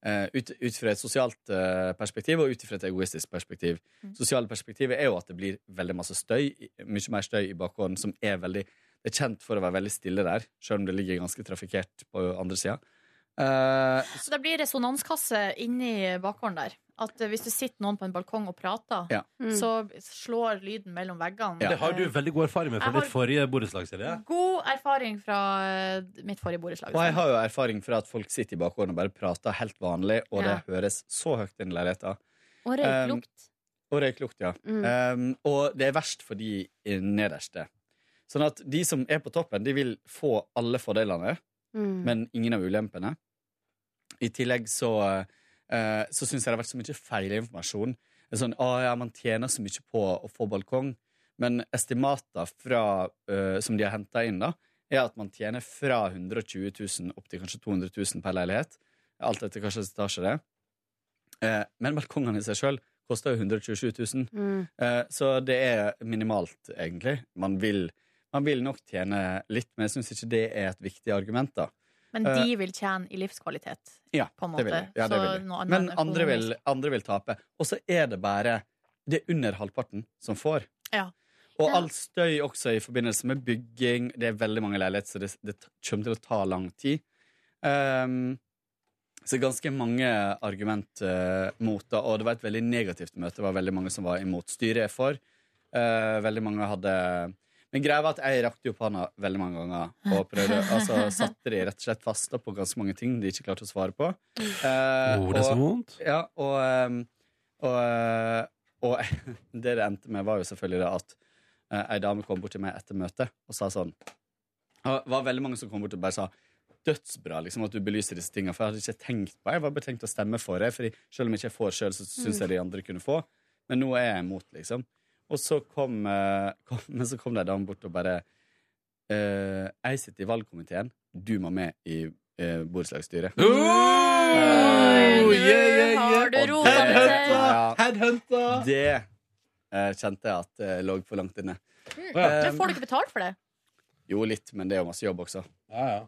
Speaker 10: eh, ut, ut fra et sosialt eh, perspektiv og ut fra et egoistisk perspektiv
Speaker 11: Mm.
Speaker 10: Sosiale perspektivet er jo at det blir veldig masse støy, mye mer støy i bakgården, som er veldig Det er kjent for å være veldig stille der, sjøl om det ligger ganske trafikkert på andre sida. Eh,
Speaker 2: Så det blir resonanskasse inni bakgården der. At eh, hvis det sitter noen på en balkong og prater,
Speaker 10: Ja.
Speaker 1: Mm.
Speaker 2: så slår lyden mellom veggene.
Speaker 1: Det har du
Speaker 2: Eh,
Speaker 1: veldig god erfaring med
Speaker 2: Jeg
Speaker 1: fra
Speaker 2: har-
Speaker 1: ditt forrige borettslag, Silje.
Speaker 2: God erfaring fra eh, mitt forrige borettslag.
Speaker 10: Og jeg har jo erfaring fra at folk sitter i bakgården og bare prater helt vanlig, og det
Speaker 2: Ja.
Speaker 10: høres så høyt inn i leiligheta.
Speaker 7: Og røyklukt. Mm.
Speaker 10: Um, og røyklukt, ja. Um, og det er verst for de i nederste. Sånn at de som er på toppen, de vil få alle fordelene,
Speaker 11: Mm.
Speaker 10: men ingen av ulempene. I tillegg så, uh, så syns jeg det har vært så mye feilinformasjon. Det er Sånn, ah, ja, man tjener så mye på å få balkong, men estimater fra, uh, som de har henta inn, da, er at man tjener fra 120 000 opp til kanskje 200 000 per leilighet. Alt etter hva slags etasje det er. Eh, Men balkongene i seg sjøl koster jo 127 000.
Speaker 11: Mm.
Speaker 10: Eh, Så det er minimalt, egentlig. Man vil, man vil nok tjene litt, men jeg syns ikke det er et viktig argument, da.
Speaker 2: Men
Speaker 10: Eh,
Speaker 2: de vil tjene i livskvalitet.
Speaker 10: ja,
Speaker 2: på en
Speaker 10: det vil
Speaker 2: måte.
Speaker 10: jeg. Ja, det
Speaker 2: Så
Speaker 10: vil jeg.
Speaker 2: noe annet
Speaker 10: Men
Speaker 2: enn
Speaker 10: andre vil,
Speaker 2: økonomisk.
Speaker 10: andre vil tape. Og så er det bare Det er under halvparten som får.
Speaker 2: Ja.
Speaker 10: Og all støy også i forbindelse med bygging. Det er veldig mange leiligheter, så det, det t- kommer til å ta lang tid. Ehm, så ganske mange argument eh, mot det, og det var et veldig negativt møte. Det var veldig mange som var imot styret er for. Eh, veldig mange hadde Men greia var at jeg rakte jo opp handa veldig mange ganger og prøvde. Altså satte de rett og slett fast da på ganske mange ting de ikke klarte å svare på. Eh,
Speaker 1: Oh, det er så
Speaker 10: og-
Speaker 1: vondt.
Speaker 10: Ja, og, ehm, og, eh, og (laughs) det det endte med, var jo selvfølgelig det at eh, ei dame kom bort til meg etter møtet og sa sånn og Det var veldig mange som kom bort og bare sa dødsbra liksom, at du belyser disse tingene, for jeg hadde ikke tenkt på det. Jeg var bare tenkt å stemme for det, Fordi selv om jeg ikke får selv, så syns jeg de andre kunne få. Men nå er jeg imot, liksom. Og så kom, eh, (laughs) kom, men så kom det en dame bort og bare eh, Jeg sitter i valgkomiteen, du må med i eh, borettslagsstyret.
Speaker 1: Oh, yeah, yeah, yeah.
Speaker 10: har du
Speaker 1: Og
Speaker 10: rota
Speaker 1: det-
Speaker 10: det til.
Speaker 1: Headhunter! Headhunter!
Speaker 10: Det eh, kjente jeg at eh, lå for langt inne.
Speaker 2: Mm.
Speaker 10: Eh,
Speaker 2: Men får du ikke betalt for det?
Speaker 10: Jo, litt, men det er jo masse jobb også.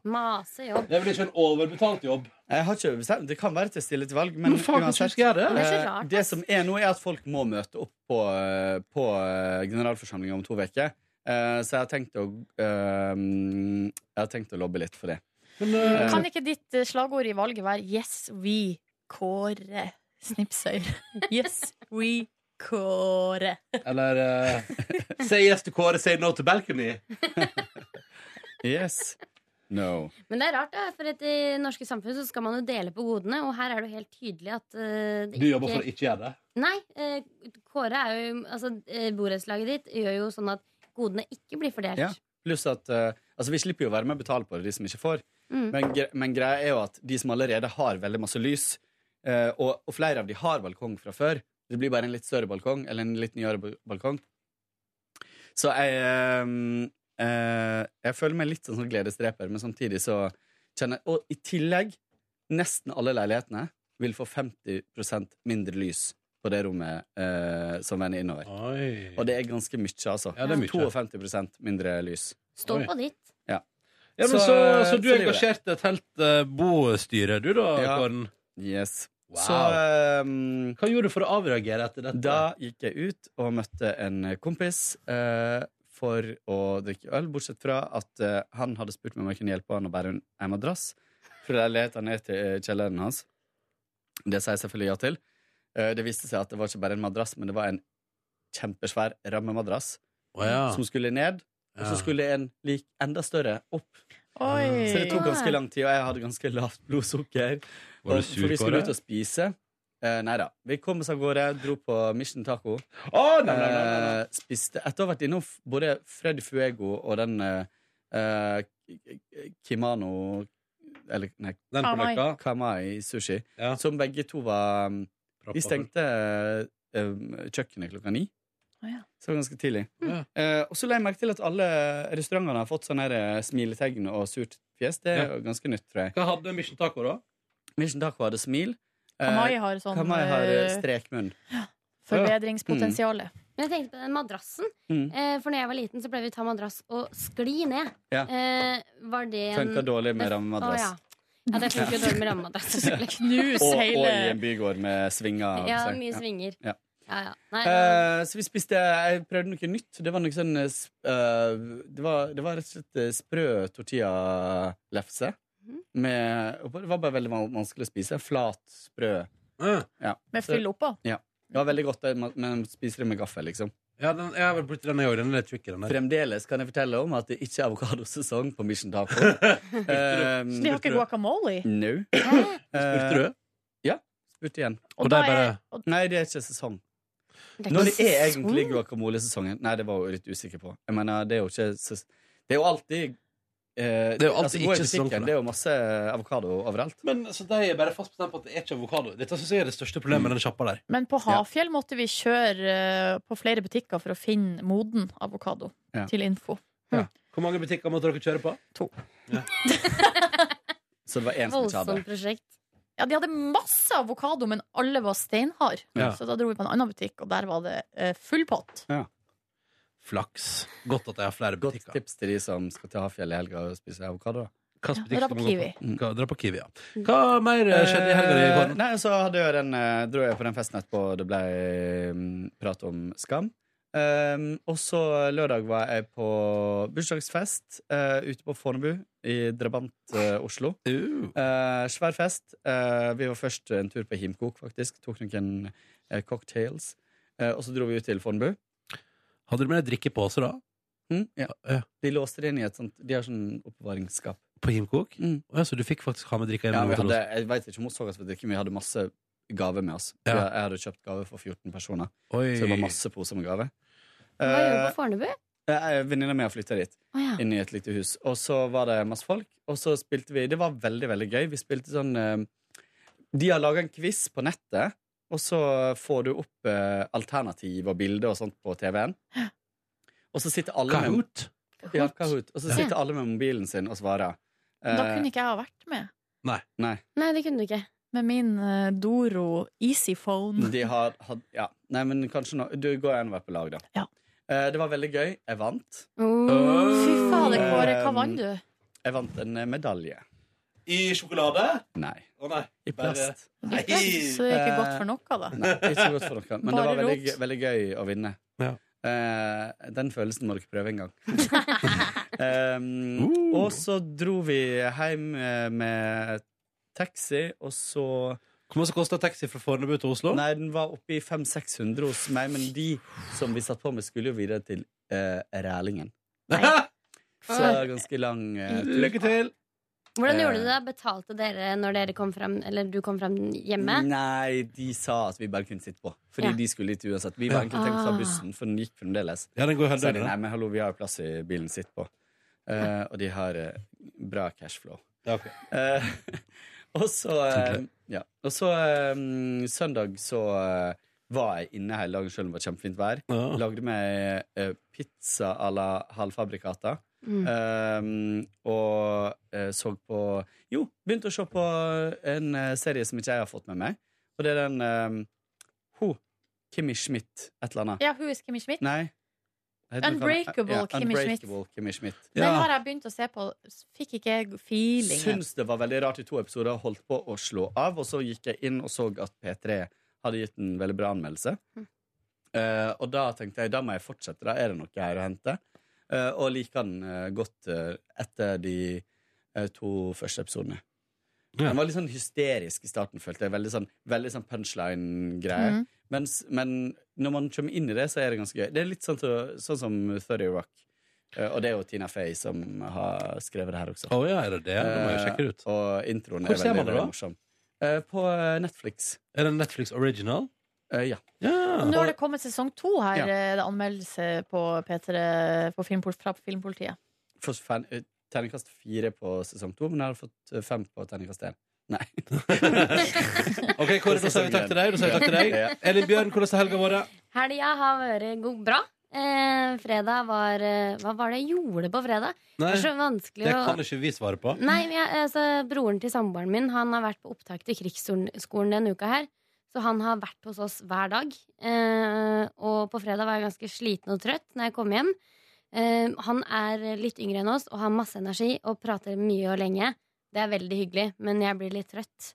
Speaker 7: Mase jobb.
Speaker 1: Det er vel ikke en overbetalt jobb?
Speaker 10: Jeg har ikke bestemt. Det kan være til stille til valg, men,
Speaker 1: Men faen, kanskje du skal gjøre det?
Speaker 10: eh,
Speaker 1: Det er så rart,
Speaker 10: det som er nå, er at folk må møte opp på, eh, på eh, generalforsamlinga om to uker. Eh, Så jeg har tenkt å eh, Jeg har tenkt å lobbe litt for det.
Speaker 1: Men, eh,
Speaker 2: Kan ikke ditt eh, slagord i valget være 'Yes, we Kåre Snipsøyr'? Yes, we Kåre.
Speaker 1: Eller eh, Say yes to Kåre, say no to balcony.
Speaker 10: (laughs) yes. No.
Speaker 7: Men det er rart, da, for etter det norske samfunn så skal man jo dele på godene, og her er det jo helt tydelig at eh, det
Speaker 1: Du jobber for å ikke gjøre det?
Speaker 7: Nei. eh, Kåre er jo Altså, eh, borettslaget ditt gjør jo sånn at godene ikke blir fordelt.
Speaker 10: Ja. Pluss at eh, altså vi slipper jo å være med og betale på det, de som ikke får.
Speaker 7: Mm.
Speaker 10: Men, gre men greia er jo at de som allerede har veldig masse lys, eh, og, og flere av de har balkong fra før, det blir bare en litt større balkong, eller en litt nyere bal- balkong. Så jeg eh, eh, Jeg føler meg litt sånn som gledesdreper, men samtidig så kjenner jeg Og i tillegg, nesten alle leilighetene vil få 50 mindre lys på det rommet eh, som vender innover. Og det er ganske mye, altså.
Speaker 1: Ja, det er mye.
Speaker 10: 52 mindre lys.
Speaker 7: Stå på ditt.
Speaker 1: Ja, men så, så, du er
Speaker 10: det gjorde jeg.
Speaker 1: engasjert i et helt eh, bostyre, du da,
Speaker 10: Ja.
Speaker 1: Kåren?
Speaker 10: Yes.
Speaker 1: Wow.
Speaker 10: Så eh, Hva
Speaker 1: gjorde du for å avreagere etter dette?
Speaker 10: Da gikk jeg ut og møtte en kompis eh, for å drikke øl, bortsett fra at eh, han hadde spurt meg om jeg kunne hjelpe han å bære en en madrass fra leiligheten ned til eh, kjelleren hans. Det sa jeg selvfølgelig ja til. Eh, det viste seg at det var ikke bare en madrass, men det var en kjempesvær rammemadrass
Speaker 1: Å ja.
Speaker 10: som skulle ned, og
Speaker 1: Ja.
Speaker 10: så skulle en lik enda større opp.
Speaker 2: Oi.
Speaker 10: Så det tok ganske lang tid, og jeg hadde ganske lavt blodsukker.
Speaker 1: Var du
Speaker 10: Og-
Speaker 1: sur,
Speaker 10: for vi skulle
Speaker 1: Kåre?
Speaker 10: ut og spise. Eh, nei da. Vi kom oss av gårde, dro på Mission Taco.
Speaker 1: nei, nei, nei, nei.
Speaker 10: Eh, spiste Etter å ha vært innom f- både Freddy Fuego og den eh, eh, Kimano Eller Ah, nei,
Speaker 1: Den på Kamai. løkka?
Speaker 10: Kamai sushi. Som begge to var um, De stengte eh, um, kjøkkenet klokka ni.
Speaker 2: Å ja.
Speaker 10: Så det var ganske tidlig.
Speaker 1: Ja.
Speaker 10: Eh, og så la jeg merke til at alle restaurantene har fått sånne her, eh, smiletegn og surt fjes. Det er
Speaker 1: Ja.
Speaker 10: jo ganske nytt, tror jeg.
Speaker 1: Hva hadde Mission Taco, da?
Speaker 10: Mission Taco hadde smil. Eh,
Speaker 2: Kamai har sånn,
Speaker 10: Kamai har eh, Mm.
Speaker 2: eh,
Speaker 10: strekmunn.
Speaker 2: Forbedringspotensialet.
Speaker 7: Men jeg tenkte på den madrassen.
Speaker 10: Mm.
Speaker 7: Eh, for når jeg var liten, så pleide vi å ta madrass og skli ned.
Speaker 10: Ja.
Speaker 7: Eh, var det en
Speaker 10: Funka dårlig med rammemadrass.
Speaker 7: Å, ja. ja, det funker jo dårlig med rammemadrass.
Speaker 10: (laughs)
Speaker 7: selvfølgelig.
Speaker 10: og, og i en bygård med svinger.
Speaker 7: Ja,
Speaker 10: så-
Speaker 7: mye svinger.
Speaker 10: Ja.
Speaker 7: Ja, ja. Nei,
Speaker 10: Eh, så vi spiste Jeg prøvde noe nytt. Det var noe sånn eh, sp- eh, det, var, det var rett og slett eh, sprø tortillalefse.
Speaker 7: Mhm.
Speaker 10: Med, og det var bare veldig van- vanskelig å spise. Flat, sprø. Ja.
Speaker 2: Med
Speaker 10: Så-
Speaker 2: fyll oppå?
Speaker 10: Ja. Det var veldig godt, det, men men spiser det med gaffel, liksom.
Speaker 1: Ja, den, jeg har vel brukt den, jeg òg. Den er litt tjukk. den der.
Speaker 10: Fremdeles kan jeg fortelle om at det ikke er avokadosesong på Mission
Speaker 1: (laughs)
Speaker 10: Taco. um,
Speaker 2: Så de har ikke guacamole?
Speaker 10: No. Eh,
Speaker 1: Spurte du?
Speaker 10: Ja. Spurte igjen.
Speaker 2: Og Og de da er-
Speaker 10: Nei, det er ikke sesong.
Speaker 2: Det er ikke
Speaker 10: Når det er
Speaker 2: sesong?
Speaker 10: egentlig guacamole-sesongen? Nei, det var jeg jo litt usikker på. Jeg mener, det er jo ikke ses... Det er jo alltid eh,
Speaker 1: Det er jo alltid
Speaker 10: går i
Speaker 1: ikke sesong for
Speaker 10: butikken,
Speaker 1: det.
Speaker 10: Det er jo masse avokado overalt.
Speaker 1: Men så de er bare fast bestemt på at det er ikke avokado. Dette synes jeg er det største problemet med den sjappa der.
Speaker 2: Men på Hafjell måtte vi kjøre eh, på flere butikker for å finne moden avokado.
Speaker 1: Ja.
Speaker 2: Til info.
Speaker 1: Hvor mange butikker måtte dere kjøre på?
Speaker 2: To.
Speaker 10: Så det var én som ikke hadde.
Speaker 7: Voldsomt prosjekt.
Speaker 2: Ja, De hadde masse avokado, men alle var steinhard.
Speaker 1: Ja.
Speaker 2: Så da dro vi på en annen butikk, og der var det eh, full pott.
Speaker 1: Flaks. Godt at jeg har flere
Speaker 10: butikker. Godt tips til de som skal til Hafjell i helga og spise avokado.
Speaker 1: Hvilken
Speaker 2: butikk dra skal på man gå Kiwi. Mm.
Speaker 1: Dra på Kiwi, ja. Hva mer eh, skjedde i helga?
Speaker 10: Eh,
Speaker 1: Kåren?
Speaker 10: Nei, så hadde jeg den, eh, dro jeg på den festen etterpå, og det ble mm, prat om skam. Um, og så lørdag var jeg på bursdagsfest eh, ute på Fornebu i Drabant, eh, Oslo.
Speaker 1: uh.
Speaker 10: Eh, svær fest. Eh, vi var først en tur på Himkok, faktisk. Tok noen eh, cocktails. Eh, og så dro vi ut til Fornebu.
Speaker 1: Hadde du med deg drikkepose, da? eh,
Speaker 10: Mm, ja. De låste det inn i et sånt De har sånn oppbevaringsskap.
Speaker 1: På Himkok?
Speaker 10: Mm.
Speaker 1: Å ja, så du fikk faktisk ha med drikka hjem?
Speaker 10: Ja, vi
Speaker 1: til
Speaker 10: hadde,
Speaker 1: oss.
Speaker 10: jeg vet ikke om hun så oss for drikke, men vi hadde masse gaver med oss.
Speaker 1: Ja.
Speaker 10: Jeg, jeg hadde kjøpt gave for 14 personer,
Speaker 1: Oi.
Speaker 10: så det var masse poser med
Speaker 7: Hva gjør
Speaker 10: gave.
Speaker 7: du
Speaker 10: Eh,
Speaker 7: på Fornebu?
Speaker 10: eh, Venninna mi har flytta dit,
Speaker 7: Å, ja.
Speaker 10: inn i et lite hus. Og så var det masse folk, og så spilte vi Det var veldig, veldig gøy. Vi spilte sånn eh, De har laga en quiz på nettet, og så får du opp eh, alternativ og bilder og sånt på TV-en. Og så sitter alle
Speaker 1: Kahoot?
Speaker 10: Med, ja, Kahoot. Og så
Speaker 2: Ja.
Speaker 10: sitter alle med mobilen sin og svarer. Eh,
Speaker 2: Da kunne ikke jeg ha vært med.
Speaker 1: Nei.
Speaker 10: Nei.
Speaker 7: Nei, det kunne du ikke.
Speaker 2: Med min eh, Doro Easyphone.
Speaker 10: De har hatt Ja. Nei, men kanskje nå Du går an å være på lag, da. Eh, det var veldig gøy. Jeg vant.
Speaker 2: Fy fader, Kåre, hva vant du?
Speaker 10: Jeg vant en eh, medalje.
Speaker 1: I sjokolade?
Speaker 10: Nei.
Speaker 1: Å nei.
Speaker 10: I plast.
Speaker 1: Nei.
Speaker 2: Så det er ikke godt for noe, da.
Speaker 10: Nei, ikke godt for dere. Men det
Speaker 2: Bare
Speaker 10: var veldig,
Speaker 2: rot.
Speaker 10: gøy- veldig gøy å vinne.
Speaker 2: (laughs)
Speaker 10: Eh, den følelsen må dere prøve en gang. um, Og så dro vi hjem eh, med taxi, og så
Speaker 1: Hvor mye kosta taxi fra Fornebu til Oslo?
Speaker 10: Nei, Den var oppe i 500-600 hos meg, men de som vi satt på med, skulle jo videre til eh, Rælingen. Så det var ganske lang eh, tur.
Speaker 1: (laughs) Lykke til!
Speaker 7: Hvordan gjorde du
Speaker 10: Eh.
Speaker 7: det? Betalte dere når dere kom frem, eller du kom frem hjemme?
Speaker 1: Mm.
Speaker 10: Nei, de sa at vi bare kunne sitte på. Fordi
Speaker 7: Ja.
Speaker 10: de skulle hit uansett. Vi var egentlig tenkt
Speaker 2: Ah.
Speaker 10: å ta bussen, for den gikk fremdeles.
Speaker 1: Ja, den går helt
Speaker 10: Så de,
Speaker 1: døgnet.
Speaker 10: nei, men hallo, vi har jo plass i bilen sitt på. Eh, og de har eh, bra cashflow. Eh, (laughs) og så, eh, ja. og så eh, søndag så eh, var jeg inne hele dagen selv om det var kjempefint vær. Lagde meg eh, pizza à la halvfabrikata.
Speaker 11: Mm.
Speaker 10: Um, og eh, så på Jo, begynte å se på en eh, serie som ikke jeg har fått med meg. Og det er den um, Ho, Kimmy Schmidt, et eller annet.
Speaker 2: Ja, Who is Kimmy Schmidt?
Speaker 10: Nei. Hva heter den?
Speaker 2: Unbreakable
Speaker 10: Ja,
Speaker 2: Kimmy Schmidt.
Speaker 10: Unbreakable Kimmy Schmidt.
Speaker 2: Den har jeg begynt å se på. Fikk ikke feelingen.
Speaker 10: Syns det var veldig rart i to episoder, holdt på å slå av, og så gikk jeg inn og så at P3 hadde gitt en veldig bra anmeldelse.
Speaker 2: Mm.
Speaker 10: Eh, og da tenkte jeg da må jeg fortsette, da er det noe her å hente. Eh, og liker den eh, godt eh, etter de eh, to første episodene. Den var litt sånn hysterisk i starten, følte jeg. Veldig sånn, veldig sånn
Speaker 2: Mm.
Speaker 10: punchline-greie.
Speaker 11: Mhm.
Speaker 10: Mens- Men når man kommer inn i det, så er det ganske gøy. Det er litt sånn, til- sånn som 30 Rock. Eh, Og det er jo Tina Fey som har skrevet det her også.
Speaker 1: Å ja, er det det? Da må jeg
Speaker 10: Eh,
Speaker 1: sjekke det ut.
Speaker 10: Og introen
Speaker 1: Hvor
Speaker 10: er
Speaker 1: ser
Speaker 10: veldig,
Speaker 1: man det da?
Speaker 10: veldig morsom. Eh, På eh, Netflix. Eh,
Speaker 1: Er det en Netflix original?
Speaker 10: ja.
Speaker 2: Nå har det kommet sesong to her.
Speaker 10: Ja.
Speaker 2: eh, Det er anmeldelse på P3 på filmpol fra Filmpolitiet.
Speaker 10: Fått fan- eh, terningkast fire på sesong to, men jeg har fått eh, fem på terningkast én. (laughs) Nei.
Speaker 1: Ok, Kåre, da sier vi takk til deg. Da sier vi takk til deg.
Speaker 10: Ja.
Speaker 1: Elin Bjørn, hvordan har helga vært?
Speaker 7: Helga har vært god, bra. Eh, fredag var eh, Hva var det jeg gjorde på fredag?
Speaker 1: Nei,
Speaker 7: det er så vanskelig
Speaker 1: Det
Speaker 7: å
Speaker 1: kan ikke vi svare på.
Speaker 7: Nei, men jeg, altså, Broren til samboeren min Han har vært på opptak til krigsskolen denne uka her. Så han har vært hos oss hver dag. Eh, og på fredag var jeg ganske sliten og trøtt når jeg kom hjem. Eh, han er litt yngre enn oss og har masse energi og prater mye og lenge. Det er veldig hyggelig, men jeg blir litt
Speaker 1: (laughs)
Speaker 7: trøtt.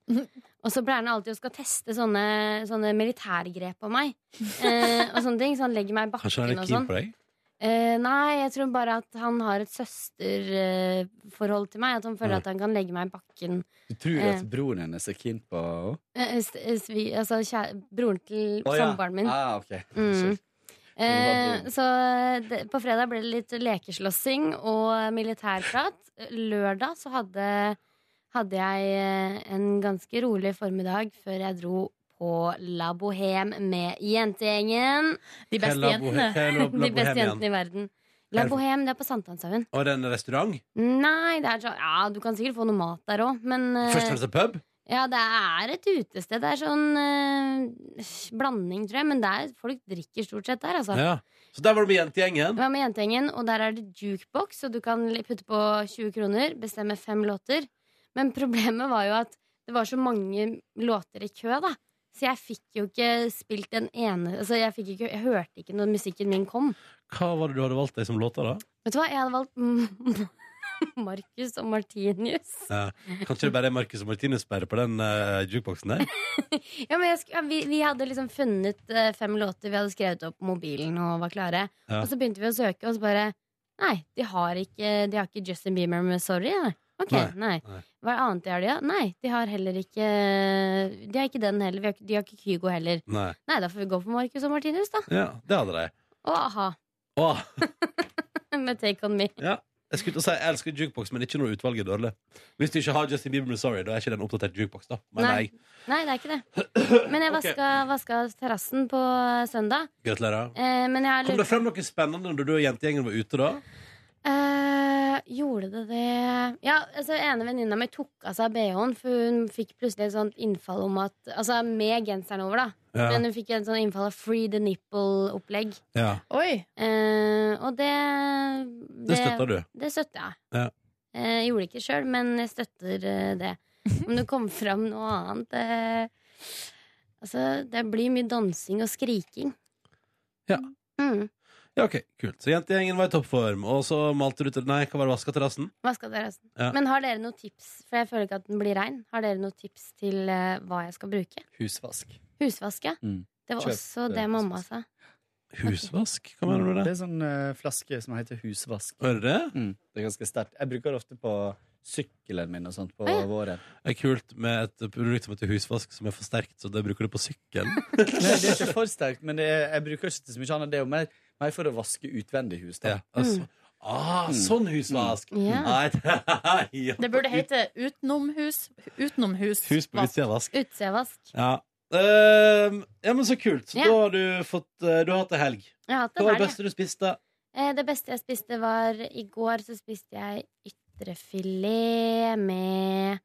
Speaker 7: Og så pleier han alltid å skal teste sånne, sånne militærgrep på meg. Eh, og sånne ting, Så han legger meg i
Speaker 1: Kanskje han er
Speaker 7: bakken og
Speaker 1: keen
Speaker 7: sånn.
Speaker 1: på deg?
Speaker 7: Eh, nei, jeg tror bare at han har et søsterforhold til meg. At han føler
Speaker 10: Mm.
Speaker 7: at han kan legge meg i bakken.
Speaker 10: Du tror
Speaker 7: Eh.
Speaker 10: at broren hennes er keen på
Speaker 7: Eh, s- eh, svi, altså kjæ- broren til
Speaker 10: Å, ja.
Speaker 7: samboeren min.
Speaker 10: Ah, ok.
Speaker 7: Mm.
Speaker 10: var
Speaker 7: Eh, så det, på fredag ble det litt lekeslåssing og militærprat. Lørdag så hadde, hadde jeg eh, en ganske rolig formiddag før jeg dro på La Bohème med jentegjengen.
Speaker 2: De beste
Speaker 1: Hva er La Bohe- jentene. hva er La- La
Speaker 7: (laughs) De beste
Speaker 1: Bohème igjen?
Speaker 7: jentene i verden. La
Speaker 1: Er-
Speaker 7: Bohème, det er på Sankthanshaugen.
Speaker 1: Og det er en restaurant?
Speaker 7: Eh, Nei, det er sånn Ja, du kan sikkert få noe mat der òg, men eh,
Speaker 1: Først og fremst en pub?
Speaker 7: ja, det er et utested. Det er sånn eh, blanding, tror jeg. Men det er, folk drikker stort sett der, altså.
Speaker 1: Ja. Så der var du med jentegjengen?
Speaker 7: Vi var med jentegjengen, og der er det jukebox, og du kan li- putte på 20 kroner, bestemme fem låter. Men (laughs) problemet var jo at det var så mange låter i kø, da. Så jeg fikk jo ikke spilt den ene altså jeg, fikk ikke, jeg hørte ikke når musikken min kom.
Speaker 1: Hva var det du hadde valgt deg som låter, da?
Speaker 7: Vet du hva, jeg hadde valgt (laughs) mm, Marcus og Martinius.
Speaker 1: Ja. Kanskje det bare er Marcus og Martinus bare på den eh, jukeboksen der?
Speaker 7: Ja, men jeg, sk- ja, vi, vi hadde liksom funnet eh, fem låter vi hadde skrevet opp på mobilen og var klare.
Speaker 1: Ja.
Speaker 7: Og så begynte vi å søke, og så bare Nei, de har ikke, de har ikke Justin Bieber med Sorry. Nei. Ok,
Speaker 1: Nei,
Speaker 7: nei. Hva annet de har de, da? Nei, de har heller ikke De har ikke den heller. Vi har, ikke- de har ikke Kygo heller.
Speaker 1: Nei.
Speaker 7: Nei, da får vi gå for Marcus og Martinus, da.
Speaker 1: Ja, det hadde de.
Speaker 7: Og a-ha. (laughs)
Speaker 1: Åh,
Speaker 7: med Take On Me.
Speaker 1: ja. Jeg skulle til å si jeg elsker jukebox, men ikke når utvalget er dårlig. Hvis du ikke har Justin Bieber med Sorry, da er ikke det en oppdatert jukebox, da. Men nei.
Speaker 7: Nei. Nei, det er ikke det. Men jeg
Speaker 1: Ok.
Speaker 7: vaska, vaska terrassen på eh, søndag.
Speaker 1: Gratulerer.
Speaker 7: Eh, men jeg har
Speaker 1: Kom det frem noe spennende når du og jentegjengen var ute, da?
Speaker 7: Eh, gjorde det det Ja, altså ene venninna mi tok av seg BH-en, for hun fikk plutselig et sånt innfall om at Altså med genseren over, da.
Speaker 1: Ja.
Speaker 7: Men hun fikk en sånn innfall av free the nipple-opplegg. Eh,
Speaker 1: Ja.
Speaker 2: Oi!
Speaker 7: og det
Speaker 1: Det støtter du?
Speaker 7: Det støtter jeg.
Speaker 1: ja.
Speaker 7: Eh, Jeg gjorde det ikke sjøl, men jeg støtter eh,
Speaker 1: (laughs)
Speaker 7: det. Om det kom fram noe annet eh, Altså, det blir mye dansing og skriking.
Speaker 1: Ja.
Speaker 7: Mm.
Speaker 1: Ja, ok, kult Så jentegjengen var i toppform Og så malte du til Nei, hva var det vaska terrassen?
Speaker 7: Vaska terrassen.
Speaker 1: Ja.
Speaker 7: Men har dere noen tips? For jeg føler ikke at den blir rein. Har dere noen tips til eh, hva jeg skal bruke?
Speaker 10: husvask?
Speaker 7: Husvaske?
Speaker 10: Mm.
Speaker 7: Det var
Speaker 10: Kjøp,
Speaker 7: også
Speaker 10: eh,
Speaker 7: det mamma sa.
Speaker 1: Husvask? Hva mener du med
Speaker 10: Det
Speaker 1: det?
Speaker 10: er sånn eh, flaske som heter husvask.
Speaker 1: Er det det?
Speaker 10: Mm, det er ganske sterkt. Jeg bruker det ofte på sykkelen min og sånt på
Speaker 1: Ah, ja.
Speaker 10: våren.
Speaker 1: Det er kult med et produkt som heter husvask, som er for sterkt, så det bruker du på sykkel.
Speaker 10: Nei, det er ikke for sterkt, men det er, jeg bruker ikke til så mye annet. Det er jo mer, mer for å vaske utvendig hus. Da.
Speaker 1: altså. Ah, sånn husvask!
Speaker 2: Ja.
Speaker 1: Nei, (laughs) ja.
Speaker 2: Det burde hete utenomhus. Utenomhus.
Speaker 1: Hus på utsida av vask.
Speaker 7: Utsevask.
Speaker 1: Ja. Ehm, ja, men så kult. Så
Speaker 7: Ja.
Speaker 1: da har du fått eh, Du har hatt ei helg.
Speaker 7: Jeg har hatt
Speaker 1: Hva
Speaker 7: en
Speaker 1: var det
Speaker 7: helg,
Speaker 1: beste du spiste?
Speaker 7: Eh, Det beste jeg spiste var I går så spiste jeg ytrefilet med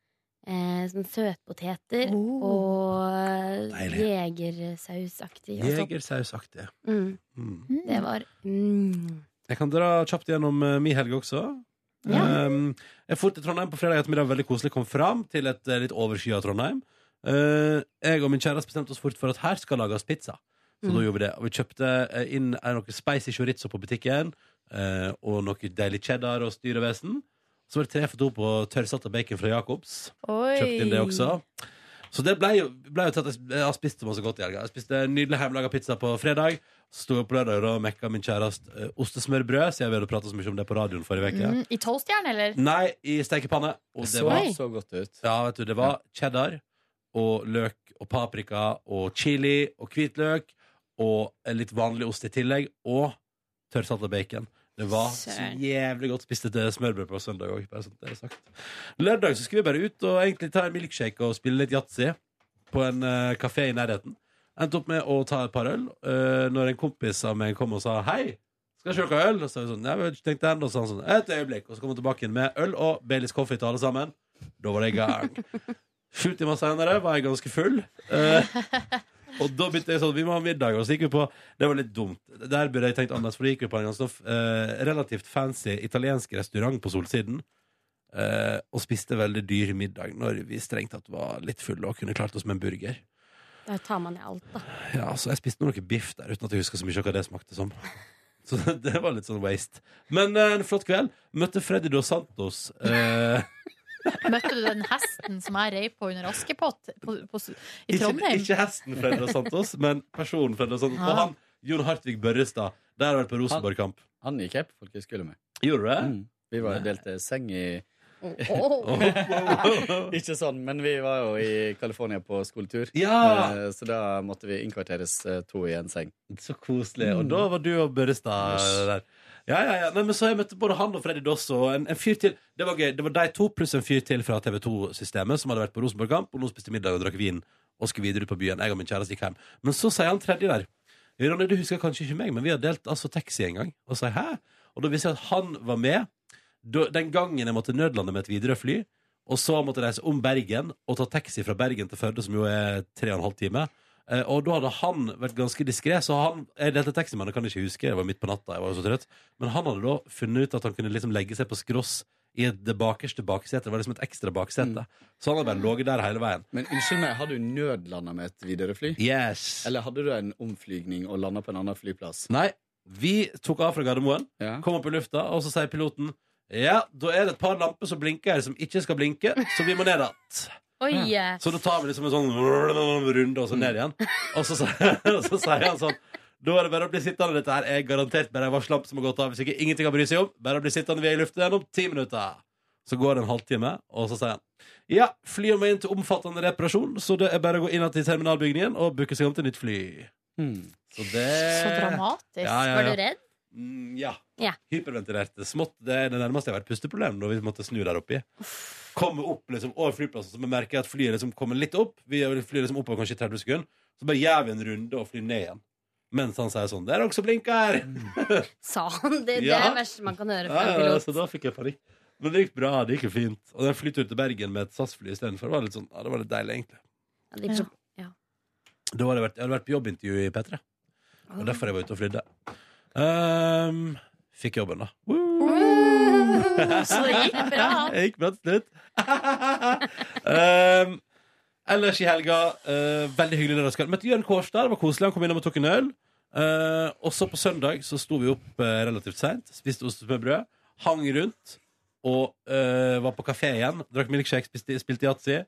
Speaker 7: eh, sånn søtpoteter
Speaker 1: Oh.
Speaker 7: og jegersausaktig. og sånn.
Speaker 1: Jegersausaktig.
Speaker 7: Mm.
Speaker 1: Mm.
Speaker 7: Det var mm.
Speaker 1: Jeg kan dra kjapt gjennom uh, min helg også.
Speaker 2: Mm,
Speaker 1: Um, jeg for til Trondheim på fredag ettermiddag veldig koselig. Kom fram til et eh, litt overskya Trondheim. Eh, jeg og min kjæreste bestemte oss fort for at her skal lages pizza. Så
Speaker 11: Mm.
Speaker 1: da gjorde vi det. Og vi kjøpte eh, inn eh, noe spicy chorizo på butikken, eh, og noe deilig cheddar og styrevesen. Så var det tre for to på tørrsatt av bacon fra Jacobs.
Speaker 2: Oi.
Speaker 1: Kjøpte inn det også. Så det ble jo, ble jo til at jeg, jeg har spist masse godt i helga. Jeg spiste nydelig hjemmelaga pizza på fredag. Så sto jeg opp på lørdag og da mekka min kjæreste eh, ostesmørbrød, siden vi hadde prata så mye om det på radioen forrige uke.
Speaker 2: Mm, I toastjern, eller?
Speaker 1: Nei, i stekepanne. Og
Speaker 10: Det så,
Speaker 1: var,
Speaker 10: så godt ut.
Speaker 1: ja, vet du, det var cheddar og løk og paprika og chili og hvitløk og en litt vanlig ost i tillegg. Og tørrsalta bacon. Det var så
Speaker 11: Søren.
Speaker 1: jævlig godt. Spiste et eh, smørbrød på søndag sånn òg. Lørdag så skulle vi bare ut og egentlig ta en milkshake og spille litt yatzy på en eh, kafé i nærheten. Endte opp med å ta et par øl eh, når en kompis av meg kom og sa hei. Skal ikke dere ha øl? Og så er vi sånn, «Nei, vi har ikke tenkt det enda. Og så er han sånn, et øyeblikk. Og så kom han tilbake igjen med øl og Baileys coffee til alle sammen. Da var det i gang. Sju timer senere var jeg ganske full. Eh, og da begynte jeg sånn, vi må ha middag. Og så gikk vi på Det var litt dumt. Der burde jeg tenkt annerledes, for da gikk vi på en ganske eh, relativt fancy italiensk restaurant på Solsiden. eh, og spiste veldig dyr middag når vi strengt tatt var litt fulle og kunne klart oss med en burger.
Speaker 7: Da tar man i alt, da.
Speaker 1: Ja, altså, jeg spiste noe biff der uten at jeg husker så mye av hva det smakte som. (laughs) Så det, det var litt sånn waste. Men eh, en flott kveld. Møtte Freddy Dos Santos. eh,
Speaker 2: Møtte du den hesten som jeg rei på under Askepott på, på, (laughs) i
Speaker 1: ikke,
Speaker 2: Trondheim?
Speaker 1: ikke hesten Freddy Dos
Speaker 2: (laughs)
Speaker 1: Santos, men personen Freddy Dos Santos.
Speaker 2: Ja.
Speaker 1: Og han Jon Hartvig Børrestad. Der har vært på Rosenborg-kamp.
Speaker 10: Han gikk jeg på folkehøyskole med. Mm.
Speaker 1: Gjorde du det?
Speaker 10: Vi var delte seng i
Speaker 2: (laughs)
Speaker 10: Ikke sånn, men vi var jo i California på skoletur.
Speaker 1: Ja!
Speaker 10: Eh, Så da måtte vi innkvarteres eh, to i en seng.
Speaker 1: Så koselig. Og da var du og Børrestad der. Ja, ja, ja. Nei, men så har jeg møtte både han og Freddy Doss og en, en fyr til. Det var gøy. Det var de to pluss en fyr til fra TV2-systemet som hadde vært på Rosenborg-kamp, og nå spiste middag og drakk vin og skulle videre ut på byen. Jeg og min kjæreste gikk hjem. Men så sier han tredje der. Ronny, du husker kanskje ikke meg, men vi har delt altså taxi en gang. Og sier hæ? Og da visste jeg at han var med da- den gangen jeg måtte nødlande med et Widerøe-fly. Og så måtte jeg reise om Bergen og ta taxi fra Bergen til Førde, som jo er tre og en halv time. Eh, Og da hadde han vært ganske diskré, så han Jeg delte taxi med han, jeg kan ikke huske, jeg var midt på natta, jeg var jo så trøtt. Men han hadde da funnet ut at han kunne liksom legge seg på skross i det bakerste baksetet. Det var liksom et ekstra baksete. Så han hadde bare ligget der hele veien.
Speaker 10: Men unnskyld meg, har du nødlanda med et Widerøe-fly?
Speaker 1: Yes.
Speaker 10: Eller hadde du en omflygning og landa på en annen flyplass?
Speaker 1: Nei, vi tok av fra Gardermoen, kom opp i lufta, og så sier piloten ja, da er det et par lamper som blinker her som ikke skal blinke, så vi må ned igjen.
Speaker 7: Oi! eh.
Speaker 1: Så da tar vi liksom en sånn runde og så ned igjen. Og så, sier- (laughs) og så sier han sånn Da er det bare å bli sittende. Dette her er garantert bare en varsellamp som har gått av. Hvis ikke ingenting å bry seg om. Bare å bli sittende vi er i luften igjen om ti minutter. Så går det en halvtime, og så sier han ja, flyet må inn til omfattende reparasjon, så det er bare å gå inn til terminalbygningen og booke seg om til nytt fly. Så det
Speaker 2: Så dramatisk.
Speaker 1: eh, Ja, ja, ja.
Speaker 7: Var du redd?
Speaker 1: Mm, ja.
Speaker 7: Ja.
Speaker 1: Hyperventilerte. Smått. Det er det nærmeste jeg har vært pusteproblem når vi måtte snu der oppi. Komme opp liksom over flyplassen, så vi merker at flyet liksom kommer litt opp. Vi flyr liksom oppover kanskje i 30 sekunder. Så bare gjør vi en runde og flyr ned igjen. Mens han sier sånn 'Der er også blinker!'
Speaker 7: Sa han det? Det er
Speaker 1: Ja.
Speaker 7: Mm, det verste man kan høre
Speaker 1: Ja,
Speaker 7: fra en
Speaker 1: ja, ja,
Speaker 7: pilot.
Speaker 1: så da fikk jeg panikk. Men det gikk bra. Det gikk jo fint. Og den flyturen til Bergen med et SAS-fly istedenfor var litt sånn, ja, det var litt deilig, egentlig.
Speaker 7: Ja, det gikk så- ja.
Speaker 1: Da hadde jeg vært, jeg hadde vært på jobbintervju i P3.
Speaker 7: Ah.
Speaker 1: Og derfor jeg var ute og flydde. Ehm, fikk jobben, da.
Speaker 11: Så det gikk bra.
Speaker 1: Det gikk bra til slutt. Ehm, ellers i helga, eh, veldig hyggelig lørdagskveld. Møtte Jørn Kårstad. Det var koselig. Han kom innom og tok en øl. Eh, og så på søndag så sto vi opp eh, relativt seint, spiste ost med brød, hang rundt og eh, var på kafé igjen. Drakk milkshake, spiste- spilte yatzy.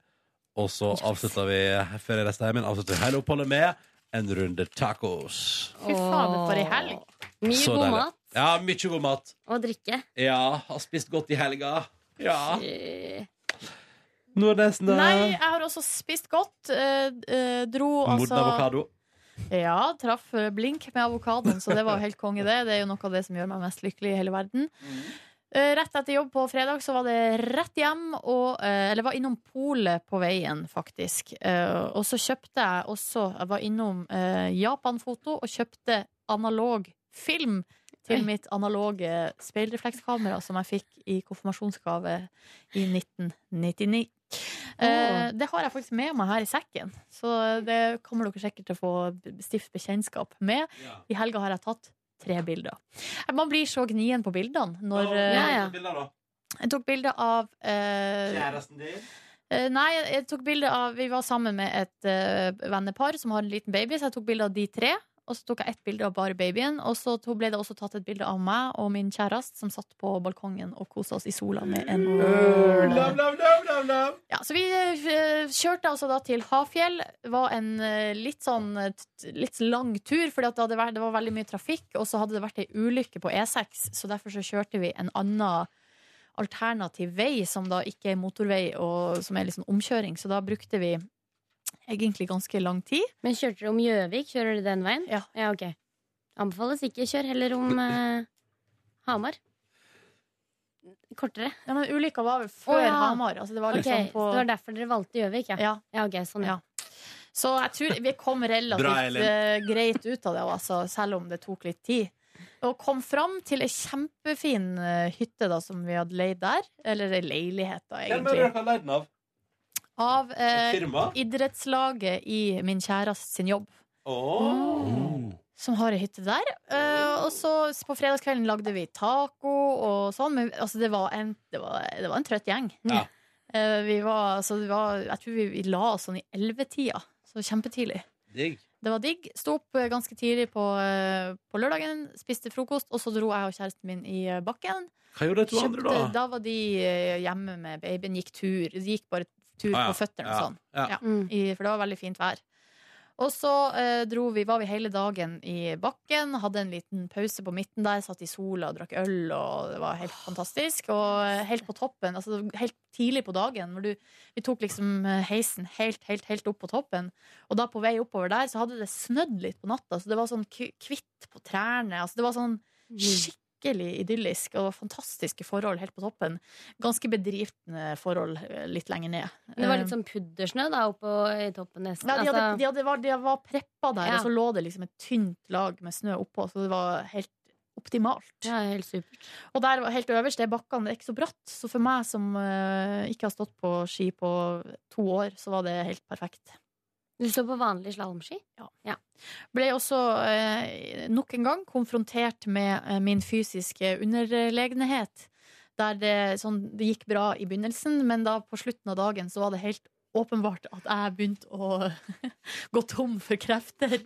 Speaker 1: Og så avslutta vi før jeg reiste hjem igjen, avslutta vi hele oppholdet med en runde tacos.
Speaker 2: Fy fader, for ei helg.
Speaker 7: Mye
Speaker 1: Så
Speaker 7: god
Speaker 1: deilig.
Speaker 7: mat
Speaker 1: Ja, mye god mat.
Speaker 7: og drikke.
Speaker 1: Ja, har spist godt i helga. Ja.
Speaker 7: Eh,
Speaker 1: Nordnesen, da?
Speaker 2: Nei, jeg har også spist godt. eh, eh, dro
Speaker 1: Moden
Speaker 2: altså
Speaker 1: avokado.
Speaker 2: Ja, traff eh, blink med avokadoen, så det var jo helt konge, det. Det er jo noe av det som gjør meg mest lykkelig i hele verden. Eh, Rett etter jobb på fredag så var det rett hjem, og, eh, eller var innom polet på veien, faktisk. Eh, Og så kjøpte jeg også Jeg var innom eh, Japanfoto og kjøpte analog film til mitt analoge speilreflekskamera som jeg fikk i konfirmasjonsgave i 1999. Eh, Det har jeg faktisk med meg her i sekken, så det kommer dere sikkert til å få stift bekjentskap med. I helga har jeg tatt tre bilder. Man blir så gnien på bildene når eh, Jeg tok bilde av eh,
Speaker 1: din?
Speaker 2: eh, Nei, jeg tok bilde av Vi var sammen med et eh, vennepar som har en liten baby, så jeg tok bilde av de tre. Og så tok jeg ett bilde av bare babyen, og så to- ble det også tatt et bilde av meg og min kjæreste som satt på balkongen og kosa oss i sola med en øl. Ja, så vi eh, kjørte altså da til Hafjell. Det var en eh, litt sånn eh, t- litt lang tur, for det, hadde vært- det var veldig mye trafikk. Og så hadde det vært ei ulykke på E6, så derfor så kjørte vi en annen alternativ vei, som da ikke er motorvei, og som er liksom omkjøring. Så da brukte vi egentlig ganske lang tid.
Speaker 7: Men kjørte dere om Gjøvik? Kjører dere den veien?
Speaker 2: Ja.
Speaker 7: ok. Anbefales ikke. Kjør heller
Speaker 2: (laughs)
Speaker 7: om eh, Hamar. Kortere.
Speaker 2: Ja, men ulykka var vel før
Speaker 7: Å, ja.
Speaker 2: Hamar. Altså, det var
Speaker 7: Ok,
Speaker 2: liksom på
Speaker 7: så det var derfor dere valgte Gjøvik, ja? Ja, ok, sånn, ja.
Speaker 2: Så jeg tror vi kom
Speaker 7: Bra,
Speaker 2: relativt
Speaker 7: Elin.
Speaker 2: eh, greit ut av det, altså, selv om det tok litt tid. Og kom fram til ei kjempefin eh, hytte da, som vi hadde leid der. Eller ei leilighet, da,
Speaker 1: Hvem er det
Speaker 2: egentlig.
Speaker 1: dere har leid den av?
Speaker 2: Av
Speaker 1: Et
Speaker 2: eh,
Speaker 1: firma?
Speaker 2: idrettslaget i min kjæreste sin jobb.
Speaker 7: Mm.
Speaker 1: Åh.
Speaker 2: Som har ei hytte der. Eh, og så s- på fredagskvelden lagde vi taco og sånn. Men altså, det, var en, det, var, det var en trøtt gjeng. Eh, vi var, altså, det var, jeg tror vi, vi la oss sånn i ellevetida. Så kjempetidlig.
Speaker 1: Digg.
Speaker 2: Det var digg. Sto opp eh, ganske tidlig på, eh, på lørdagen, spiste frokost, og så dro jeg og kjæresten min i eh, bakken.
Speaker 1: Hva gjorde de to andre, da?
Speaker 2: da var de eh, hjemme med babyen, gikk tur. De gikk bare tur
Speaker 1: Ah, ja.
Speaker 2: på føttene og
Speaker 1: Ja.
Speaker 2: sånn.
Speaker 1: Ja.
Speaker 2: Ja.
Speaker 7: Mm.
Speaker 2: I, for det var veldig fint vær. Og så eh, dro vi, var vi hele dagen i bakken, hadde en liten pause på midten der, satt i sola og drakk øl, og det var helt fantastisk. Og eh, helt på toppen, altså helt tidlig på dagen, hvor du, vi tok liksom eh, heisen helt, helt, helt opp på toppen. Og da på vei oppover der, så hadde det snødd litt på natta, så det var sånn k- kvitt på trærne, altså det var sånn
Speaker 7: Mm.
Speaker 2: skikkelig idyllisk, og det var fantastiske forhold helt på toppen. Ganske bedriftende forhold eh, litt lenger ned.
Speaker 7: Men Det var
Speaker 2: Eh,
Speaker 7: litt sånn puddersnø da, oppå i toppen nesten.
Speaker 2: ja, de, hadde,
Speaker 7: Altså,
Speaker 2: de, hadde, var, de var preppa der,
Speaker 7: Ja.
Speaker 2: og så lå det liksom et tynt lag med snø oppå, så det var helt optimalt.
Speaker 7: Ja, helt supert.
Speaker 2: Og der var- helt øverst, det er bakkene, det er ikke så bratt, så for meg som eh, ikke har stått på ski på to år, så var det helt perfekt.
Speaker 7: Du står på vanlig slalåmski?
Speaker 2: Ja.
Speaker 7: ja.
Speaker 2: Ble også eh, nok en gang konfrontert med eh, min fysiske underlegenhet. Der det, sånn, det gikk bra i begynnelsen, men da på slutten av dagen så var det helt åpenbart at jeg begynte å (laughs) gå tom for krefter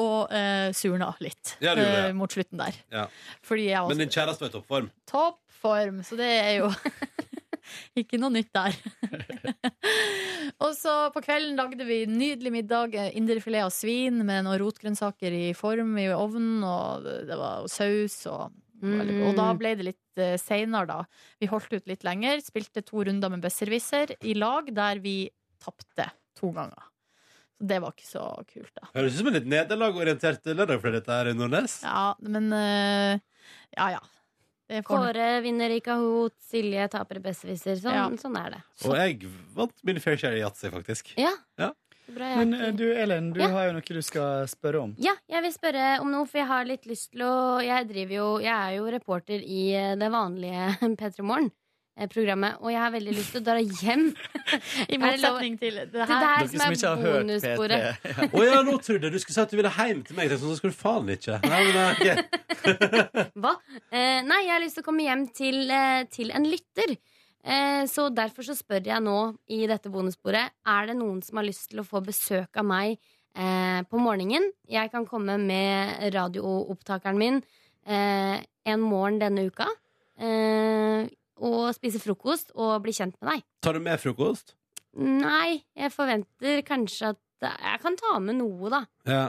Speaker 2: og eh, surna litt
Speaker 1: Ja, det gjorde det.
Speaker 2: eh, mot slutten der.
Speaker 1: Ja.
Speaker 2: Fordi jeg var
Speaker 1: Men din kjæreste var i toppform?
Speaker 2: Topp form, så det er jo (laughs) ikke noe nytt der. (laughs) og så på kvelden lagde vi nydelig middag. eh, Indrefilet av svin med noen rotgrønnsaker i form i ovnen, og det det var saus og veldig god. Og
Speaker 7: Mm.
Speaker 2: da ble det litt uh, seinere, da. Vi holdt ut litt lenger, spilte to runder med besserwisser i lag, der vi tapte to ganger. Så det var ikke så kult, da.
Speaker 1: Høres ut som en litt nederlagorientert lørdag for dette her, Nordnes.
Speaker 2: Ja, men eh, Ja, ja. Det får-
Speaker 7: Kåre vinner i Kahoot, Silje taper i Besserwisser. Sånn,
Speaker 1: Ja.
Speaker 7: sånn er det.
Speaker 1: Og jeg vant min fair share i yatzy, faktisk.
Speaker 7: Ja.
Speaker 1: Ja.
Speaker 7: Bra, jeg
Speaker 10: Men
Speaker 7: er
Speaker 10: eh,
Speaker 7: ikke-
Speaker 10: du, Elin, du
Speaker 7: Ja.
Speaker 10: har jo noe du skal spørre om.
Speaker 7: Ja, jeg vil spørre om noe, for jeg har litt lyst til å Jeg, driver jo, jeg er jo reporter i eh, det vanlige (laughs) P3 Morgen-programmet, eh, og jeg har veldig lyst til å dra hjem.
Speaker 2: (laughs) I motsetning til det
Speaker 7: Det
Speaker 2: her.
Speaker 7: der som er bonussporet.
Speaker 1: Å ja, nå trodde jeg du skulle si at du ville hjem til meg. Jeg tenkte sånn, så skal du faen ikke. Nei, men, nei, ok.
Speaker 7: Hva? Eh, nei, jeg har lyst til å komme hjem til, eh, til en lytter. Eh, så derfor så spør jeg nå i dette bonussporet Er det noen som har lyst til å få besøk av meg eh, på morgenen. Jeg kan komme med radioopptakeren min eh, en morgen denne uka. Eh, og spise frokost og bli kjent med deg.
Speaker 1: Tar du med frokost?
Speaker 7: Nei, jeg forventer kanskje at Jeg kan ta med noe, da.
Speaker 1: Ja.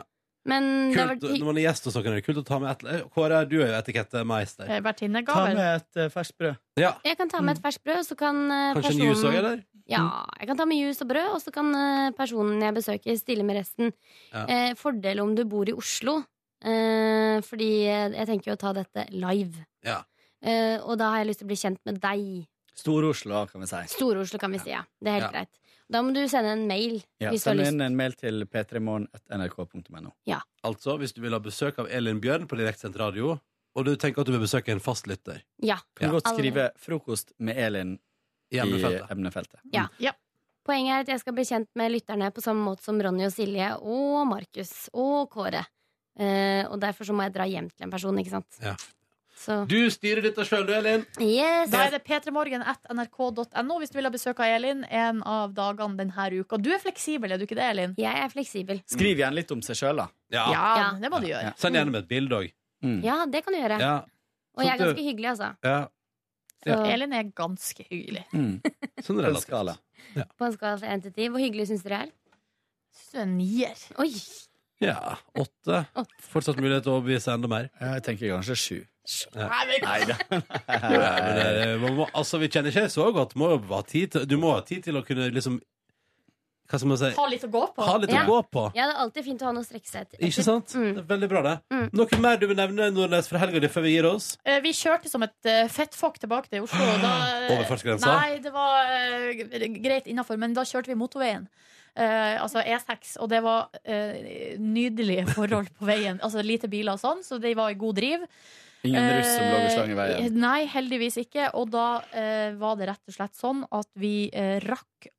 Speaker 7: Men Mm, det har
Speaker 1: Kult,
Speaker 7: vært hy-
Speaker 1: når man er gjest hos noen, er det kult å ta med et eh, Kåre, du er jo etikettemeister.
Speaker 7: Eh,
Speaker 1: Ta med et eh, ferskt brød. Ja.
Speaker 7: Jeg kan ta med et ferskt brød, så kan eh,
Speaker 1: Mm. Kanskje en
Speaker 7: personen-
Speaker 1: juice også, eller?
Speaker 7: Ja, jeg kan ta med juice og brød, og så kan eh, personen jeg besøker, stille med resten.
Speaker 1: Ja.
Speaker 7: Eh, fordel om du bor i Oslo, eh, fordi eh, jeg tenker jo å ta dette live.
Speaker 1: Ja.
Speaker 7: Eh, og da har jeg lyst til å bli kjent med deg.
Speaker 10: Stor-Oslo, kan vi si.
Speaker 7: Stor-Oslo kan vi si, ja. Det er helt
Speaker 10: Ja.
Speaker 7: greit. Da må du sende en mail.
Speaker 10: Ja,
Speaker 7: hvis du har
Speaker 10: send
Speaker 7: lyst.
Speaker 10: inn en mail til p3morgen.nrk.no.
Speaker 7: Ja.
Speaker 1: Altså, hvis du vil ha besøk av Elin Bjørn på direktsendt radio, og du tenker at du vil besøke en fastlytter
Speaker 7: Ja.
Speaker 10: Kan du godt
Speaker 7: Alle-
Speaker 10: skrive 'frokost med Elin' i
Speaker 1: emnefeltet.
Speaker 10: emnefeltet. emnefeltet.
Speaker 7: Ja. Poenget er at jeg skal bli kjent med lytterne på samme måte som Ronny og Silje og Markus og Kåre. Eh, og derfor så må jeg dra hjem til en person, ikke sant?
Speaker 1: Ja.
Speaker 7: Så
Speaker 1: Du styrer dette sjøl, du, Elin.
Speaker 7: yes.
Speaker 2: Da er det p3morgen.nrk.no hvis du vil ha besøk av Elin en av dagene denne uka. Du er fleksibel, er du ikke det, Elin?
Speaker 7: Jeg er fleksibel.
Speaker 10: Skriv gjerne litt om seg sjøl, da. Mm.
Speaker 1: Ja.
Speaker 2: Ja, det må du gjøre.
Speaker 1: Send gjerne med et bilde òg.
Speaker 7: Ja, det kan du gjøre.
Speaker 1: Ja.
Speaker 7: Og jeg er
Speaker 1: Så du-
Speaker 7: ganske hyggelig, altså.
Speaker 1: Ja.
Speaker 7: Så
Speaker 2: Elin er ganske hyggelig.
Speaker 1: Sånn
Speaker 10: På Mm. en
Speaker 1: relativt.
Speaker 10: skala.
Speaker 7: På en skala fra 1 til 10, hvor hyggelig syns dere jeg er?
Speaker 2: Syns du er nier.
Speaker 7: Oi!
Speaker 1: Ja, åtte. Fortsatt mulighet til å overbevise enda mer.
Speaker 10: Jeg tenker kanskje sju.
Speaker 1: Ja.
Speaker 10: (laughs) Nei da.
Speaker 1: Ja, men det, er- man må, altså, vi kjenner ikke så godt. Må jo ha tid til, du må ha tid til å kunne liksom Hva skal man si?
Speaker 7: Ha litt å gå på.
Speaker 1: Eh, Ha litt å
Speaker 7: Ja.
Speaker 1: gå på.
Speaker 7: Ja, det er alltid fint å ha noe å strekke seg etter.
Speaker 1: Ikke sant? Det er veldig bra, det. Noe mer du vil nevne Nordnes fra helga di før vi gir oss?
Speaker 2: Eh, Vi kjørte som et eh, fettfokk tilbake til Oslo. og Da,
Speaker 1: Overfartsgrensa?
Speaker 2: Eh, Nei, det var eh, g- greit innafor, men da kjørte vi motorveien. Eh, altså E6, og det var eh, nydelige forhold på veien. Altså Lite biler og sånn, så de var i god driv.
Speaker 10: Ingen russ som lå og slang i veien.
Speaker 2: Eh, Nei, heldigvis ikke. Og da eh, var det rett og slett sånn at vi eh, rakk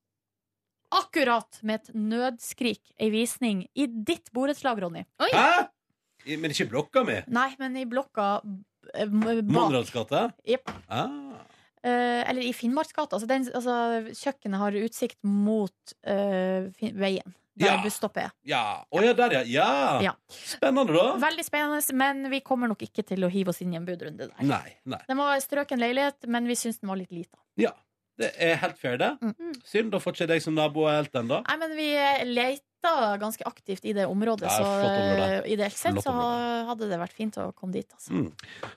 Speaker 2: akkurat med et nødskrik ei visning i ditt borettslag, Ronny.
Speaker 1: Hæ? I- Men ikke i blokka mi?
Speaker 2: Nei, men i blokka eh, bak.
Speaker 1: Monrads gate?
Speaker 2: Jepp.
Speaker 1: Ah.
Speaker 2: Eh, eller i Finnmarksgata. Altså, den- altså, kjøkkenet har utsikt mot eh, fin veien, der
Speaker 1: Ja.
Speaker 2: busstoppet er.
Speaker 1: Ja. Å ja, der, ja. ja.
Speaker 2: Ja.
Speaker 1: Spennende, da.
Speaker 2: Veldig spennende, men vi kommer nok ikke til å hive oss inn i en budrunde der.
Speaker 1: Nei. nei.
Speaker 2: Den var strøken leilighet, men vi syns den var litt lita.
Speaker 1: Ja. Det er helt fair, det. Synd, da får ikke jeg deg som nabo helt ennå.
Speaker 2: Nei, men vi leita ganske aktivt i det området,
Speaker 1: Det er
Speaker 2: så
Speaker 1: flott område.
Speaker 2: eh, ideelt sett
Speaker 1: Flott
Speaker 2: så hadde det vært fint å komme dit. Altså.
Speaker 1: Mm.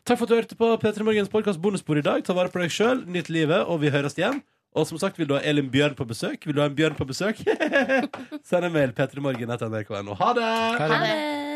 Speaker 1: Takk for at du hørte på P3 Morgens podkast bonusbord i dag. Ta vare på deg sjøl, nyt livet, og vi høres igjen. Og som sagt, vil du ha Elin Bjørn på (laughs) besøk? Vil du ha en bjørn på besøk? Send en mail p3morgen.nrk.no. Ha det!
Speaker 7: Ha det!